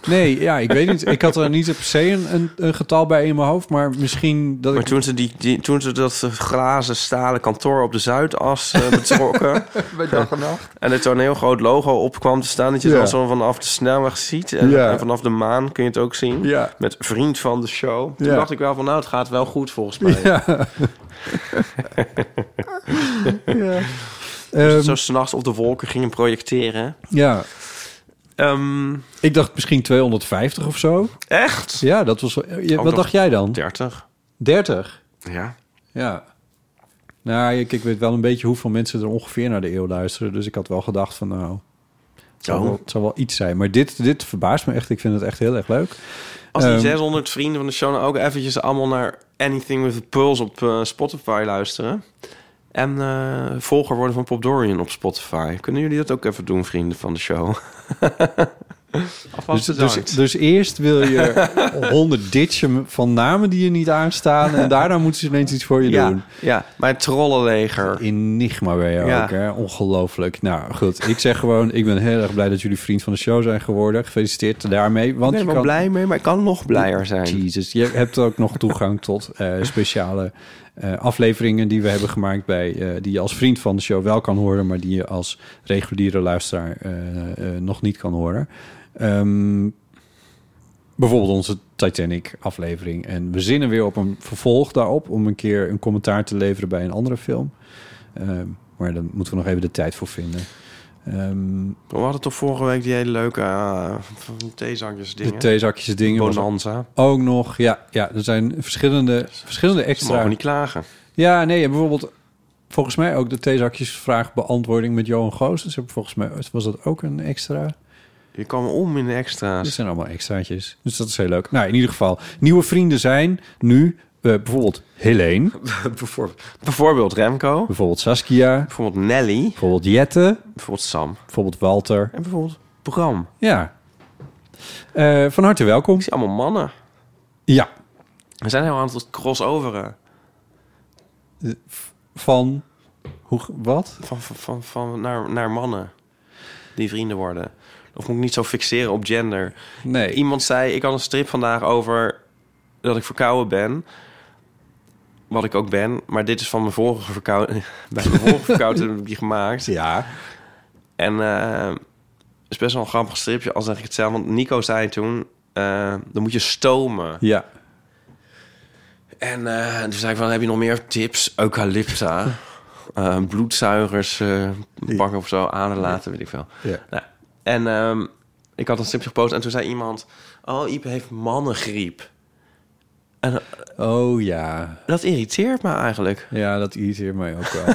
Speaker 3: Nee, ja, ik weet niet. Ik had er niet per se een, een, een getal bij in mijn hoofd. Maar misschien dat
Speaker 2: Maar
Speaker 3: ik...
Speaker 2: toen ze, die, die- toen ze dat eh, glazen stalen kantoor op de Zuidas eh, betrokken... en er zo'n heel groot logo op kwam te staan... dat je
Speaker 3: Ja.
Speaker 2: het dan zo vanaf de snelweg ziet. En,
Speaker 3: Ja.
Speaker 2: en vanaf de maan kun je het ook zien.
Speaker 3: Ja.
Speaker 2: Met vriend van de show. Toen
Speaker 3: Ja.
Speaker 2: dacht ik wel van, nou, het gaat wel goed volgens mij.
Speaker 3: Ja. ja.
Speaker 2: Dus
Speaker 3: Ehm,
Speaker 2: zo s'nachts op de wolken gingen projecteren.
Speaker 3: ja,
Speaker 2: Ehm,
Speaker 3: ik dacht misschien 250 of zo.
Speaker 2: echt?
Speaker 3: Ja, dat was... ja,
Speaker 2: nog
Speaker 3: wat dacht jij dan?
Speaker 2: 30.
Speaker 3: 30?
Speaker 2: Ja.
Speaker 3: Ja. Nou, ik, ik weet wel een beetje hoeveel mensen er ongeveer naar de eeuw luisteren. Dus ik had wel gedacht van nou, het zou,
Speaker 2: Oh.
Speaker 3: wel, het zou wel iets zijn. Maar dit, dit verbaast me echt. Ik vind het echt heel erg leuk.
Speaker 2: Als die
Speaker 3: Ehm.
Speaker 2: 600 vrienden van de show nou ook eventjes allemaal naar Anything with a Pulse op eh, Spotify luisteren. En eh, volger worden van Pop Dorian op Spotify. Kunnen jullie dat ook even doen, vrienden van de show?
Speaker 3: Dus,
Speaker 2: Alvast
Speaker 3: dus,
Speaker 2: bedankt.
Speaker 3: dus eerst wil je 100 ditchen van namen die je niet aanstaan. En daarna moeten ze ineens iets voor je doen.
Speaker 2: ja, ja, mijn trollenleger.
Speaker 3: Enigma ben je
Speaker 2: Ja.
Speaker 3: ook, hè? Ongelooflijk. Nou, goed. Ik zeg gewoon, ik ben heel erg blij dat jullie vriend van de show zijn geworden. Gefeliciteerd daarmee. Want
Speaker 2: Ik ben er
Speaker 3: je
Speaker 2: wel
Speaker 3: kan...
Speaker 2: blij mee, maar ik kan nog blijer zijn.
Speaker 3: Jezus, je hebt ook nog toegang tot eh, speciale eh, afleveringen die we hebben gemaakt bij eh, die je als vriend van de show wel kan horen, maar die je als reguliere luisteraar eh, eh, nog niet kan horen. Ehm, bijvoorbeeld onze Titanic aflevering. En we zinnen weer op een vervolg daarop om een keer een commentaar te leveren bij een andere film. Ehm, maar daar moeten we nog even de tijd voor vinden. Ehm,
Speaker 2: We hadden toch vorige week die hele leuke eh, van theezakjes
Speaker 3: de
Speaker 2: dingen.
Speaker 3: theezakjes dingen was
Speaker 2: Bonanza.
Speaker 3: ook nog. Ja, ja, er zijn verschillende, verschillende
Speaker 2: Ze
Speaker 3: extra
Speaker 2: mogen niet klagen.
Speaker 3: Ja, nee, en bijvoorbeeld volgens mij ook de theezakjesvraag beantwoording met Johan Goossens. Heb ik Volgens mij was dat ook een extra.
Speaker 2: Je kwam om in de
Speaker 3: Dit
Speaker 2: extra's.
Speaker 3: zijn allemaal extraatjes. Dus dat is heel leuk. Nou, in ieder geval, nieuwe vrienden zijn nu eh, bijvoorbeeld Helene,
Speaker 2: Bijvoorbeeld Remco.
Speaker 3: bijvoorbeeld Saskia,
Speaker 2: Bijvoorbeeld Nelly.
Speaker 3: bijvoorbeeld Jette,
Speaker 2: Bijvoorbeeld Sam.
Speaker 3: bijvoorbeeld Walter.
Speaker 2: En bijvoorbeeld Bram.
Speaker 3: Ja. Eh, van harte welkom.
Speaker 2: Ik zie allemaal mannen.
Speaker 3: Ja,
Speaker 2: Er zijn heel aantal crossoveren.
Speaker 3: eh, v- van... Hoe, g- wat?
Speaker 2: Van, van, van, van- naar, naar mannen die vrienden worden. Of moet ik niet zo fixeren op gender.
Speaker 3: Nee.
Speaker 2: Iemand zei, ik had een strip vandaag over dat ik verkouden ben. Wat ik ook ben. Maar dit is van mijn vorige verkouden. Bij mijn vorige verkouden heb ik die gemaakt.
Speaker 3: Ja.
Speaker 2: En eh, het is best wel een grappig stripje, al zeg ik het zelf. Want Nico zei toen, eh, dan moet je stomen.
Speaker 3: Ja.
Speaker 2: En eh, toen zei ik van, heb je nog meer tips? Eucalypta, eh, bloedzuigers eh pakken of zo, aan laten, weet ik veel.
Speaker 3: Ja.
Speaker 2: Nou, en ehm, ik had een stripje gepost en toen zei iemand... Oh, Iep heeft mannengriep. En eh,
Speaker 3: Oh ja.
Speaker 2: dat irriteert me eigenlijk.
Speaker 3: Ja, dat irriteert mij ook wel.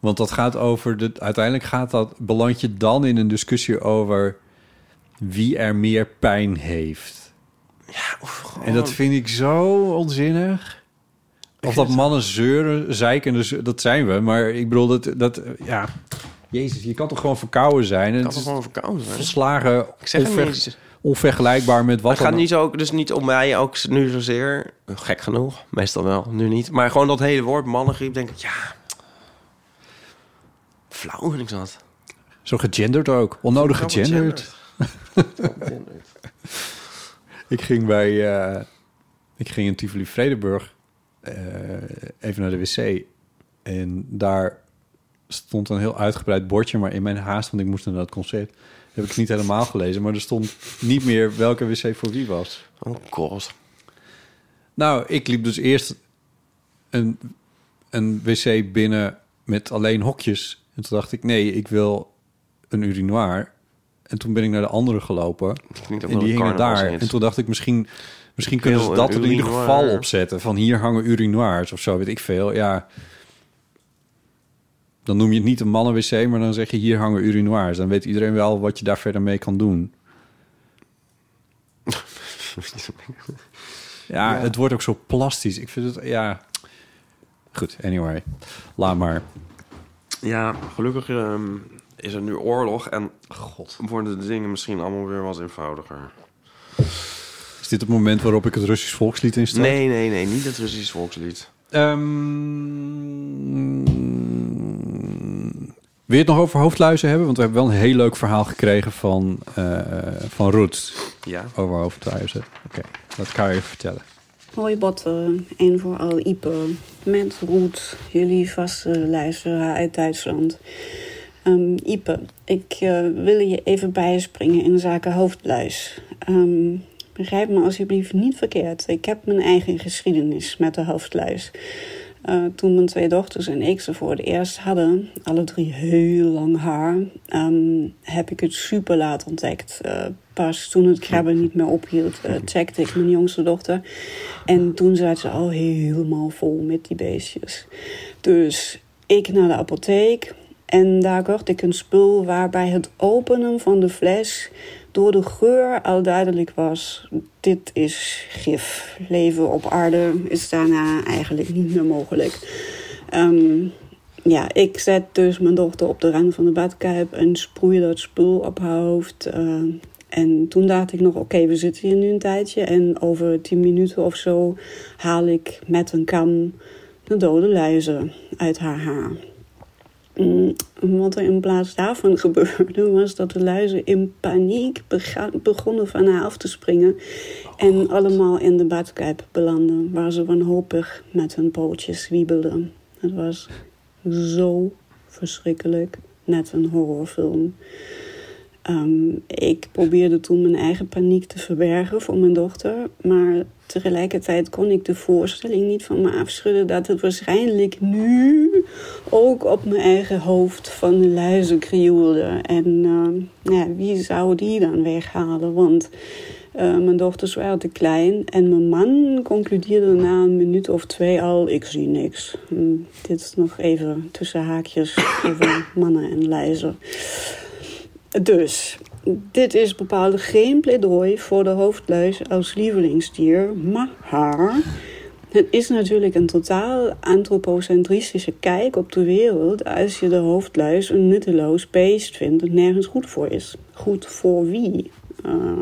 Speaker 3: Want dat gaat over... De, uiteindelijk gaat dat, beland je dan in een discussie over... wie er meer pijn heeft.
Speaker 2: Ja, oef, gewoon-
Speaker 3: En dat vind ik zo onzinnig. Of dat mannen zeuren, zeiken, dus dat zijn we. Maar ik bedoel, dat, dat ja... Jezus, je kan toch gewoon verkouden zijn?
Speaker 2: kan
Speaker 3: En het
Speaker 2: toch
Speaker 3: is
Speaker 2: gewoon verkouden zijn?
Speaker 3: verslagen
Speaker 2: Ik zeg het
Speaker 3: onver-
Speaker 2: niet.
Speaker 3: onvergelijkbaar met wat
Speaker 2: Het gaat
Speaker 3: dan-
Speaker 2: niet zo, dus niet om mij ook nu zozeer. Gek genoeg, meestal wel, nu niet. Maar gewoon dat hele woord mannengriep, denk ik, ja... Flauw vind ik dat.
Speaker 3: Zo gegenderd ook. Onnodig gegenderd.
Speaker 2: Gegenderd.
Speaker 3: Ik ging bij... eh, ik ging in Tivoli Vredenburg eh, even naar de wc. En daar stond een heel uitgebreid bordje. Maar in mijn haast, want ik moest naar dat concert... heb ik het niet helemaal gelezen. Maar er stond niet meer welke wc voor wie was.
Speaker 2: Oh god.
Speaker 3: Nou, ik liep dus eerst een, een wc binnen met alleen hokjes. En toen dacht ik, nee, ik wil een urinoir. En toen ben ik naar de andere gelopen.
Speaker 2: Klinkt ook
Speaker 3: en
Speaker 2: wel
Speaker 3: die
Speaker 2: een
Speaker 3: hingen daar.
Speaker 2: carnavalshit.
Speaker 3: En toen dacht ik, misschien, misschien kunnen ze
Speaker 2: wil
Speaker 3: dat
Speaker 2: een
Speaker 3: er in ieder
Speaker 2: urinoir.
Speaker 3: geval opzetten. Van hier hangen urinoirs of zo, weet ik veel. Ja. Dan noem je het niet een mannenwc, maar dan zeg je hier hangen urinoirs. Dan weet iedereen wel wat je daar verder mee kan doen. Ja, het wordt ook zo plastisch. Ik vind het, ja... Goed, anyway. Laat maar.
Speaker 2: Ja, gelukkig ehm, is er nu oorlog en worden de dingen misschien allemaal weer wat eenvoudiger.
Speaker 3: Is dit het moment waarop ik het Russisch volkslied instart?
Speaker 2: Nee, nee, nee, niet het Russisch volkslied.
Speaker 3: Ehm, wil je het nog over hoofdluizen hebben? Want we hebben wel een heel leuk verhaal gekregen van, eh van Roet
Speaker 2: Ja.
Speaker 3: over hoofdluizen. Oké, dat kan je even vertellen.
Speaker 8: Hoi Botten en vooral Ipe. Met Roet, jullie vaste luisteraar uit Duitsland. Ehm, Ipe, ik eh, wil je even bijspringen in zaken hoofdluis. Ehm, begrijp me alsjeblieft niet verkeerd. Ik heb mijn eigen geschiedenis met de hoofdluis. Eh, toen mijn twee dochters en ik ze voor het eerst hadden, alle drie heel lang haar, ehm, heb ik het super laat ontdekt. Eh, pas toen het krabben niet meer ophield, eh, checkte ik mijn jongste dochter. En toen zat ze al helemaal vol met die beestjes. Dus ik naar de apotheek en daar kocht ik een spul waarbij het openen van de fles door de geur al duidelijk was: dit is gif. Leven op aarde is daarna eigenlijk niet meer mogelijk. Ehm, ja, ik zet dus mijn dochter op de rand van de badkuip en sproei dat spul op haar hoofd. eh, en toen dacht ik nog, oké, we zitten hier nu een tijdje. En over tien minuten of zo haal ik met een kam de dode luizen uit haar haar. Mm, Wat er in plaats daarvan gebeurde, was dat de luizen in paniek bega- begonnen van haar af te springen. en allemaal in de badkuip belanden, waar ze wanhopig met hun pootjes wiebelden. Het was zo verschrikkelijk, net een horrorfilm. Ehm, ik probeerde toen mijn eigen paniek te verbergen voor mijn dochter. Maar tegelijkertijd kon ik de voorstelling niet van me afschudden dat het waarschijnlijk nu ook op mijn eigen hoofd van de luizen krioelde. En ehm, nou ja, wie zou die dan weghalen? Want eh, mijn dochters waren te klein. En mijn man concludeerde na een minuut of twee al: ik zie niks. Hm, dit is nog even tussen haakjes over mannen en luizen. Dus, dit is bepaald geen pleidooi voor de hoofdluis als lievelingsdier, maar het is natuurlijk een totaal antropocentristische kijk op de wereld als je de hoofdluis een nutteloos beest vindt dat nergens goed voor is. Goed voor wie? Eh,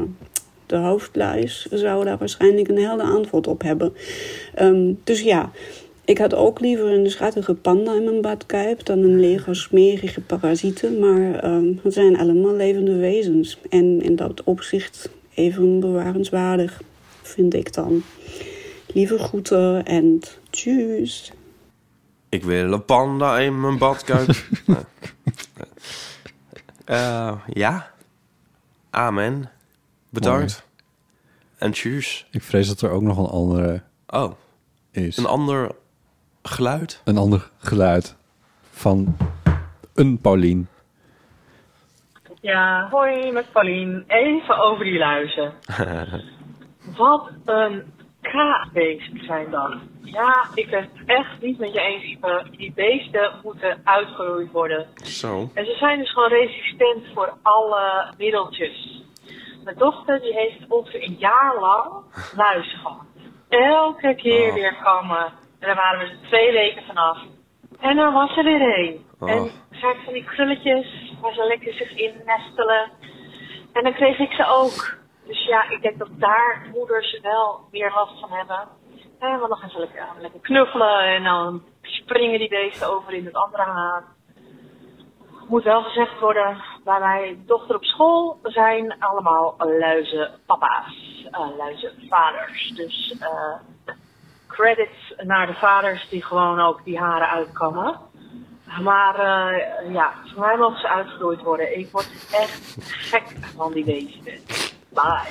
Speaker 9: de hoofdluis, zou daar waarschijnlijk een helder antwoord op hebben. Ehm, dus ja, ik had ook liever een schattige panda in mijn badkuip dan een leger smerige parasieten. Maar ehm, het zijn allemaal levende wezens. En in dat opzicht even bewarenswaardig, vind ik dan. Lieve groeten en tjus.
Speaker 2: Ik wil een panda in mijn badkuip. Eh, eh, ja. Amen. Bedankt. En tjus.
Speaker 3: Ik vrees dat er ook nog een andere
Speaker 2: Oh,
Speaker 3: is.
Speaker 2: een ander geluid.
Speaker 3: Een ander geluid van een Paulien.
Speaker 5: Ja, hoi met Paulien. Even over die luizen. Wat een kraakbeest zijn dat. Ja, ik ben het echt niet met je eens, Ipe. Die beesten moeten uitgeroeid worden.
Speaker 2: Zo.
Speaker 5: En ze zijn dus gewoon resistent voor alle middeltjes. Mijn dochter die heeft ongeveer een jaar lang luis gehad. Elke keer
Speaker 2: Oh.
Speaker 5: weer kammen. En daar waren we er twee weken vanaf. En dan was er weer één.
Speaker 2: Oh.
Speaker 5: En zijn van die krulletjes waar ze lekker zich in nestelen. En dan kreeg ik ze ook. Dus ja, ik denk dat daar moeders wel meer last van hebben. En want dan gaan ze lekker, gaan lekker knuffelen en dan springen die beesten over in het andere haat moet wel gezegd worden, bij mijn dochter op school zijn allemaal luizen papa's, eh luizen vaders. Dus eh, credits naar de vaders die gewoon ook die haren uitkammen. Maar eh, ja, voor mij mogen ze uitgeroeid worden. Ik word echt gek van die beesten. Bye.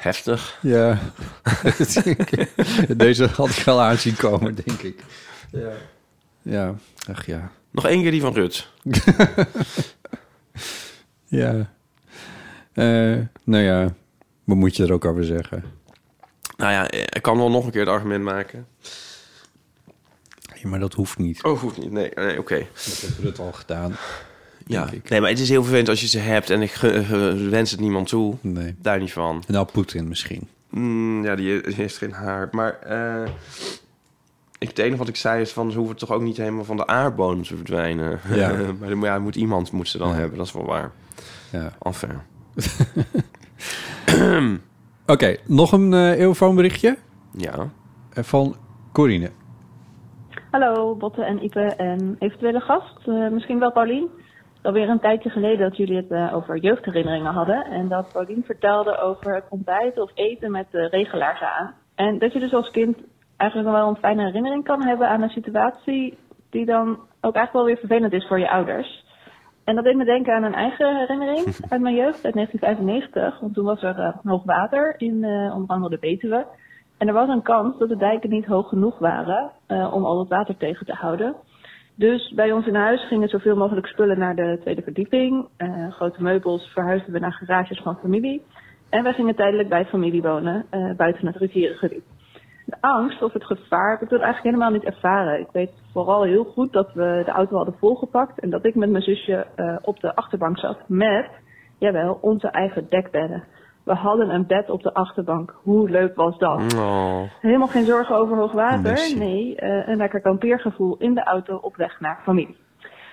Speaker 2: Heftig.
Speaker 3: Ja. Deze had ik wel aanzien komen, denk ik. Ja. Ja, ach ja.
Speaker 2: Nog één keer die van Rut.
Speaker 3: Ja. Eh, nou ja, wat moet je er ook over zeggen?
Speaker 2: Nou ja, ik kan wel nog een keer het argument maken.
Speaker 3: Ja, maar dat hoeft niet.
Speaker 2: Oh, hoeft niet. Nee, nee oké.
Speaker 3: Dat heeft Rut al gedaan.
Speaker 2: Ja.
Speaker 3: ik.
Speaker 2: Nee, maar het is heel vervelend als je ze hebt en ik ge- ge- wens het niemand toe.
Speaker 3: Nee.
Speaker 2: Daar niet van.
Speaker 3: Nou, Poetin misschien.
Speaker 2: Mm, ja, die he- heeft geen haar. Maar eh, ik, het enige wat ik zei is van ze hoeven toch ook niet helemaal van de aardbodem te verdwijnen.
Speaker 3: Ja.
Speaker 2: maar dan moet- ja, moet iemand moet ze dan hebben. Dat is wel waar.
Speaker 3: Ja.
Speaker 2: Enfin.
Speaker 3: Oké, nog een eh eeuwfoonberichtje
Speaker 2: Ja.
Speaker 3: Eh, van Corine.
Speaker 8: Hallo Botte en Ipe en eventuele gast, eh, misschien wel Paulien. Alweer een tijdje geleden dat jullie het eh, over jeugdherinneringen hadden. En dat Paulien vertelde over het ontbijten of eten met de regelaars aan. En dat je dus als kind eigenlijk nog wel een fijne herinnering kan hebben aan een situatie die dan ook eigenlijk wel weer vervelend is voor je ouders. En dat deed me denken aan een eigen herinnering uit mijn jeugd, uit 1995. Want toen was er eh, hoog water in eh onder andere de Betuwe. En er was een kans dat de dijken niet hoog genoeg waren eh, om al het water tegen te houden. Dus bij ons in huis gingen zoveel mogelijk spullen naar de tweede verdieping. Eh, grote meubels verhuisden we naar garages van familie. En wij gingen tijdelijk bij familie wonen, eh, buiten het rivierengebied. De angst of het gevaar heb ik toen eigenlijk helemaal niet ervaren. Ik weet vooral heel goed dat we de auto hadden volgepakt en dat ik met mijn zusje eh, op de achterbank zat met, jawel, onze eigen dekbedden. We hadden een bed op de achterbank. Hoe leuk was dat?
Speaker 2: Oh.
Speaker 8: Helemaal geen zorgen over hoogwater.
Speaker 3: Merci.
Speaker 8: Nee, eh, een lekker kampeergevoel in de auto op weg naar familie.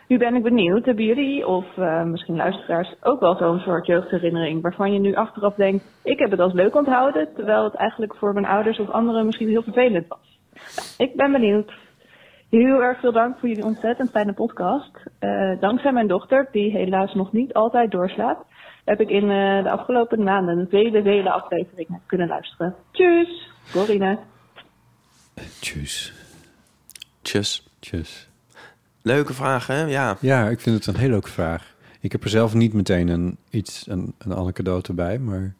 Speaker 8: Nu ben ik benieuwd, hebben jullie of eh, misschien luisteraars ook wel zo'n soort jeugdherinnering waarvan je nu achteraf denkt, ik heb het als leuk onthouden, terwijl het eigenlijk voor mijn ouders of anderen misschien heel vervelend was. Nou, ik ben benieuwd. Heel erg veel dank voor jullie ontzettend fijne podcast. Eh, dankzij mijn dochter, die helaas nog niet altijd doorslaat, heb ik in eh, de afgelopen maanden vele, vele afleveringen kunnen luisteren. Tjus, Corine.
Speaker 3: Tjus.
Speaker 2: Tjus.
Speaker 3: Tjus.
Speaker 2: Leuke vraag, hè? Ja.
Speaker 3: Ja, ik vind het een hele leuke vraag. Ik heb er zelf niet meteen een, iets, een, een anekdote bij, maar...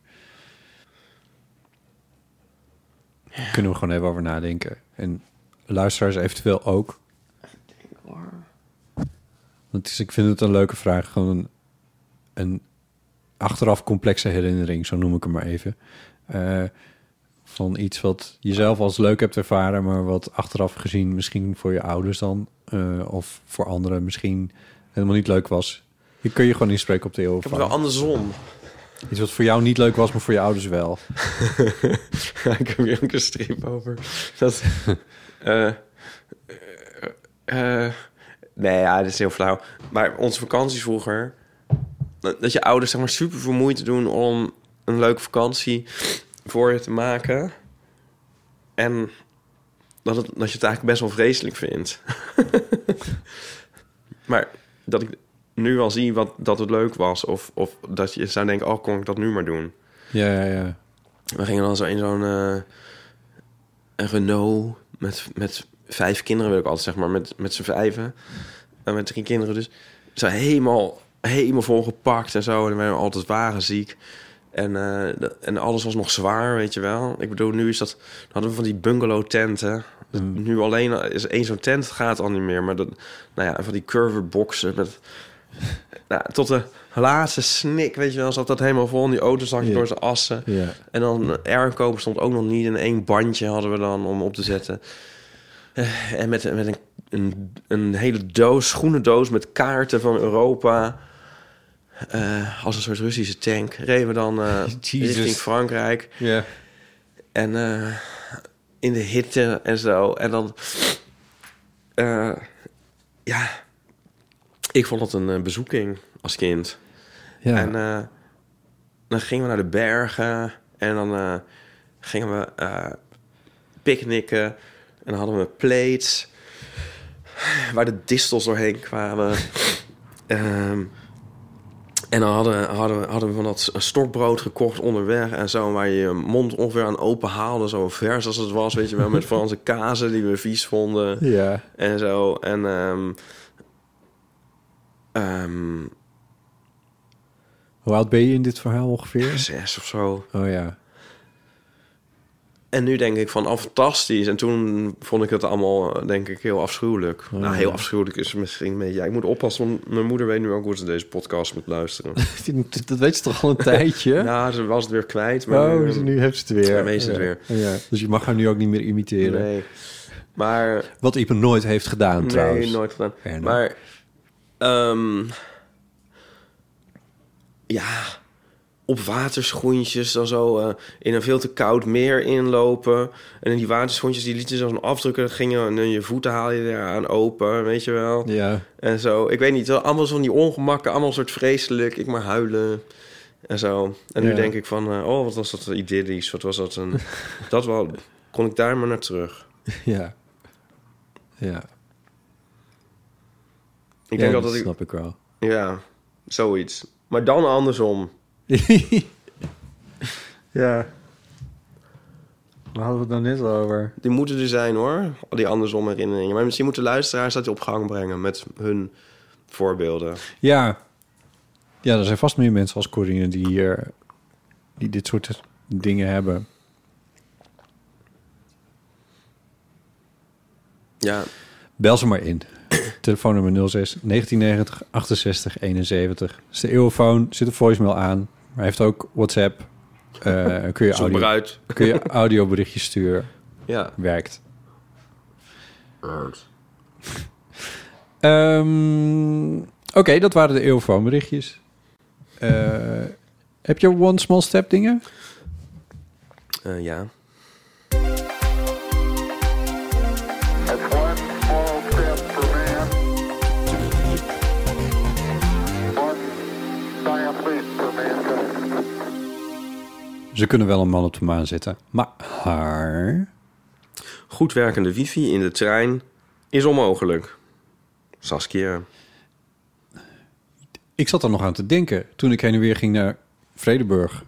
Speaker 3: Daar kunnen we gewoon even over nadenken. En luisteraars eventueel ook. Want het is, ik vind het een leuke vraag. Gewoon een, een achteraf complexe herinnering, zo noem ik hem maar even. Eh, van iets wat je zelf als leuk hebt ervaren, maar wat achteraf gezien misschien voor je ouders dan eh, of voor anderen misschien helemaal niet leuk was. Je kun je gewoon inspreken op de eeuw.
Speaker 2: Ik heb het wel andersom.
Speaker 3: Iets wat voor jou niet leuk was, maar voor je ouders wel.
Speaker 2: Ja, ik heb hier ook een strip over. Dat, eh, eh, eh, nee, ja, dat is heel flauw. Maar onze vakanties vroeger... Dat dat je ouders zeg maar super vermoeid doen om een leuke vakantie voor je te maken. En dat, het, dat je het eigenlijk best wel vreselijk vindt. maar dat ik nu al zie wat, dat het leuk was. Of, of dat je zou denken, oh, kon ik dat nu maar doen.
Speaker 3: Ja, ja, ja.
Speaker 2: We gingen dan zo in zo'n eh, een Renault met, met vijf kinderen, wil ik altijd zeg maar, met, met z'n vijven. En met drie kinderen dus. Zo helemaal, helemaal volgepakt en zo. En dan werden we altijd wagenziek. En, eh, dat- en alles was nog zwaar, weet je wel. Ik bedoel, nu is dat... Dan hadden we van die bungalow-tenten. Dus
Speaker 3: Mm.
Speaker 2: Nu alleen al- is één zo'n tent, gaat al niet meer. Maar dat, nou ja, en van die curverboxen met... Nou, tot de laatste snik, weet je wel, zat dat helemaal vol. En die auto zag je
Speaker 3: Ja.
Speaker 2: door zijn assen.
Speaker 3: Ja.
Speaker 2: En dan eh, airco bestond ook nog niet. En één bandje hadden we dan om op te zetten. Eh, En met, met een, een, een hele doos, schoenendoos met kaarten van Europa. Eh, als een soort Russische tank. Reden we dan eh
Speaker 3: Jesus.
Speaker 2: richting Frankrijk.
Speaker 3: Ja.
Speaker 2: En eh, in de hitte en zo. En dan... eh, ja... Ik vond het een eh, bezoeking als kind.
Speaker 3: Ja.
Speaker 2: En eh, dan gingen we naar de bergen. En dan eh, gingen we eh picknicken. En dan hadden we plates. Waar de distels doorheen kwamen. Ehm, en dan hadden, hadden, we- hadden we van dat stokbrood gekocht onderweg en zo, waar je je mond ongeveer aan open haalde, zo vers als het was, weet je wel, met Franse kazen die we vies vonden
Speaker 3: Ja.
Speaker 2: en zo. En ehm, ehm,
Speaker 3: Hoe oud ben je in dit verhaal ongeveer?
Speaker 2: Zes of zo.
Speaker 3: Oh ja.
Speaker 2: En nu denk ik van, oh, fantastisch. En toen vond ik het allemaal, eh, denk ik, heel afschuwelijk.
Speaker 3: Oh,
Speaker 2: nou,
Speaker 3: ja.
Speaker 2: heel afschuwelijk is het misschien een beetje... Ja, ik moet oppassen, want mijn moeder weet nu ook hoe ze deze podcast moet luisteren.
Speaker 3: Dat weet je toch al een tijdje?
Speaker 2: nou, ze was het weer kwijt. Maar
Speaker 3: Oh, dus nu heeft ze het weer.
Speaker 2: Nu heeft ze het
Speaker 3: Ja.
Speaker 2: weer.
Speaker 3: Ja. Dus je mag haar nu ook niet meer imiteren.
Speaker 2: Nee. Maar...
Speaker 3: Wat Ipe nooit heeft gedaan trouwens.
Speaker 2: Nee, nooit gedaan.
Speaker 3: Fair enough.
Speaker 2: Maar... ehm, ja... Op waterschoentjes dan zo eh, in een veel te koud meer inlopen. En in die waterschoentjes die lieten zo'n afdrukken gingen. En dan je voeten haal je eraan open, weet je wel.
Speaker 3: Ja.
Speaker 2: En zo, ik weet niet, wel allemaal van die ongemakken, allemaal soort vreselijk, ik maar huilen en zo. En nu
Speaker 3: Ja.
Speaker 2: denk ik van, eh, oh, wat was dat idyllisch, wat was dat een... dat wel, kon ik daar maar naar terug.
Speaker 3: Ja. Ja.
Speaker 2: Ik
Speaker 3: Ja,
Speaker 2: denk
Speaker 3: dat
Speaker 2: altijd
Speaker 3: snap ik wel.
Speaker 2: Ja, zoiets. Maar dan andersom.
Speaker 3: Ja. Waar hadden we het nou net over?
Speaker 2: Die moeten er zijn hoor, die andersom herinneringen. Maar misschien moeten luisteraars dat op gang brengen met hun voorbeelden.
Speaker 3: Ja. Ja, er zijn vast meer mensen als Corine die hier... die dit soort dingen hebben.
Speaker 2: Ja,
Speaker 3: Bel ze maar in. Telefoonnummer 06 1990 68 71. Dat is de eeuwfoon. Zit een voicemail aan. Maar hij heeft ook WhatsApp. Eh, kun, je
Speaker 2: Zoek maar
Speaker 3: audio,
Speaker 2: uit.
Speaker 3: kun je audioberichtjes sturen.
Speaker 2: ja.
Speaker 3: Werkt. Ehm, Oké, dat waren de eeuwfoon berichtjes. Eh, heb je One Small Step dingen?
Speaker 2: Eh, ja.
Speaker 3: Ze kunnen wel een man op de maan zetten. Maar haar...
Speaker 2: Goed werkende wifi in de trein is onmogelijk. Saskia.
Speaker 3: Ik zat er nog aan te denken toen ik heen en weer ging naar Vredeburg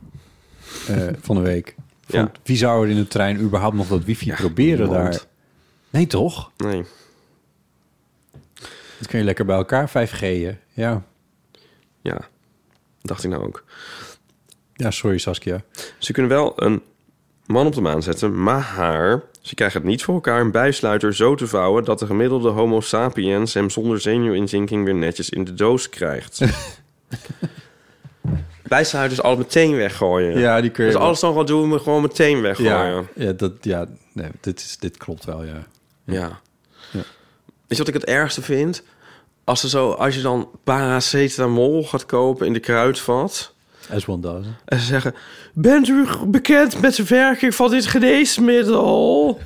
Speaker 3: eh, van de week. Van,
Speaker 2: Ja.
Speaker 3: Wie zou er in de trein überhaupt nog dat wifi proberen
Speaker 2: niemand.
Speaker 3: daar? Nee, toch?
Speaker 2: Nee.
Speaker 3: Dat kun je lekker bij elkaar 5G'en. Ja.
Speaker 2: Ja, dacht ik nou ook.
Speaker 3: ja, sorry Saskia.
Speaker 2: Ze kunnen wel een man op de maan zetten, maar haar... Ze krijgen het niet voor elkaar een bijsluiter zo te vouwen... dat de gemiddelde homo sapiens hem zonder zenuwinzinking... weer netjes in de doos krijgt. bijsluiters al meteen weggooien.
Speaker 3: Ja, die kun je
Speaker 2: Dus
Speaker 3: wel.
Speaker 2: alles dan wat doen, we gewoon meteen
Speaker 3: Ja,
Speaker 2: weggooien.
Speaker 3: ja, dat, ja nee, dit, is, dit klopt wel, ja.
Speaker 2: Ja.
Speaker 3: Ja.
Speaker 2: Weet je wat ik het ergste vind? Als, ze zo, als je dan paracetamol gaat kopen in de kruidvat...
Speaker 3: As one does.
Speaker 2: En ze zeggen: Bent u g- bekend met de werking van dit geneesmiddel?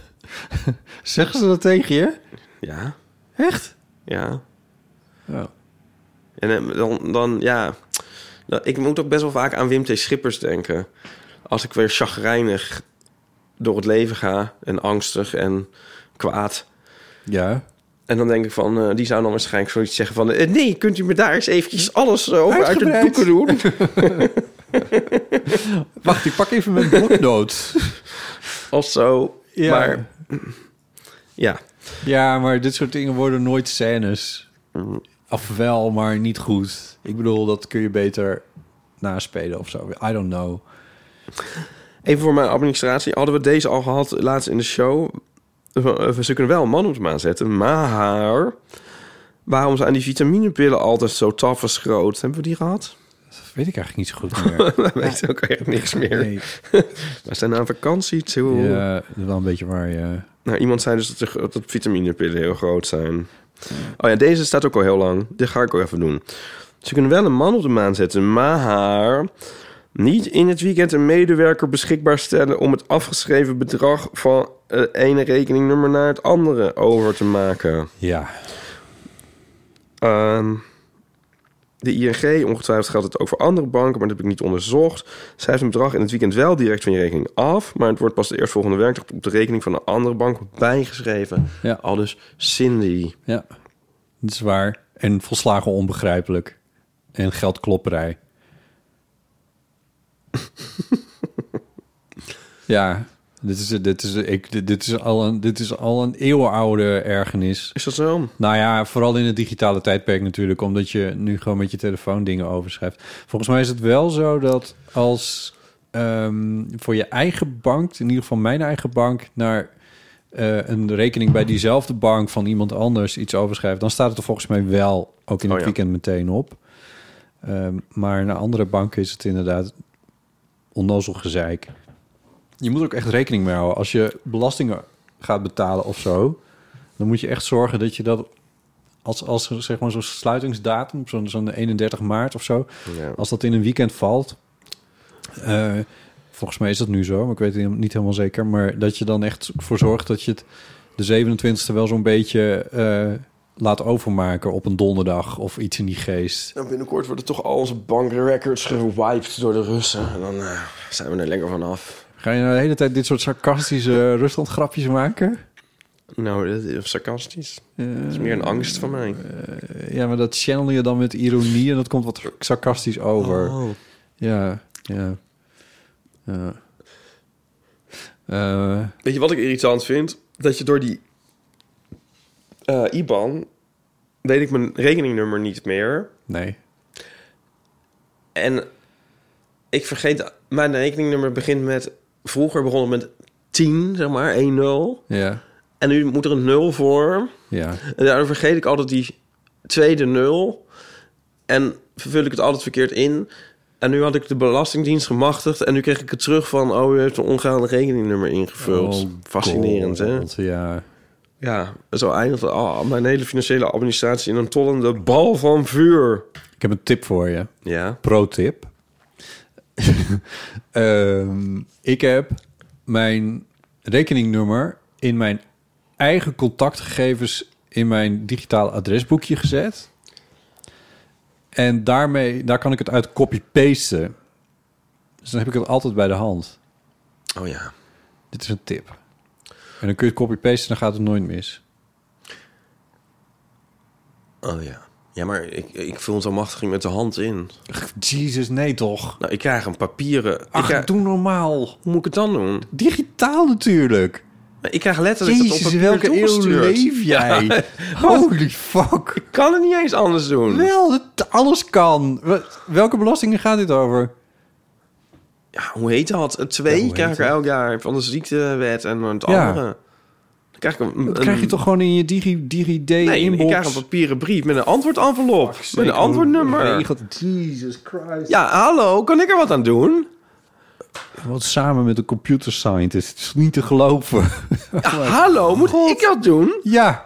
Speaker 3: Zeggen ze dat tegen je?
Speaker 2: Ja,
Speaker 3: Echt?
Speaker 2: ja.
Speaker 3: Ja.
Speaker 2: En eh, dan, dan ja. Dan dat- ik moet ook best wel vaak aan Wim T. Schippers denken. Als ik weer chagrijnig door het leven ga en angstig en kwaad.
Speaker 3: Ja.
Speaker 2: En dan denk ik van, eh, die zou dan waarschijnlijk zoiets zeggen van... eh, nee, kunt u me daar eens eventjes alles eh, over uit de
Speaker 3: Uitgebreid.
Speaker 2: boeken doen?
Speaker 3: Wacht, ik pak even mijn bloknoot.
Speaker 2: of zo.
Speaker 3: Ja.
Speaker 2: Maar ja.
Speaker 3: Ja, maar dit soort dingen worden nooit scènes. Of wel, maar niet goed. Ik bedoel, dat kun je beter naspelen of zo. I don't know.
Speaker 2: Even voor mijn administratie. Hadden we deze al gehad laatst in de show? Eh, Ze kunnen wel een man op de maan zetten, maar... Waarom zijn die vitaminepillen altijd zo taf groot? Hebben we die gehad?
Speaker 3: Weet ik eigenlijk niet zo goed meer.
Speaker 2: We weten ook echt niks meer.
Speaker 3: Nee.
Speaker 2: we zijn aan vakantie, toe.
Speaker 3: Ja, dat is wel een beetje waar, ja.
Speaker 2: Nou, iemand zei dus dat, de, gro- dat vitaminepillen heel groot zijn. Oh ja, deze staat ook al heel lang. Dit ga ik ook even doen. Ze kunnen wel een man op de maan zetten, maar niet in het weekend een medewerker beschikbaar stellen om het afgeschreven bedrag van het ene rekeningnummer naar het andere over te maken.
Speaker 3: Ja.
Speaker 2: Ehm, de ING, ongetwijfeld geldt het ook voor andere banken, maar dat heb ik niet onderzocht. Schrijft een bedrag in het weekend wel direct van je rekening af, maar het wordt pas de eerstvolgende werkdag op de rekening van een andere bank bijgeschreven.
Speaker 3: Ja.
Speaker 2: Al dus Cindy.
Speaker 3: Ja, dat is waar. En volslagen onbegrijpelijk. En geldklopperij. ja, dit is, dit, is, ik, dit, dit is al een, dit is al een eeuwenoude ergernis.
Speaker 2: Is dat zo?
Speaker 3: Nou ja, vooral in het digitale tijdperk natuurlijk. Omdat je nu gewoon met je telefoon dingen overschrijft. Volgens mij is het wel zo dat als ehm, voor je eigen bank... in ieder geval mijn eigen bank... naar eh, een rekening bij diezelfde bank van iemand anders iets overschrijft... dan staat het er volgens mij wel ook in
Speaker 2: Oh
Speaker 3: het
Speaker 2: ja.
Speaker 3: weekend meteen op. Ehm, maar naar andere banken is het inderdaad onnozel gezeik. Je moet er ook echt rekening mee houden. Als je belastingen gaat betalen of zo... dan moet je echt zorgen dat je dat... als, als er, zeg maar zo'n sluitingsdatum, zo'n zo'n 31 maart of zo...
Speaker 2: Ja.
Speaker 3: als dat in een weekend valt... eh, volgens mij is dat nu zo, maar ik weet het niet helemaal zeker... maar dat je dan echt voor zorgt dat je het de 27e wel zo'n beetje... eh, laat overmaken op een donderdag of iets in die geest.
Speaker 2: En binnenkort worden toch al onze bankrecords gewiped door de Russen. En dan eh, zijn we er lekker vanaf.
Speaker 3: Ga je nou de hele tijd dit soort sarcastische Rusland grapjes maken? Eh,
Speaker 2: Nou, dat is sarcastisch. dat is meer een angst van mij.
Speaker 3: Ja, maar dat channel je dan met ironie en dat komt wat sarcastisch over.
Speaker 2: Oh.
Speaker 3: Ja, ja. Ja. Eh,
Speaker 2: Weet je wat ik irritant vind? Dat je door die eh, IBAN weet ik mijn rekeningnummer niet meer.
Speaker 3: nee.
Speaker 2: En ik vergeet, mijn rekeningnummer begint met... Vroeger begon het met 10, zeg maar, 1-0.
Speaker 3: Ja,
Speaker 2: En nu moet er een 0 voor.
Speaker 3: ja.
Speaker 2: En daardoor vergeet ik altijd die tweede 0. En vervul ik het altijd verkeerd in. En nu had ik de Belastingdienst gemachtigd. En nu kreeg ik het terug van... Oh, u heeft een ongaande rekeningnummer ingevuld.
Speaker 3: Oh,
Speaker 2: Fascinerend, hè?
Speaker 3: God, Ja.
Speaker 2: Ja, zo eindigt ah, mijn hele financiële administratie in een tollende bal van vuur.
Speaker 3: Ik heb een tip voor je.
Speaker 2: Ja.
Speaker 3: Pro-tip. Ehm, ik heb mijn rekeningnummer in mijn eigen contactgegevens in mijn digitaal adresboekje gezet. En daarmee, daar kan ik het uit copy-pasten. Dus dan heb ik het altijd bij de hand.
Speaker 2: Oh ja.
Speaker 3: Dit is een tip. En dan kun je het copy-pasten en dan gaat het nooit mis.
Speaker 2: Oh ja. Ja, maar ik, ik vul zo'n machtiging met de hand in.
Speaker 3: Jezus, nee toch?
Speaker 2: Nou, ik krijg een papieren... ik
Speaker 3: Ach,
Speaker 2: krijg-
Speaker 3: doe normaal.
Speaker 2: Hoe moet ik het dan doen?
Speaker 3: Digitaal natuurlijk.
Speaker 2: Maar Ik krijg letterlijk dat op
Speaker 3: Jezus, in
Speaker 2: papier
Speaker 3: welke eeuw
Speaker 2: toegestuurd.
Speaker 3: leef jij? Holy fuck.
Speaker 2: Ik kan het niet eens anders doen.
Speaker 3: Wel, dat- alles kan. Wel- Welke belastingen gaat dit over?
Speaker 2: Ja, hoe heet dat? Een twee
Speaker 3: hoe
Speaker 2: krijg ik
Speaker 3: heet
Speaker 2: er elk jaar van de ziektewet en het
Speaker 3: Ja.
Speaker 2: andere. Dan krijg ik een...
Speaker 3: Dat krijg je
Speaker 2: een-
Speaker 3: toch gewoon in je digi, digi
Speaker 2: Nee, ik
Speaker 3: inbox
Speaker 2: krijg een papieren brief met een antwoordenvelop. Met een antwoordnummer.
Speaker 3: Jesus Christ.
Speaker 2: Ja, hallo, kan ik er wat aan doen?
Speaker 3: Wat samen met een computer scientist. Het is niet te geloven.
Speaker 2: Hallo, moet ik dat doen?
Speaker 3: ja.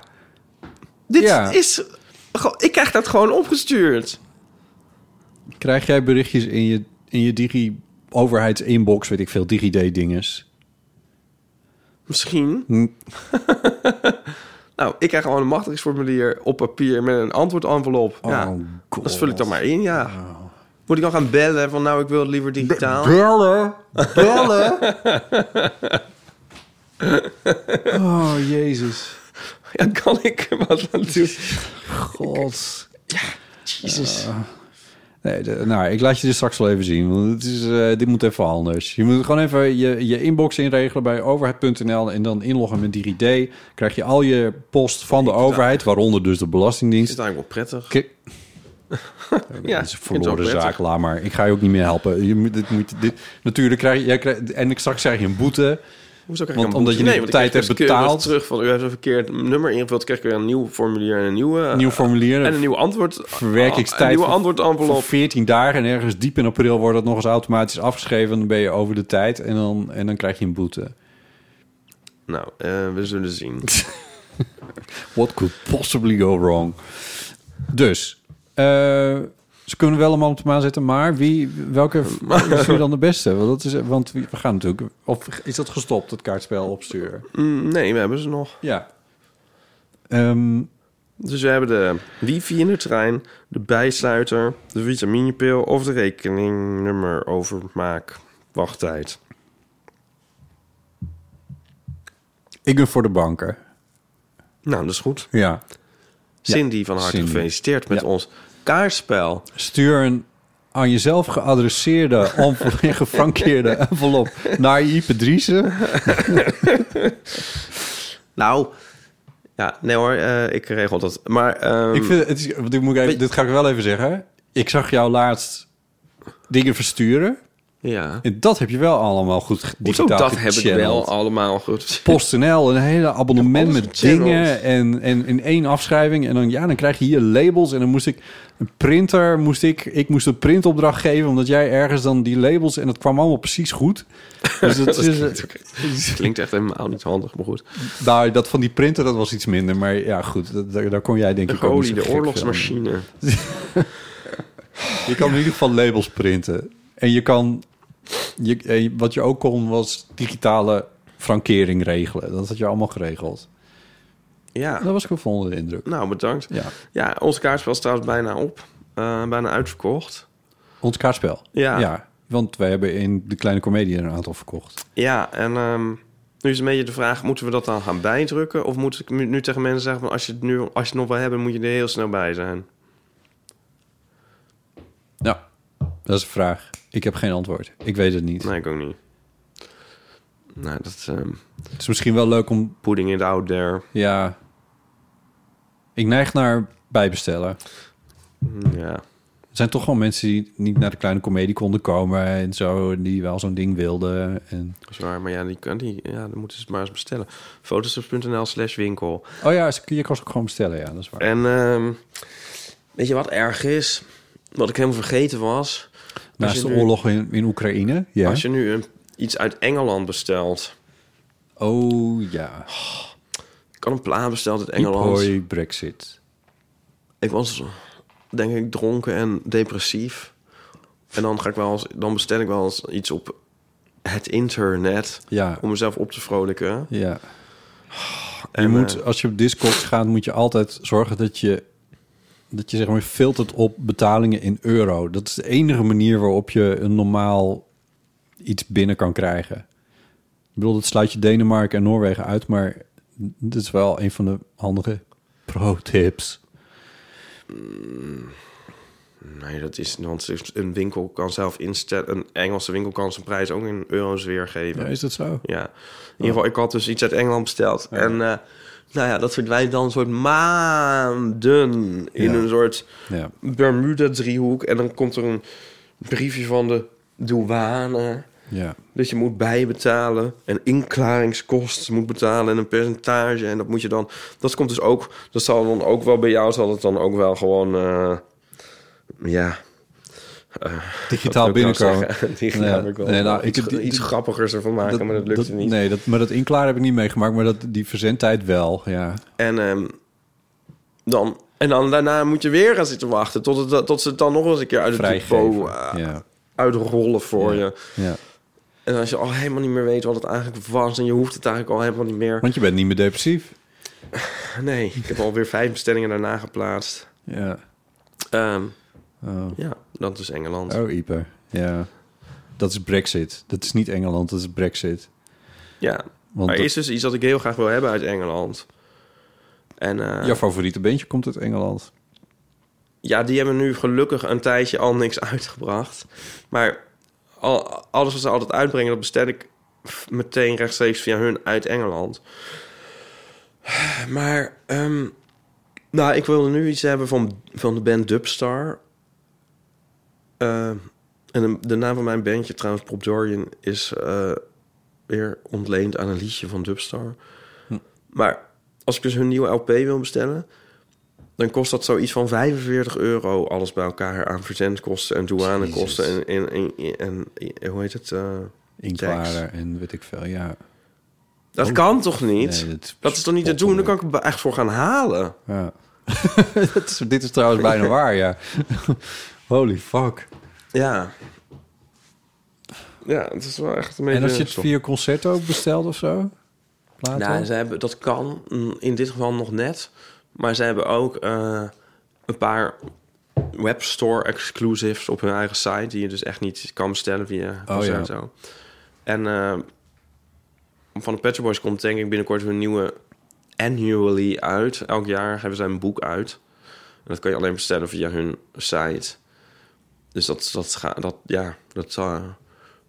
Speaker 2: Dit
Speaker 3: Ja.
Speaker 2: is... go- Ik krijg dat gewoon opgestuurd.
Speaker 3: Krijg jij berichtjes in je, in je digi overheidsinbox, weet ik veel, DigiD dinges?
Speaker 2: Misschien.
Speaker 3: Hm.
Speaker 2: Nou, ik krijg gewoon een machtigingsformulier op papier met een antwoordenvelop. ja.
Speaker 3: Oh, God.
Speaker 2: Dat vul ik dan maar in, ja. Moet ik dan gaan bellen van nou, ik wil het liever digitaal?
Speaker 3: Bellen? Bellen? oh, jezus.
Speaker 2: Ja, kan ik er wat aan doen?
Speaker 3: God. Ja, jezus. nee, de- nou, ik laat je dit straks wel even zien. Want het is, eh, dit moet even anders. Je moet gewoon even je, je inbox inregelen bij overheid.nl... en dan inloggen met 3D. Krijg je al je post van de overheid, waaronder dus de Belastingdienst.
Speaker 2: Is het eigenlijk wel prettig?
Speaker 3: Ki-
Speaker 2: ja,
Speaker 3: Dat is een
Speaker 2: ik vind het wel
Speaker 3: verloren
Speaker 2: prettig.
Speaker 3: zaak, laat maar. Ik ga je ook niet meer helpen. Je moet, dit moet, dit, natuurlijk krijg je... jij krijgt- en ik straks krijg je een boete.
Speaker 2: Hoezo krijg ik
Speaker 3: want,
Speaker 2: een
Speaker 3: Omdat
Speaker 2: boete?
Speaker 3: je
Speaker 2: Nee,
Speaker 3: niet op
Speaker 2: want
Speaker 3: tijd
Speaker 2: ik
Speaker 3: hebt
Speaker 2: kreeg dus keurig
Speaker 3: betaald.
Speaker 2: terug van u heeft een verkeerd nummer ingevuld, krijg ik weer een nieuw formulier en een nieuwe... eh,
Speaker 3: Nieuw formulier.
Speaker 2: En een nieuw antwoord.
Speaker 3: verwerkingstijd.
Speaker 2: Een nieuwe
Speaker 3: van- van
Speaker 2: antwoordenvelop.
Speaker 3: 14 dagen en ergens diep in april wordt dat nog eens automatisch afgeschreven. Dan ben je over de tijd en dan, en dan krijg je een boete.
Speaker 2: Nou, eh, we zullen zien.
Speaker 3: What could possibly go wrong? Dus, eh, ze kunnen wel allemaal op de maan zetten, maar wie, welke is hier dan de beste? Want, dat is, want we gaan natuurlijk... Of is dat gestopt, het kaartspel opsturen?
Speaker 2: Mm, nee, we hebben ze nog.
Speaker 3: Ja. Ehm,
Speaker 2: dus we hebben de wifi in de trein, de bijsluiter, de vitaminepil of de rekeningnummer overmaak wachttijd.
Speaker 3: Ik ben voor de banken.
Speaker 2: Nou, dat is goed.
Speaker 3: Ja.
Speaker 2: Cindy
Speaker 3: Ja,
Speaker 2: van harte
Speaker 3: Cindy.
Speaker 2: gefeliciteerd met ons kaartspel.
Speaker 3: Stuur een aan jezelf geadresseerde, envel- gefrankeerde envelop naar je Ipadrice.
Speaker 2: Nou, ja, nee hoor, eh, ik regel dat. Maar ehm,
Speaker 3: ik vind het, is, want ik moet even, dit ga ik wel even zeggen. Ik zag jou laatst dingen versturen.
Speaker 2: Ja.
Speaker 3: En dat heb je wel allemaal goed
Speaker 2: hoezo
Speaker 3: digitaal
Speaker 2: dat heb ik wel
Speaker 3: gechanneld.
Speaker 2: allemaal goed.
Speaker 3: PostNL, een hele abonnement met
Speaker 2: gechanneld.
Speaker 3: dingen en, en in één afschrijving. En dan, ja, dan krijg je hier labels. En dan moest ik een printer, moest ik, ik moest een printopdracht geven, omdat jij ergens dan die labels en dat kwam allemaal precies goed. Dus dat,
Speaker 2: Dat
Speaker 3: is,
Speaker 2: klinkt ook- klinkt echt helemaal niet handig, maar goed.
Speaker 3: nou, dat van die printer, dat was iets minder. Maar ja, goed, dat, daar, daar kon jij denk ik ook niet
Speaker 2: Golie,
Speaker 3: zo
Speaker 2: de
Speaker 3: gek veel
Speaker 2: oorlogsmachine.
Speaker 3: Je kan in ieder geval labels printen. En je kan... Je, eh, wat je ook kon, was digitale frankering regelen. Dat had je allemaal geregeld.
Speaker 2: Ja.
Speaker 3: Dat was gevonden de indruk.
Speaker 2: Nou, bedankt.
Speaker 3: Ja.
Speaker 2: Ja, ons kaartspel is trouwens bijna op. Eh, bijna uitverkocht.
Speaker 3: Ons kaartspel.
Speaker 2: Ja.
Speaker 3: want wij hebben in de kleine comedie er een aantal verkocht.
Speaker 2: Ja, en ehm, nu is een beetje de vraag... moeten we dat dan gaan bijdrukken? Of moet ik nu nu tegen mensen zeggen... Van, als, je het nu, als je het nog wil hebben, moet je er heel snel bij zijn?
Speaker 3: Ja, Nou, dat is een vraag. Ik heb geen antwoord. Ik weet het niet.
Speaker 2: Nee, ik ook niet. Nou, dat... ehm,
Speaker 3: Het is misschien wel leuk om...
Speaker 2: Putting it out there.
Speaker 3: Ja. Ik neig naar bijbestellen.
Speaker 2: Ja.
Speaker 3: Er zijn toch gewoon mensen die niet naar de kleine komedie konden komen en zo, en die wel zo'n ding wilden. En...
Speaker 2: Dat is waar, maar ja, die, kan- die, ja, dan moeten ze het maar eens bestellen. Fotostrips.nl slash winkel.
Speaker 3: Oh ja, ze- je kan ze ook gewoon bestellen, ja, dat is waar.
Speaker 2: En ehm, weet je wat erg is? Wat ik helemaal vergeten was... Als
Speaker 3: Naast
Speaker 2: je
Speaker 3: de
Speaker 2: nu-
Speaker 3: oorlog in, in Oekraïne, ja.
Speaker 2: Als je nu een, iets uit Engeland bestelt...
Speaker 3: Oh ja,
Speaker 2: Ik had een plaat besteld uit Engeland.
Speaker 3: Ipoy Brexit.
Speaker 2: Ik was, denk ik, dronken en depressief. En dan, ga ik wel eens, dan bestel ik wel eens iets op het internet...
Speaker 3: Ja.
Speaker 2: om mezelf op te vrolijken.
Speaker 3: Ja. Je
Speaker 2: En,
Speaker 3: moet,
Speaker 2: eh,
Speaker 3: als je op Discord gaat, moet je altijd zorgen dat je, dat je zeg maar filtert op betalingen in euro. Dat is de enige manier waarop je een normaal iets binnen kan krijgen. Ik bedoel, dat sluit je Denemarken en Noorwegen uit, maar dit is wel een van de handige pro-tips.
Speaker 2: Nee, dat is... Want een winkel kan zelf instellen... een Engelse winkel kan zijn prijs ook in euro's weergeven.
Speaker 3: Ja,
Speaker 2: Ja,
Speaker 3: is dat zo?
Speaker 2: In ieder geval, ik had dus iets uit Engeland besteld. En eh, nou ja, dat verdwijnt dan een soort maanden... in
Speaker 3: Ja.
Speaker 2: een soort...
Speaker 3: Ja.
Speaker 2: Bermuda-driehoek. En dan komt er een briefje van de douane.
Speaker 3: Ja.
Speaker 2: Dat Dus je moet bijbetalen. En inklaringskosten moet betalen. En een percentage. En dat moet je dan... Dat komt dus ook... Dat zal dan ook wel bij jou... Zal het dan ook wel gewoon... eh, ja... nou
Speaker 3: Digitaal binnenkomen.
Speaker 2: Digitaal
Speaker 3: Ja.
Speaker 2: heb ik wel.
Speaker 3: Nee, nou,
Speaker 2: iets,
Speaker 3: ik- die-
Speaker 2: iets
Speaker 3: die-
Speaker 2: grappigers ervan maken, maar dat lukte niet.
Speaker 3: Nee, dat, maar dat inklaren heb ik niet meegemaakt, maar dat, die verzendtijd wel, ja.
Speaker 2: En, ehm, dan, en dan daarna moet je weer gaan zitten wachten... Tot, het, tot ze het dan nog eens een keer uit het
Speaker 3: Vrijgeven,
Speaker 2: depot eh,
Speaker 3: ja.
Speaker 2: uitrollen voor je.
Speaker 3: ja.
Speaker 2: En als je al helemaal niet meer weet wat het eigenlijk was... en je hoeft het eigenlijk al helemaal niet meer...
Speaker 3: Want je bent niet meer depressief.
Speaker 2: Nee, ik heb alweer vijf bestellingen daarna geplaatst.
Speaker 3: Ja.
Speaker 2: Ehm, Ja, dat is Engeland.
Speaker 3: Oh, Ipe. Ja. Dat is Brexit. Dat is niet Engeland, dat is Brexit.
Speaker 2: Ja,
Speaker 3: Want
Speaker 2: maar
Speaker 3: dat-
Speaker 2: is dus iets dat ik heel graag wil hebben uit Engeland. En, eh,
Speaker 3: Jouw favoriete beentje komt uit Engeland.
Speaker 2: Ja, die hebben nu gelukkig een tijdje al niks uitgebracht. Maar al, alles wat ze altijd uitbrengen, dat bestel ik f- meteen rechtstreeks via hun uit Engeland. Maar, ehm, nou, ik wilde nu iets hebben van, van de band Dubstar. Eh, en de, de naam van mijn bandje, trouwens, Prop Dorian, is eh, weer ontleend aan een liedje van Dubstar. Hm. Maar als ik dus hun nieuwe LP wil bestellen, dan kost dat zoiets van 45 euro alles bij elkaar aan verzendkosten en douanekosten en, en, en, en, en- hoe heet het? eh,
Speaker 3: Inklaren
Speaker 2: tax.
Speaker 3: en weet ik veel, ja.
Speaker 2: Dat
Speaker 3: Oh.
Speaker 2: kan toch niet?
Speaker 3: Nee,
Speaker 2: dat, is toch niet te doen? Daar kan ik er echt voor gaan halen.
Speaker 3: Ja. Dat is- dit is trouwens bijna waar, ja. Holy fuck.
Speaker 2: Ja. Ja, het is wel echt een beetje...
Speaker 3: En als je het via Concerto bestelt of zo? Later?
Speaker 2: Nou, ze hebben, dat kan mm, in dit geval nog net. Maar ze hebben ook eh, een paar webstore exclusives op hun eigen site... die je dus echt niet kan bestellen via
Speaker 3: ja.
Speaker 2: Concerto. En eh, van de Pet Shop Boys komt denk ik binnenkort hun nieuwe annually uit. Elk jaar hebben zij een boek uit. En dat kan je alleen bestellen via hun site. Dus dat, dat, ga, dat, ja, dat zou,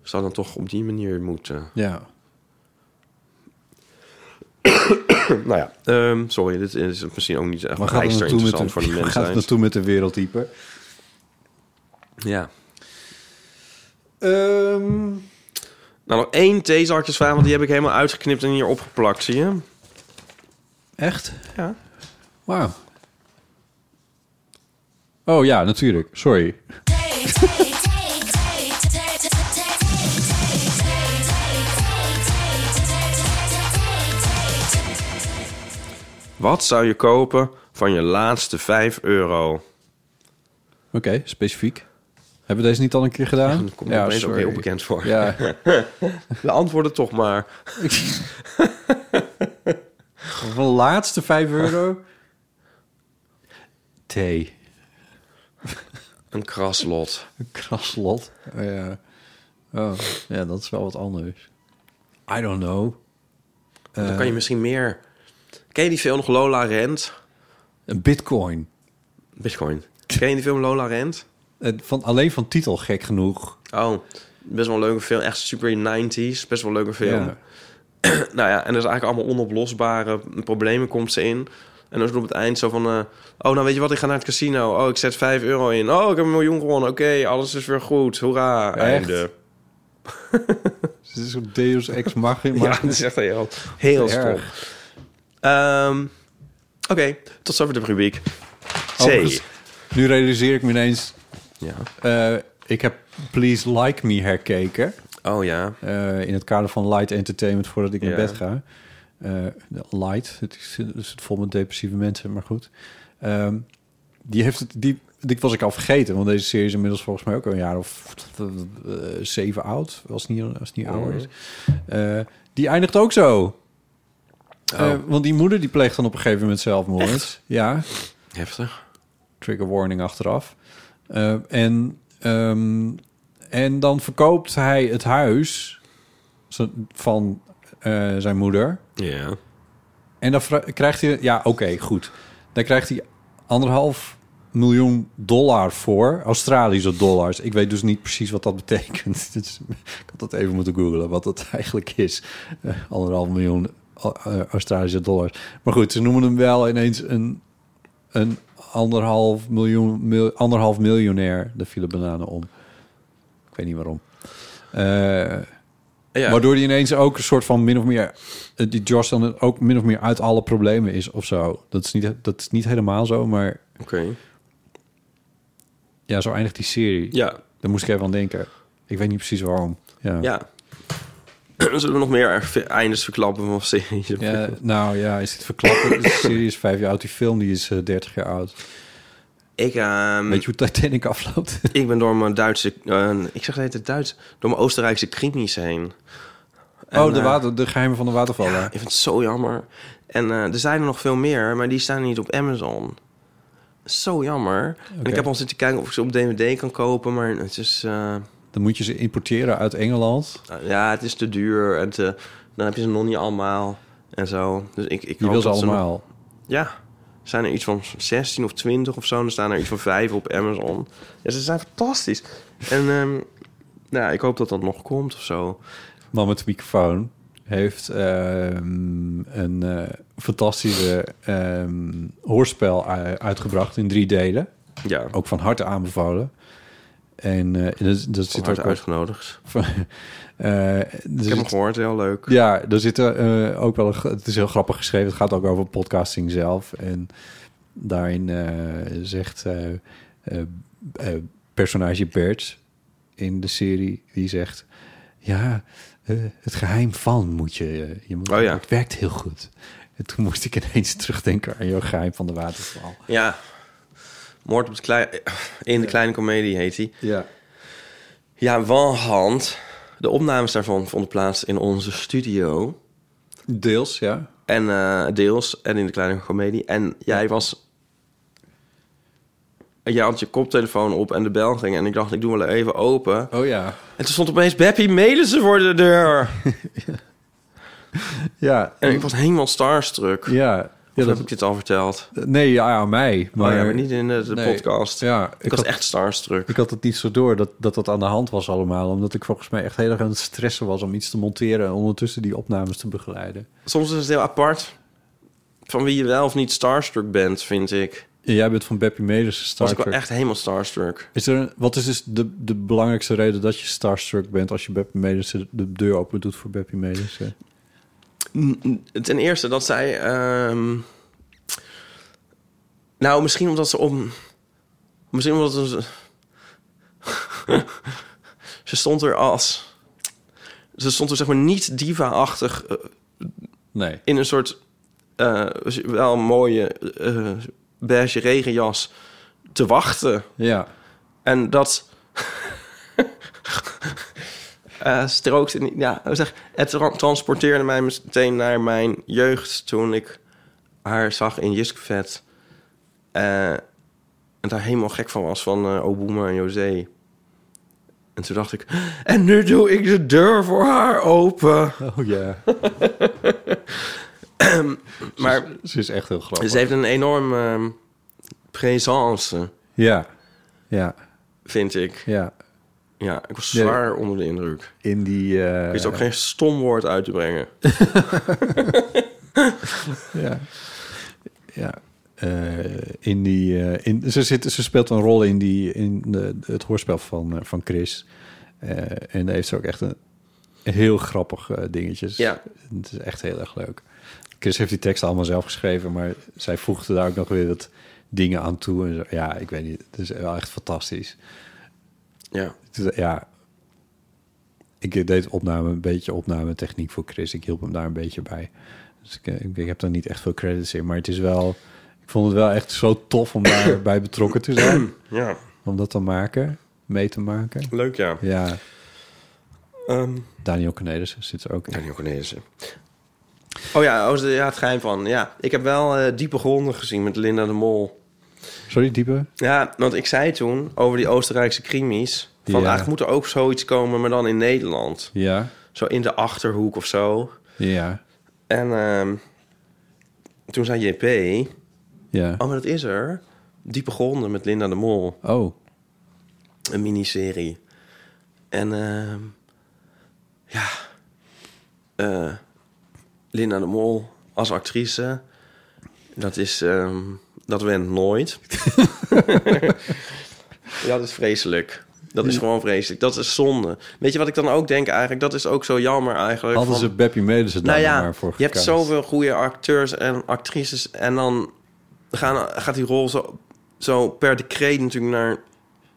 Speaker 2: zou dan toch op die manier moeten.
Speaker 3: Ja.
Speaker 2: nou ja, ehm, sorry, dit is misschien ook niet echt
Speaker 3: Waar gaat het
Speaker 2: bijster
Speaker 3: naartoe met
Speaker 2: interessant
Speaker 3: de,
Speaker 2: voor de
Speaker 3: waar
Speaker 2: mensen.
Speaker 3: gaat het naartoe met de wereld, Ipe?
Speaker 2: Ja.
Speaker 3: Ehm,
Speaker 2: Nou, nog één theezakjesvraag, want die heb ik helemaal uitgeknipt en hier opgeplakt, zie je?
Speaker 3: Echt?
Speaker 2: Ja.
Speaker 3: Wauw. Oh ja, natuurlijk. Sorry.
Speaker 2: Wat zou je kopen van je laatste 5 euro?
Speaker 3: Oké, specifiek. Hebben we deze niet al een keer gedaan? Ja,
Speaker 2: Komt ja, opeens ook
Speaker 3: sorry.
Speaker 2: heel bekend voor.
Speaker 3: Ja.
Speaker 2: De antwoorden toch maar.
Speaker 3: Van de laatste 5 euro. Thee.
Speaker 2: Een kraslot.
Speaker 3: Een kraslot. Ja. Oh, ja, dat is wel wat anders. I don't know.
Speaker 2: Dan
Speaker 3: Eh,
Speaker 2: kan je misschien meer... Ken je die film nog Lola Rent?
Speaker 3: Een bitcoin.
Speaker 2: Bitcoin. Ken je die film Lola Rent?
Speaker 3: Eh, Van, alleen van titel, gek genoeg.
Speaker 2: Oh, best wel een leuke film. Echt super 90s. Best wel een leuke film.
Speaker 3: Ja.
Speaker 2: nou ja, en er zijn eigenlijk allemaal onoplosbare problemen komt ze in. En dan is het op het eind zo van... eh, oh, nou weet je wat, ik ga naar het casino. Oh, ik zet 5 euro in. Oh, ik heb een miljoen gewonnen. Oké, alles is weer goed. Hoera.
Speaker 3: Echt?
Speaker 2: Einde.
Speaker 3: Dus het is een Deus Ex Machina.
Speaker 2: Ja, het is echt heel, heel stom. Ehm, Oké, tot zover de rubriek. C.
Speaker 3: Overigens, nu realiseer ik me ineens... eh, ik heb Please Like Me herkeken.
Speaker 2: Oh ja.
Speaker 3: eh, in het kader van light entertainment voordat ik
Speaker 2: Ja.
Speaker 3: naar bed ga. Eh, de light, het is, het is vol met depressieve mensen, maar goed. Ehm, die heeft het, die, die was ik al vergeten, want deze serie is inmiddels volgens mij ook al een jaar of eh, zeven oud, als het niet, als het niet ouder is. Eh, die eindigt ook zo. Eh, want die moeder die pleegt dan op een gegeven moment zelfmoord. Ja,
Speaker 2: Heftig.
Speaker 3: trigger warning achteraf. Eh, en, ehm, en dan verkoopt hij het huis z- van eh, zijn moeder.
Speaker 2: Ja.
Speaker 3: En dan vra- krijgt hij... Ja, oké, goed. Dan krijgt hij anderhalf miljoen dollar voor. Australische dollars. Ik weet dus niet precies wat dat betekent. Dus ik had dat even moeten googlen, wat dat eigenlijk is. Eh, anderhalf miljoen Au- eh, Australische dollars. Maar goed, ze noemen hem wel ineens een, een anderhalf, miljoen, mil- anderhalf miljonair. Daar vielen bananen om. Ik weet niet waarom. Eh,
Speaker 2: Ja.
Speaker 3: Waardoor hij ineens ook een soort van min of meer... eh, Die Josh dan ook min of meer uit alle problemen is of zo. Dat is niet, dat is niet helemaal zo, maar...
Speaker 2: Oké.
Speaker 3: Ja, zo eindigt die serie.
Speaker 2: Ja.
Speaker 3: Daar moest ik even aan denken. Ik weet niet precies waarom. Ja.
Speaker 2: Ja. Zullen we nog meer eindes verklappen van series?
Speaker 3: Ja, nou ja, is dit verklappen? de serie is vijf jaar oud. Die film die is eh, 30 jaar
Speaker 2: Mm.
Speaker 3: oud.
Speaker 2: Ik, ehm,
Speaker 3: Weet je hoe Titanic afloopt?
Speaker 2: ik ben door mijn Duitse... eh, ik zeg het Duits. Door mijn Oostenrijkse krimis heen. En,
Speaker 3: oh, de,
Speaker 2: eh,
Speaker 3: water, de geheimen van de watervallen.
Speaker 2: Ik vind het zo jammer. En eh, er zijn er nog veel meer, maar die staan niet op Amazon. zo jammer. En
Speaker 3: Oké.
Speaker 2: ik heb al zitten kijken of ik ze op DVD kan kopen, maar het is... eh,
Speaker 3: Dan moet je ze importeren uit Engeland.
Speaker 2: ja, het is te duur en te, dan heb je ze nog niet allemaal en zo. Dus ik, ik
Speaker 3: Je
Speaker 2: hoop
Speaker 3: wil ze
Speaker 2: dat nog-
Speaker 3: allemaal.
Speaker 2: ja. Zijn er iets van 16 of 20 of zo? En er staan er iets van 5 op Amazon. Ja, ze zijn fantastisch. En ehm, nou, ja, ik hoop dat dat nog komt of zo.
Speaker 3: Man met de microfoon heeft ehm, een eh, fantastische ehm, hoorspel u- uitgebracht in drie delen.
Speaker 2: Ja.
Speaker 3: Ook van harte aanbevolen. En eh, dat, dat zit
Speaker 2: harte
Speaker 3: ook
Speaker 2: uitgenodigd.
Speaker 3: Van, eh, er
Speaker 2: ik heb hem
Speaker 3: zit-
Speaker 2: gehoord, heel leuk.
Speaker 3: Ja, er zit eh, ook wel een, gr- het is heel grappig geschreven. Het gaat ook over podcasting zelf. En daarin eh, zegt eh, eh, eh, personage Bert in de serie, die zegt... Ja, eh, het geheim van moet je... eh, je moet,
Speaker 2: Oh ja.
Speaker 3: Het werkt heel goed. En toen moest ik ineens terugdenken aan jouw geheim van de waterval.
Speaker 2: Ja. Moord op de klei- in de kleine komedie heet hij.
Speaker 3: Ja.
Speaker 2: Ja, Wanhand. De opnames daarvan vonden plaats in onze studio.
Speaker 3: Deels, ja.
Speaker 2: En eh, deels. En in de kleine komedie. En jij was... Jij had je koptelefoon op en de bel ging. En ik dacht, ik doe wel even open.
Speaker 3: Oh ja.
Speaker 2: En toen stond opeens Beppie Melissen voor de deur.
Speaker 3: Ja.
Speaker 2: En ik was helemaal starstruck.
Speaker 3: Ja.
Speaker 2: Of
Speaker 3: dat-
Speaker 2: heb ik dit al verteld?
Speaker 3: Nee, ja, aan mij. Maar,
Speaker 2: Maar, Oh ja, maar niet in de, de
Speaker 3: Nee.
Speaker 2: podcast.
Speaker 3: Ja,
Speaker 2: ik, was echt starstruck.
Speaker 3: Ik had het niet zo door dat, dat dat aan de hand was allemaal. Omdat ik volgens mij echt heel erg aan het stressen was om iets te monteren... en ondertussen die opnames te begeleiden.
Speaker 2: Soms is het heel apart van wie je wel of niet starstruck bent, vind ik.
Speaker 3: En jij bent van Beppie Medes
Speaker 2: Was ik
Speaker 3: starstruck.
Speaker 2: wel echt helemaal starstruck.
Speaker 3: Is er een, wat is dus de, de belangrijkste reden dat je starstruck bent... als je Beppie Medes de deur open doet voor Beppie Medes?
Speaker 2: Ten eerste dat zij... ehm, nou, misschien omdat ze om... Misschien omdat ze... ze stond er als... Ze stond er zeg maar niet diva-achtig... eh,
Speaker 3: Nee.
Speaker 2: In een soort eh, wel mooie eh, beige regenjas te wachten.
Speaker 3: Ja.
Speaker 2: En dat... eh strookte niet... Ja, zeg, het tra- transporteerde mij meteen naar mijn jeugd... toen ik haar zag in Jiskvet. eh, en daar helemaal gek van was, van eh Obuma en José. En toen dacht ik... En nu doe ik de deur voor haar open.
Speaker 3: Oh ja.
Speaker 2: maar
Speaker 3: ze, is, echt heel grappig.
Speaker 2: Ze heeft een enorme ehm, présence,
Speaker 3: Ja. Ja.
Speaker 2: vind ik.
Speaker 3: Ja.
Speaker 2: Ja, ik was
Speaker 3: Ja.
Speaker 2: zwaar onder de indruk.
Speaker 3: In die... eh,
Speaker 2: Ik wist ook geen stom woord uit te brengen.
Speaker 3: Ja. Ja. Eh, in die, eh, in, ze, zit, ze speelt een rol in, die, in de, het hoorspel van, eh, van Chris. Eh, en daar heeft ze ook echt een heel grappig eh, dingetjes.
Speaker 2: Ja.
Speaker 3: Het is echt heel erg leuk. Chris heeft die teksten allemaal zelf geschreven, maar zij voegde daar ook nog weer wat dingen aan toe. En zo. Ja, ik weet niet. Het is wel echt fantastisch.
Speaker 2: Ja.
Speaker 3: Het is- ja. Ik deed opname, een beetje opname techniek voor Chris. Ik hielp hem daar een beetje bij. Dus ik, eh, ik, ik heb daar niet echt veel credits in. Maar het is wel... Ik vond het wel echt zo tof om daarbij betrokken te zijn.
Speaker 2: Ja.
Speaker 3: Om dat te maken. Mee te maken.
Speaker 2: Leuk, ja.
Speaker 3: Ja.
Speaker 2: Ehm,
Speaker 3: Daniel Cornelissen zit er ook in.
Speaker 2: Daniel Cornelissen. oh ja, oh, ze- ja, het geheim van. Ja, ik heb wel eh, diepe gronden gezien met Linda de Mol.
Speaker 3: Sorry, diepe.
Speaker 2: Ja, want ik zei toen over die Oostenrijkse krimis... van
Speaker 3: Ja.
Speaker 2: eigenlijk moet er ook zoiets komen, maar dan in Nederland.
Speaker 3: Ja.
Speaker 2: Zo in de Achterhoek of zo.
Speaker 3: Ja.
Speaker 2: En ehm, toen zei JP...
Speaker 3: Ja.
Speaker 2: Oh, maar dat is er. Diepe gronden met Linda de Mol.
Speaker 3: Oh.
Speaker 2: Een miniserie. En ehm, ja... eh, Linda de Mol als actrice... Dat is... ehm, dat went nooit. ja, dat is vreselijk. Dat is gewoon vreselijk. Dat is zonde. Weet je wat ik dan ook denk eigenlijk? Dat is ook zo jammer eigenlijk.
Speaker 3: Hadden
Speaker 2: van-
Speaker 3: ze Beppie Medes daar
Speaker 2: nou ja,
Speaker 3: maar voor
Speaker 2: je hebt
Speaker 3: gekaast.
Speaker 2: zoveel goede acteurs en actrices. En dan gaan, gaat die rol zo, zo per decreet natuurlijk naar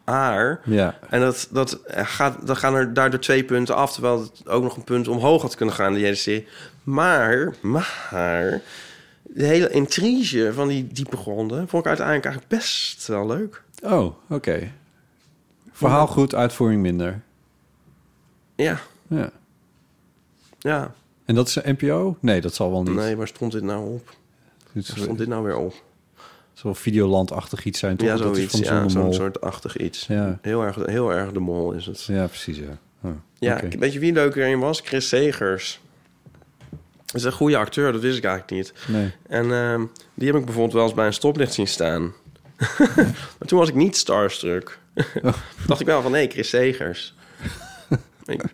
Speaker 2: haar.
Speaker 3: Ja.
Speaker 2: En dat, dat eh, gaat, dan gaan er daardoor twee punten af. Terwijl het ook nog een punt omhoog had kunnen gaan in die hele serie. Maar, maar... De hele intrige van die diepe gronden... vond ik uiteindelijk eigenlijk best wel leuk.
Speaker 3: Oh, oké. Verhaal goed, uitvoering minder.
Speaker 2: Ja,
Speaker 3: Ja.
Speaker 2: ja.
Speaker 3: En dat is een NPO? Nee, dat zal wel niet.
Speaker 2: Nee, waar stond dit nou op?
Speaker 3: Dit is-
Speaker 2: Waar stond dit nou weer op?
Speaker 3: Zo'n videolandachtig iets zijn, toch?
Speaker 2: ja,
Speaker 3: Dat is
Speaker 2: zoiets.
Speaker 3: van John
Speaker 2: Ja,
Speaker 3: de
Speaker 2: zo'n
Speaker 3: Mol.
Speaker 2: soort achtig iets.
Speaker 3: Ja.
Speaker 2: Heel, erg, heel erg de mol is het.
Speaker 3: Ja, precies, ja. Oh,
Speaker 2: Ja,
Speaker 3: oké.
Speaker 2: weet je wie leuker in was? Chris Segers. Dat is een goede acteur, dat wist ik eigenlijk niet.
Speaker 3: Nee.
Speaker 2: En ehm, die heb ik bijvoorbeeld wel eens bij een stoplicht zien staan. maar toen was ik niet starstruck. dacht ik wel van, nee, Chris Segers. Ik-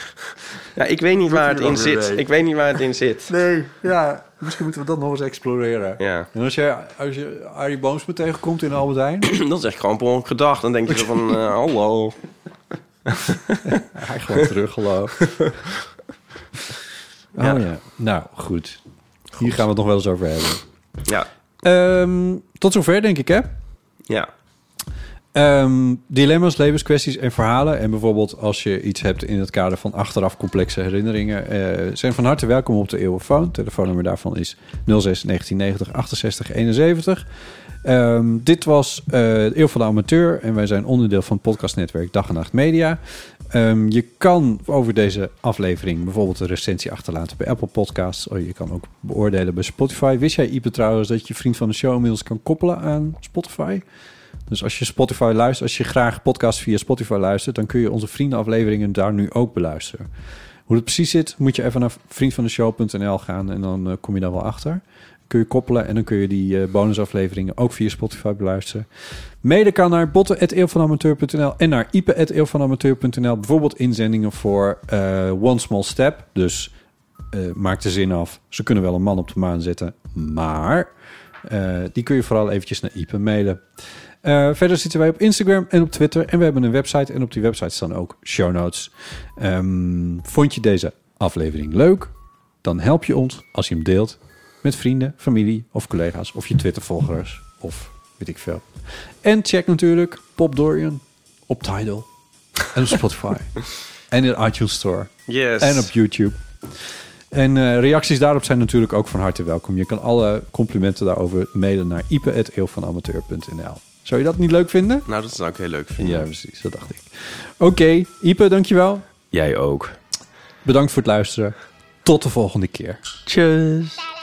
Speaker 2: ja, ik weet niet waar het in zit. Ik weet niet waar het in zit.
Speaker 3: Nee, ja, misschien moeten we dat nog eens exploreren.
Speaker 2: Ja.
Speaker 3: En als je, als je Arie Boomsma tegenkomt in Albert Heijn...
Speaker 2: dat is echt gewoon per ongeluk gedacht. Dan denk je zo van, eh, hallo.
Speaker 3: Hij gewoon terug, geloof. oh ja. nou goed. Hier gaan we het nog wel eens over hebben.
Speaker 2: Ja.
Speaker 3: Ehm, tot zover, denk ik, hè?
Speaker 2: Ja.
Speaker 3: Ehm, dilemma's, levenskwesties en verhalen. En bijvoorbeeld als je iets hebt in het kader van achteraf complexe herinneringen... eh, zijn van harte welkom op de Eeuwenfoon. Telefoonnummer daarvan is 06-1990-68-71. Ehm, dit was eh de Eeuw van de Amateur. En wij zijn onderdeel van het podcastnetwerk Dag en Nacht Media. Ehm, je kan over deze aflevering bijvoorbeeld een recensie achterlaten bij Apple Podcasts. Oh, je kan ook beoordelen bij Spotify. Wist jij, Ipe, trouwens dat je vriend van de show inmiddels kan koppelen aan Spotify? Dus als je Spotify luistert, als je graag podcasts via Spotify luistert, dan kun je onze vriendenafleveringen daar nu ook beluisteren. Hoe dat precies zit, moet je even naar vriendvandeshow.nl gaan en dan eh, kom je daar wel achter. Kun je koppelen en dan kun je die eh, bonusafleveringen ook via Spotify beluisteren. Mede kan naar botten.eeuwvanamateur.nl en naar ipe.eeuwvanamateur.nl. Bijvoorbeeld inzendingen voor eh, One Small Step. Dus eh, maak de zin af. Ze kunnen wel een man op de maan zetten, maar eh, die kun je vooral eventjes naar Ipe mailen. Eh, verder zitten wij op Instagram en op Twitter. En we hebben een website. En op die website staan ook show notes. Ehm, vond je deze aflevering leuk? Dan help je ons als je hem deelt met vrienden, familie of collega's. Of je Twitter-volgers. Of weet ik veel. En check natuurlijk Pop Dorian op Tidal. En op Spotify. en in de iTunes Store.
Speaker 2: Yes.
Speaker 3: En op YouTube. En eh, reacties daarop zijn natuurlijk ook van harte welkom. Je kan alle complimenten daarover mailen naar ipe.eeuwvanamateur.nl. Zou je dat niet leuk vinden?
Speaker 2: Nou, dat zou ik heel leuk vinden.
Speaker 3: Ja, precies. Dat dacht ik. Oké, Ipe, dankjewel.
Speaker 2: Jij ook.
Speaker 3: Bedankt voor het luisteren. Tot de volgende keer.
Speaker 2: Tjus.